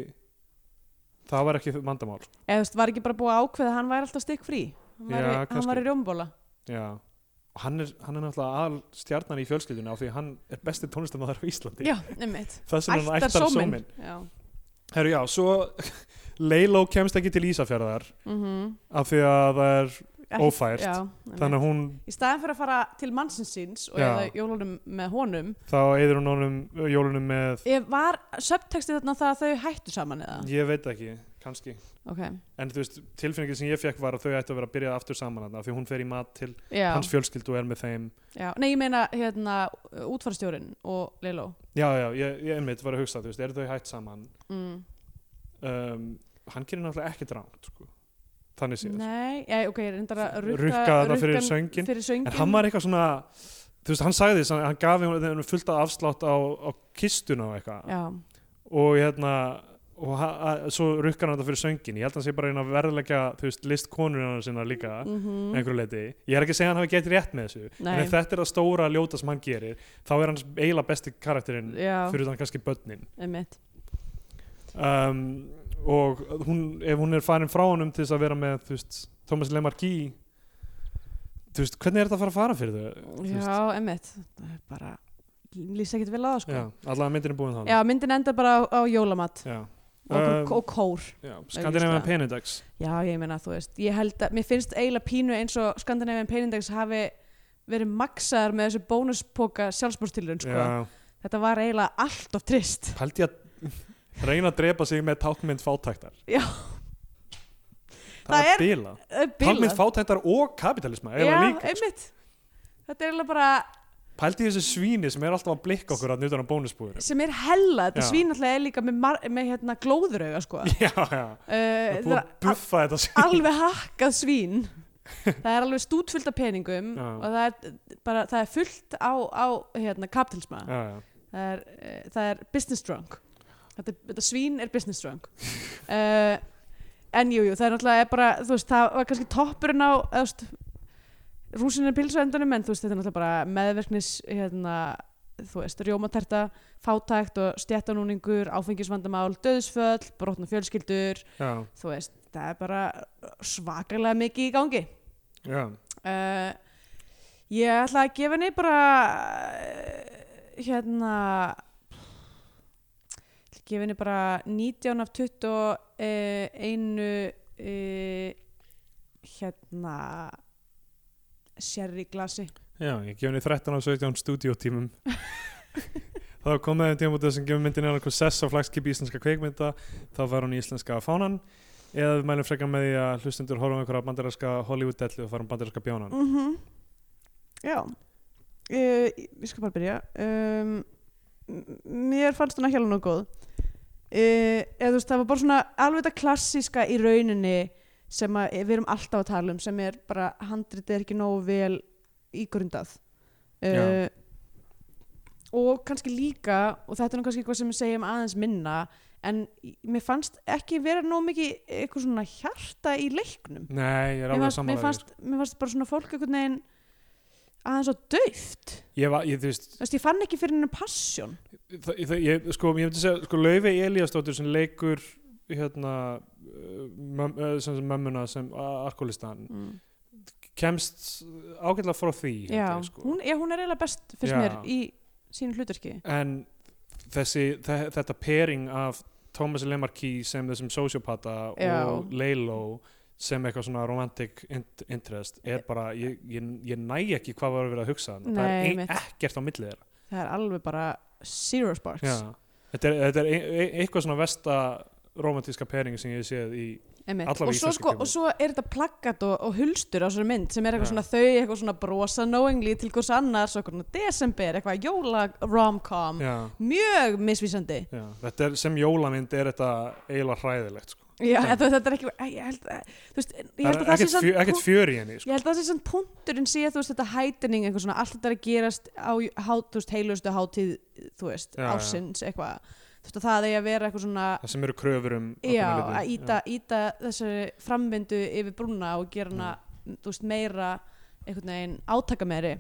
S3: það var ekki vandamál sko.
S2: eða þú veist, var ekki bara búið að ákveða að hann væri alltaf stikk frí hann
S3: Já,
S2: væri,
S3: kannski.
S2: hann væri rjómbóla
S3: Já. og hann er, hann er náttúrulega aðal stjarnar í fjölskylduna af því hann er besti tónlistamæður á Íslandi
S2: já, nemmit
S3: það sem hann ættar
S2: ættar sómin
S3: sómin Herru já, svo Leiló kemst ekki til Ísafjörðar
S2: mm -hmm.
S3: af því að það er ófært
S2: já,
S3: þannig
S2: þannig...
S3: að hún,
S2: í staðan fyrir að fara til mannsins síns og
S3: Já.
S2: eða jólunum með honum
S3: þá eyður hún honum jólunum með,
S2: Eh, var subtexti þarna það að þau hættu saman eða?
S3: ég veit ekki, kannski
S2: ok,
S3: en þú veist, tilfinningin sem ég fekk var að þau ættu að vera að byrja aftur saman þarna af því hún fer í mat til
S2: já,
S3: hans fjölskyldu og er með þeim
S2: já nei ég meina hérna útfarstjórin og Leiló
S3: já, já, ég, ég einmitt var að hugsa, þú veist, eru þau hætt saman
S2: mm.
S3: um, hann gerir náttúrulega ekkert ránt sko. þannig séð
S2: nei, já, ok, ég er reyndar að rukka
S3: Rukka þarna fyrir
S2: rukkan
S3: sönginn.
S2: fyrir söngin.
S3: en hann var eitthvað svona þú veist, hann sagði þess, hann gaf henni- henni fullt af afslátt á, á kistuna og eitthvað
S2: já,
S3: og hérna og ha, að, svo rukkar hann þetta fyrir söngin ég held að hann sé bara að reyna að verðleggja, þú veist, list konurinn sinna líka
S2: mm
S3: að einhverju leiti, ég er ekki að segja að hann hafi gett rétt með þessu
S2: Nei.
S3: en ef þetta er það stóra ljóta sem hann gerir þá er hans eiginlega besti karakterinn
S2: já,
S3: fyrir þann kannski börnin
S2: einmitt
S3: um, og hún, ef hún er farin frá honum til þess að vera með þú veist, Thomas Lemarki þú veist, hvernig er þetta að fara að fara fyrir þau? Þú veist,
S2: já, einmitt það er bara, lýsa ekkert vel á það sko
S3: já, allavega myndin er búin þannig
S2: Já, myndin enda bara á, á jólamat
S3: já.
S2: og, um,
S3: Um,
S2: og kór
S3: já Skandinavian
S2: auglýslega.
S3: Penindex
S2: Já, ég meina, þú veist, ég held að, mér finnst eiginlega pínu eins og Skandinavian Peinindex hafi verið maksaðar með þessu bónuspoka sjálfsbúrstilurinn, sko.
S3: já,
S2: Þetta var eiginlega allt of trist.
S3: held ég að reyna að drepa sig með tákmynd fátæktar
S2: Já.
S3: það,
S2: Það
S3: er bila tákmynd fátæktar og kapitalisma
S2: Já,
S3: eiginlega líka. sko.
S2: einmitt. Þetta er eiginlega bara,
S3: pældi í þessu svíni sem er alltaf að blikka okkur að utan á bónusbúður
S2: sem er hella, þetta
S3: Já.
S2: svínallega er líka með, mar, með hérna glóðurauga, sko.
S3: já, já,
S2: Uh, það
S3: það er búið
S2: er
S3: að buffa þetta svín
S2: alveg hakkað svín. Það er alveg stútfullt af peningum
S3: Já.
S2: og það er, bara, það er fullt á, á hérna, kapitalisma.
S3: já, já.
S2: það er, eh, það er business drunk þetta, er- þetta svín er business drunk uh, en jú, jú, það er náttúrulega bara, þú veist, það var kannski toppurinn á eða, þú veist, rúsinn er pilsa endanum en þú veist, þetta er náttúrulega bara meðverknis hérna, þú veist, rjómaterta fátækt og stjættanúningur áfengisvandamál, döðsföll brotna fjölskyldur,
S3: já.
S2: þú veist það er bara svakalega mikið í gangi
S3: Já,
S2: uh, ég ætla að gefa henni bara eh, hérna ætla að gefa henni bara 19 af 21 uh, hérna sherry glasi
S3: já, ég gef henni 13 á 17 stúdíótímum þá komið þeim tímabútið sem gefur myndin einhver sess á flagskipi íslenska kveikmynda þá var hún í íslenska fánan eða við mælum frekar með því að hlustundur horfum einhverja bandarinska Hollywood-dellu og um farum bandarinska bjónan
S2: mm -hmm. já uh, ég skal bara byrja um, m- mér fannst hún ekki alveg nóg góð uh, eða þú veist það var bara svona alveg þetta klassíska í rauninni sem að við erum alltaf að tala um sem er bara handritið er ekki nógu vel ígrundað uh,
S3: Já.
S2: og kannski líka og þetta er nú kannski eitthvað sem við segjum aðeins minna en í- mér fannst ekki vera nógu mikið eitthvað svona hjarta í leiknum
S3: Nei, ég er
S2: mér
S3: alveg sko.
S2: fannst, mér,
S3: sammálaðið
S2: fannst, mér fannst bara svona fólk einhvern veginn aðeins á döft
S3: Ég var, ég, þú veist,
S2: þú veist, ég fann ekki fyrir henni passion
S3: það, það, ég, sko, ég myndi segja, sko, Laufi Elíasdóttir sem leikur hérna uh, möm, uh, sem, sem mömmuna sem alkoholistan kemst ágætlega frá því held
S2: já,
S3: ég, sko.
S2: hún, já, hún er eiginlega best fyrst
S3: Já.
S2: mér í sínu hlutarki
S3: en þessi, þe- þetta pering af Thomas Lemarki sem þessum sociopata
S2: Já.
S3: og Leilo sem eitthvað svona romantic int- interest er bara, ég, ég, ég næ ekki hvað var að vera að hugsa þarna. það
S2: Nei,
S3: er
S2: einmitt.
S3: ein, ekkert á milli þeirra
S2: það er alveg bara zero sparks
S3: Já. þetta er, þetta er ein, ein, eitthvað svona versta romantíska pering sem ég hef séð í
S2: Einmitt.
S3: Allavega
S2: og
S3: í
S2: svo,
S3: íslenskri
S2: sko,
S3: kvikmynd.
S2: og svo er þetta plaggat og, og hulstur á þessari mynd sem er eitthvað
S3: Já.
S2: svona þau eitthvað svona brosa knowingly til hvers annars og eitthvað svona desember, eitthvað jóla romcom
S3: já,
S2: mjög misvísandi
S3: já. þetta er sem jólamynd er þetta eiginlega hræðilegt sko.
S2: Já, en þú veist, þetta er ekki ég held að, þú veist, ég held
S3: það
S2: að
S3: er
S2: það sé
S3: ekkert
S2: samt
S3: fjör, ekkert
S2: pú-
S3: fjör í henni
S2: ég
S3: sko.
S2: held að það sé samt punkturinn sé þú veist þetta hætning eitthvað svona allt þetta er að gerast á há, þú veist, heilustu hátíð þú veist,
S3: Já, já.
S2: ársins eitthvað þú veist að það eigi að vera eitthvað svona
S3: það sem eru kröfur um ákveðna
S2: já,
S3: hluti.
S2: að íta, íta þessari framvindu yfir brúna og gera hana
S3: Mm.
S2: þú veist, meira einhvern veginn átaka meiri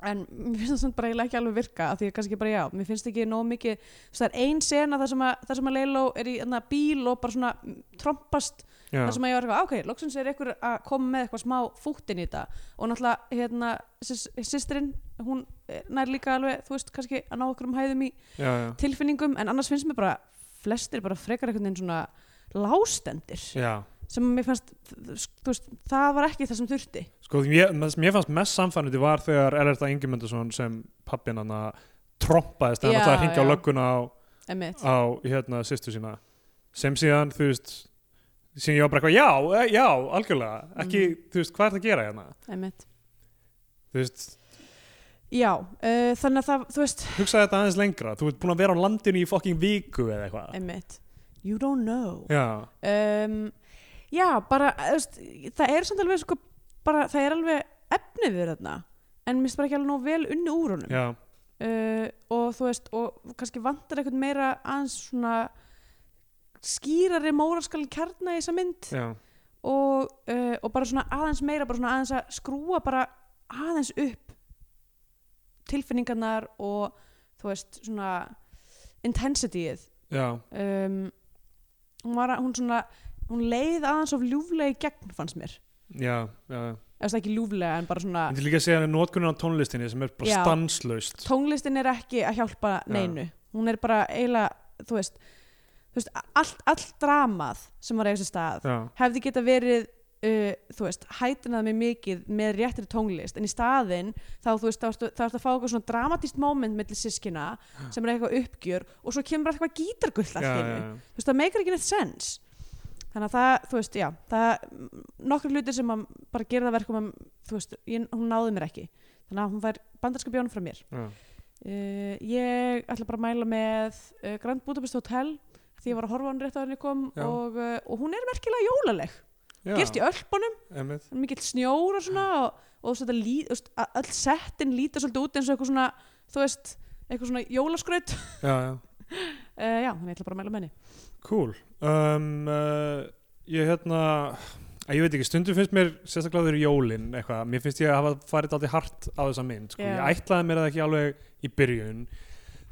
S2: en mér finnst það samt bara eiginlega ekki alveg virka af því að kannski bara já, mér finnst ekki nóg mikið þú veist, það er ein sena þar sem að, þar sem að Leiló er í þarna, bíl og bara svona mm, trompast
S3: já,
S2: þar sem að ég var eitthvað, "Ah, ok, loksins er ykkur að koma með eitthvað smá fúttin í þetta og náttúrulega, hérna, sýstrin hún eh, nær líka alveg, þú veist, kannski að ná okkur um hæðum í
S3: já, já.
S2: tilfinningum en annars finnst mér bara flestir bara frekar einhvern veginn svona lástendir
S3: já.
S2: sem mér fannst, þú veist, það var ekki það sem þurfti
S3: Sko, ég, mér fannst mest samfænandi var þegar Erlerta Ingemyndarsson sem pappin hann að trompaðist en
S2: Já,
S3: það hringja á
S2: já.
S3: lögguna á,
S2: emitt,
S3: á hérna, sýstu sína sem síðan, þú veist sem ég var bara eitthvað, já, eh, já, algjörlega ekki,
S2: Mm.
S3: þú veist, hvað er það að gera hérna
S2: emitt
S3: þú veist,
S2: já, uh, þannig að það, þú veist
S3: hugsaði þetta aðeins lengra þú ert búin að vera á landinu í fokking viku eða eitthvað
S2: emitt, you don't know
S3: já,
S2: um, já, bara eh, þú veist, það er samt alveg sko, bara, það er alveg efnið við þarna en mér finnst bara ekki alveg nóg vel unni úr honum
S3: já,
S2: uh, og þú veist og kannski vantar eitthvað meira aðeins svona skýrari móralskal kjarna í þessa mynd
S3: já
S2: og, uh, og bara svona aðeins meira bara svona aðeins að skrúa bara aðeins upp tilfinningarnar og þú veist svona intensityið
S3: já,
S2: um, hún var að, hún svona hún leið aðeins of ljúflega í gegn fannst mér,
S3: já, já
S2: eða ekki ljúflega en bara svona
S3: ég vil líka segja að notkunin á tónlistinni sem er bara
S2: Já.
S3: stanslaust
S2: tónlistin er ekki að hjálpa neinu hún er bara eiginlega þú veist, þú veist allt, allt dramað sem var eiginlega sér stað
S3: já,
S2: hefði geta verið uh, þú veist, hætinað mér mikið með réttri tónlist, en í staðinn þá þú veist, þá ertu, þá ertu að fá eitthvað svona dramatíst moment millir sískina sem er eitthvað uppgjör og svo kemur bara eitthvað gítargull
S3: já,
S2: allt í
S3: já,
S2: einu.
S3: já.
S2: þú veist, það meikar ekki neitt sens þannig að það, þú veist, já það, nokkur hlutir sem að bara gera það verkum að, þú veist, ég, hún náði mér ekki þannig að hún fær bandarska bjónu frá mér
S3: já.
S2: uh, ég ætla bara að mæla með uh, Grand Budapest Hotel því ég var að horfa á hann rétt á henni kom
S3: Já.
S2: og, uh, og hún er merkilega jólaleg
S3: Já,
S2: gerst í ölpunum,
S3: einmitt.
S2: mikill snjór og svona og, og þú veist, þetta lít, þú veist, að- öll settin lítur svolítið út eins og eitthvað svona þú veist, eitthvað svona jólaskraut uh,
S3: já, já.
S2: já, þannig ég ætla bara að mæla með henni
S3: Cool um, uh, Ég hérna að Ég veit ekki, stundum finnst mér sérstaklega þegar jólin eitthvað, mér finnst ég að hafa farið alltaf hart á þessa mynd, sko,
S2: Já.
S3: ég ætlaði mér það ekki alveg í byrjun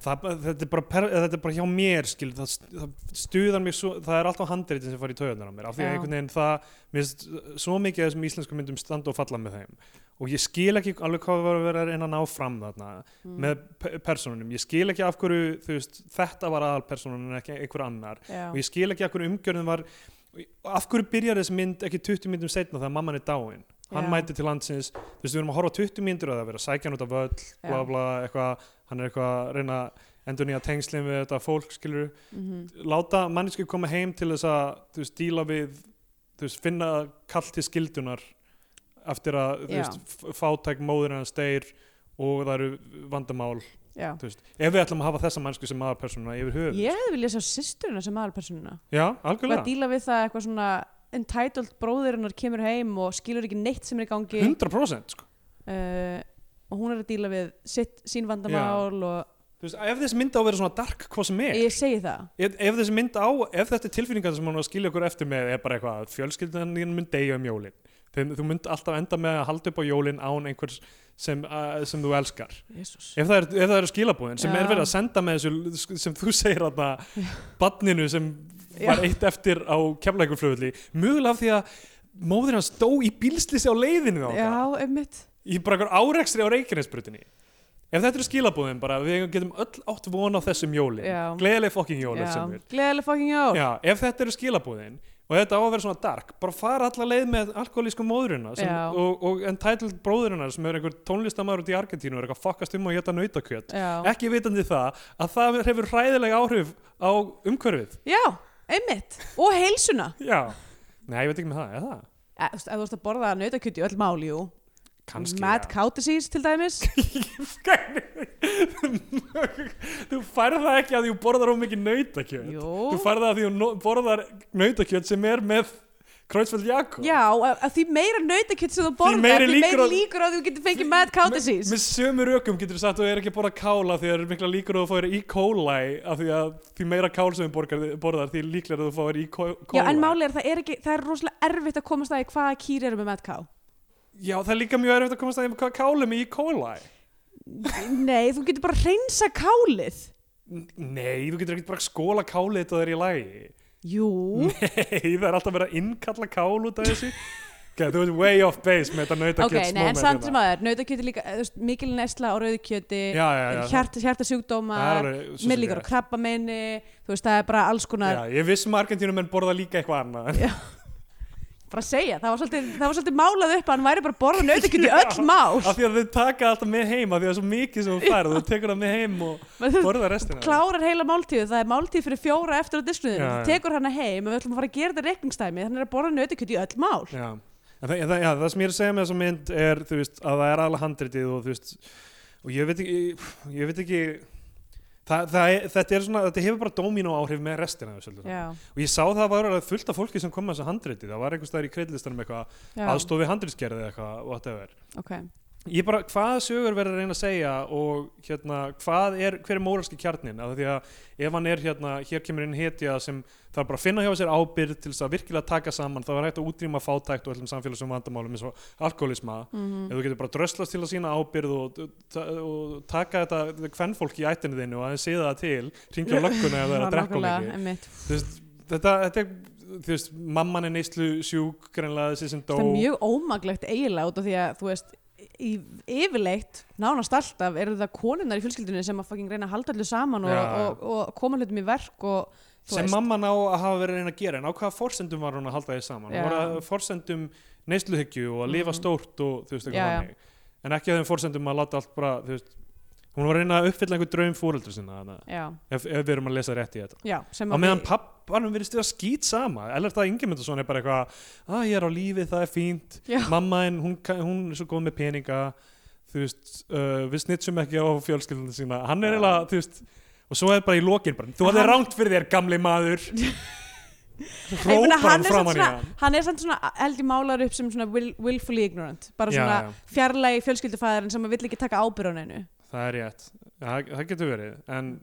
S3: það, þetta, er bara per, eða þetta er bara hjá mér skil, það, það stuðar mig svo, það er alltaf handritin sem fari í taugarnar á mér, af því
S2: Já.
S3: að einhvern veginn það, mér finnst svo mikið af þessum íslensku myndum standa og falla með þeim og ég skil ekki alveg hvað var að vera að reyna að ná fram þarna
S2: Mm.
S3: með pe- persónunum, ég skil ekki af hverju þú veist, þetta var aðalpersónun en ekki einhver annar
S2: Mm. já,
S3: og ég skil ekki af hverju umgjörðin var af hverju byrjar þessi mynd ekki 20 myndum setna þegar mamman er dáin hann
S2: Já.
S3: mætir til landsins, þú veist við erum að horfa á 20 myndur að það vera sækjan út af völl bla
S2: Já.
S3: bla, eitthvað, hann er eitthvað að reyna að endur nýja tengslin við þetta fólk skilur,
S2: mhm,
S3: láta mannesku koma heim til þess að, þú veist, díla við þú veist, finna kall til skildunar eftir að, þú
S2: Já.
S3: veist f- fátæk móður hans deyr og það eru vandamál,
S2: já.
S3: þú veist ef við ætlum að hafa þessa mannesku sem aðalpersónuna yfir höfuð,
S2: ég hefði viljað sjá sýsturina sem aðalpersonuna
S3: já,
S2: og að
S3: algjörlega
S2: díla við það eitthvað svona entitled bróðirinnar kemur heim og skilur ekki neitt sem er í gangi
S3: 100% sko
S2: uh, og hún er að díla við sitt, sín vandamál og
S3: Þú veist, ef þessi mynd á að vera svona dark hvað sem er,
S2: ég segi það
S3: ef, ef þessi mynd á ef þetta er tilfinningar sem hún á að skilja okkur eftir með er bara eitthvað, fjölskyldan þín mynd deyja um jólin Þeim, þú mynd alltaf enda með að halda upp á jólin án einhvers sem, uh, sem þú elskar
S2: Jesus.
S3: ef það, er, ef það eru skilabúðin sem
S2: Já.
S3: er verið að senda með þessu sem þú segir að badninu sem var
S2: Já.
S3: eitt eftir á kemleikurflöðli mögulega af því að móðir hans dó í bílslisi á leiðinu þangað.
S2: já, einmitt
S3: í bara einhver árekstri á Reykjanesbrutinni ef þetta eru skilabúðin bara við getum öll átt von á þessum jólin
S2: Já.
S3: gleðileg fokkin jólin sem við
S2: gleðileg fucking jól
S3: Já, ef þetta eru skilabúðin og þetta á að vera svona dark bara fara alla leið með alkoholísku móðurina sem,
S2: Já.
S3: og, og entitled bróðurina sem er einhver tónlistamæður út í Argentínu og er eitthvað að fokkast um og geta nautakjöt
S2: já,
S3: ekki vitandi það að það hefur hræðileg áhrif á umhverfið
S2: já einmitt, og heilsuna
S3: já, nei, ég veit ekki með það, er það?
S2: Eh, Þú veist, ef þú ert að borða nautakjöt í öll mál, jú
S3: kannski,
S2: Mad
S3: já.
S2: cow disease til dæmis
S3: þú færð það ekki að því þú borðar of mikið nautakjöt
S2: Jú,
S3: þú færð það að því þú no- borðar nautakjöt sem er með Kreuzfeld Jakob
S2: já, að að því meira nautakjöt sem þú borðar,
S3: meiri
S2: því
S3: líkur
S2: meiri
S3: á-
S2: líkur á því þú getur fengið mad cow disease
S3: með sömu rökum getur þú sagt að þú er ekki að borða kála því það er mikla líkur að þú fáir E. coli af því að því meira kál sem þú borgar- borðar því líklega að þú fáir E. co- coli
S2: Já, en máli er það er ekki, það er rosalega erfitt að komast að því hvaða kýr eru með mad cow
S3: Já, það er líka mjög erfitt að komast að því hvað kálum í E. coli
S2: Nei, þú getur bara að reynsa kálið
S3: N- Nei, þú getur ekki bara að skóla kálið þetta er í lagi
S2: Jú,
S3: Mm, Nei, það er alltaf verið að innkalla kál út af þessu okay, Þú ert way off base með þetta nautakjöts
S2: ok, nei, en samt sem aður nautakjöti líka, eh, þú veist, mikil nesla á rauðkjöti
S3: Já, já, já
S2: hjart,
S3: það
S2: hjartasjúkdómar,
S3: er alveg- svo sem
S2: mér líka á
S3: rétt.
S2: krabbameini þú veist, það er bara alls konar
S3: Já, ég vissum að Argentínum en borða líka eitthvað annað
S2: bara að segja, það var svolítið, það var svolítið málað upp að hann væri bara að borða nautakjöti öll mál
S3: Af því að þau taka alltaf með heim af því að það er svo mikið sem þú færð þú tekur það með heim og
S2: Maður-
S3: borða restina
S2: klárar heila máltíðu, það er máltíð fyrir fjóra eftir á diskuðinu,
S3: Já, já.
S2: þú tekur hana heim og við ætlum að fara að gera þetta reikningstæmi, þannig er að borða nautakjöti í öll mál
S3: Já, en það, en það, já, það sem ég er að segja með þessa mynd er, þú veist, að það er alveg handritið og þú veist, og ég veit ekki, ég veit ekki, það, það, er- þetta er svona, þetta hefur bara domino áhrif með restina af þessu öllu saman.
S2: já,
S3: Og ég sá það að var alveg fullt af fólki sem kom með þessa handritið, það var einhvers staðar í kreidlistanum eitthvað,
S2: já,
S3: aðstofi handritsgerði eitthvað, whatever.
S2: ok
S3: Ég bara, hvaða sögur verður að reyna að segja og hérna, hvað er, hver er móralski kjarnin? Af því að ef hann er hérna, hér kemur inn hetja sem þarf bara að finna hjá sér ábyrð til þess að virkilega taka saman, þá er hægt að útrýma fátækt og öllum samfélagsum vandamálum eins og alkoholisma.
S2: mhm,
S3: Ef þú getur bara dröslast til að sína ábyrð og, ta- og taka þetta kvennfólk í ættinu þinu og aðeins siða það til, ringja lögguna ef það
S2: Já,
S3: er að drekka
S2: nákvæmlega,
S3: mikið.
S2: einmitt.
S3: Þú veist, Þetta, þetta er, þú veist, mamman er neyslu sjúk, greinlega þessi sem dó.
S2: það er mjög ómaglegt eiginlega út af því að þú veist í yfirleitt, nánast alltaf eru það konunnar í fjölskyldunni sem að fucking reyna að halda allir saman og,
S3: Já.
S2: og, og koma hlutum í verk og þú
S3: sem
S2: veist,
S3: mamman á að hafa verið að reyna að gera en á hvaða forsendum var hún að halda því saman
S2: Já.
S3: hún var að forsendum neysluhyggju og að lifa
S2: Mhm.
S3: stórt og þú veist
S2: Já,
S3: eitthvað
S2: já.
S3: þannig en ekki að þeim forsendum að láta allt bara þú veist, hún var að reyna að uppfylla einhver draum fóreldur sinna þarna,
S2: já,
S3: ef, ef við erum að lesa rétt í þetta
S2: já, sem
S3: á meðan pappanum virðist við að skýt sama eller það Ingemyndason er bara eitthvað að ég er á lífi, það er fínt
S2: Já.
S3: mamma en hún, ka- hún er svo góð með peninga þú veist, uh, við snitsum ekki á fjölskyldunum sína, hann
S2: Já.
S3: er eiginlega þú veist, og svo er bara í lokin bara, þú
S2: En
S3: hafði
S2: hann-
S3: rangt fyrir þér gamli maður
S2: En ég meina,
S3: hrópar hann
S2: er
S3: fram
S2: samt
S3: hann í
S2: svona-
S3: hann
S2: hann er samt svona held ég málar upp sem svona will, willfully ignorant bara
S3: Já,
S2: svona
S3: já.
S2: fjarlægi fjölskyldufæðarinn sem að vill ekki taka ábyrðan einu
S3: það er rétt, það, það getur verið en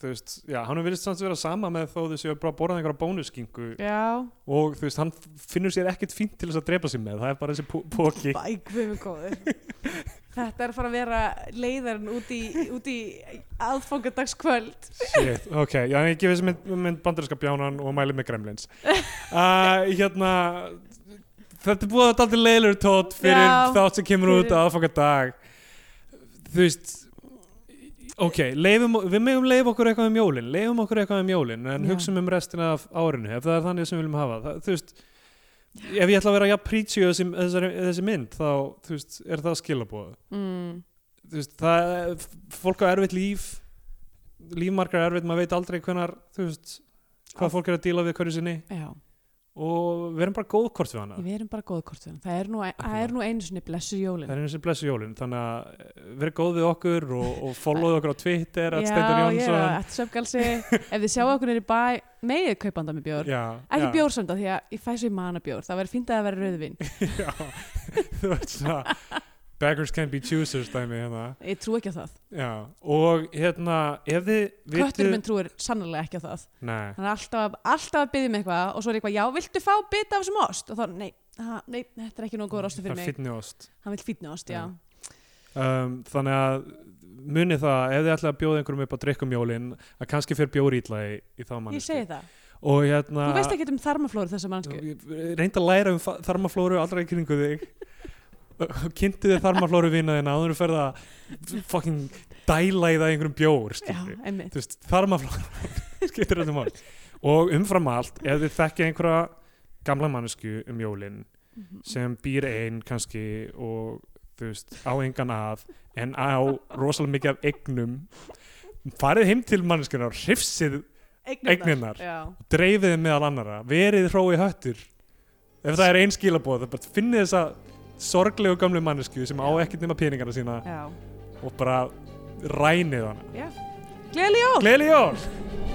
S3: þú veist, já, hann virðist samt vera sama með þó þau séu bara að borða einhverja bónuskingu
S2: já,
S3: og þú veist, hann finnur sér ekkit fínt til þess að drepa sig með, það er bara þessi pó- póki
S2: bækvið mig góður þetta er að fara að vera leiðarinn út í, út í aðfangadagskvöld
S3: Shit, ok, já, en ég gefi þessi mynd, mynd bandarinska bjánan og mæli með gremlins uh, Hérna Þetta er búið að daldi leilur tótt fyrir
S2: Já,
S3: þátt sem kemur út
S2: fyrir-
S3: á aðfanga dag Þú veist Ok, leifum, við megum leif okkur eitthvað um jólin leifum okkur eitthvað um jólin en
S2: Já.
S3: hugsum um restina af árinu ef það er þannig sem við viljum hafa það, þú veist, ef ég ætla að vera jafn prítsi þessi, þessari- þessi mynd þá þú veist, er það skilabóð
S2: mm.
S3: þú veist, það fólk á erfitt líf líf margra er erfitt, maður veit aldrei hvenar, þú veist, hvað fólk er að díla við hverju sinni
S2: já
S3: og við erum bara góð hvort við hana
S2: Við erum bara góðkortun. Það er nú, e- það er nú einu sinni blessu
S3: það
S2: jólin.
S3: er eins og blessu jólin, þannig að eh, verið góð við okkur og, og followðu okkur á Twitter að Steindur
S2: ég er
S3: Jónsson
S2: að söfgalsi. Ef þið sjáu okkur niður í bæ, megið kaupanda með bjór.
S3: já,
S2: Ekki
S3: já,
S2: bjór samt að því að ég fæ svo í mana bjór. Það verður fínt að það verður rauðvin.
S3: já, þú veist svona beggars can be choosers dæmi hérna
S2: Ég trú ekki á það.
S3: já, og hérna ef þið
S2: Kötturinn minn trúir sannlega ekki á það.
S3: nei,
S2: Hann er alltaf, alltaf að byggja mig eitthvað og svo er ég eitthvað, já, viltu fá bita af þessum ost? Og þá, nei, ha, nei, þetta er ekki nógu góður ostu
S3: það
S2: fyrir
S3: er
S2: mig.
S3: fitni ost
S2: Hann vil fítni ost, já.
S3: um, þannig að munið það ef þið ætla að bjóða einhverjum upp að drikkum jólin að kannski fyrir bjóri ítla í, í þá
S2: Ég
S3: manneski
S2: segi það.
S3: og hérna
S2: Þú veist ekki um þarmaflóru þessa mannsku.
S3: reynda að læra um fa- þarmaflóru allra í kringu þig kynntu þið þarmaflóru vinaðina áður en ferð að fucking dæla í það í einhverjum bjór
S2: Já,
S3: skilurðu.
S2: einmitt.
S3: þú veist, þarmaflóru skiptir þetta mál og umfram allt, ef þið þekkið einhverja gamla mannesku um jólin
S2: Mhm.
S3: sem býr einn kannski og þú veist, á engan að en á rosalega mikið af eignum farið heim til manneskunar hrifsið, Eignirnar.
S2: Já.
S3: dreifið þeim meðal annara verið hrói höttur ef það er einn skilabóð, það bara finnið þessa sorglegu gamlu mannesku sem á
S2: Já.
S3: ekkert nema peningana sína
S2: Já.
S3: og bara rænið hana
S2: Gleðileg jól!
S3: Gleðileg jól!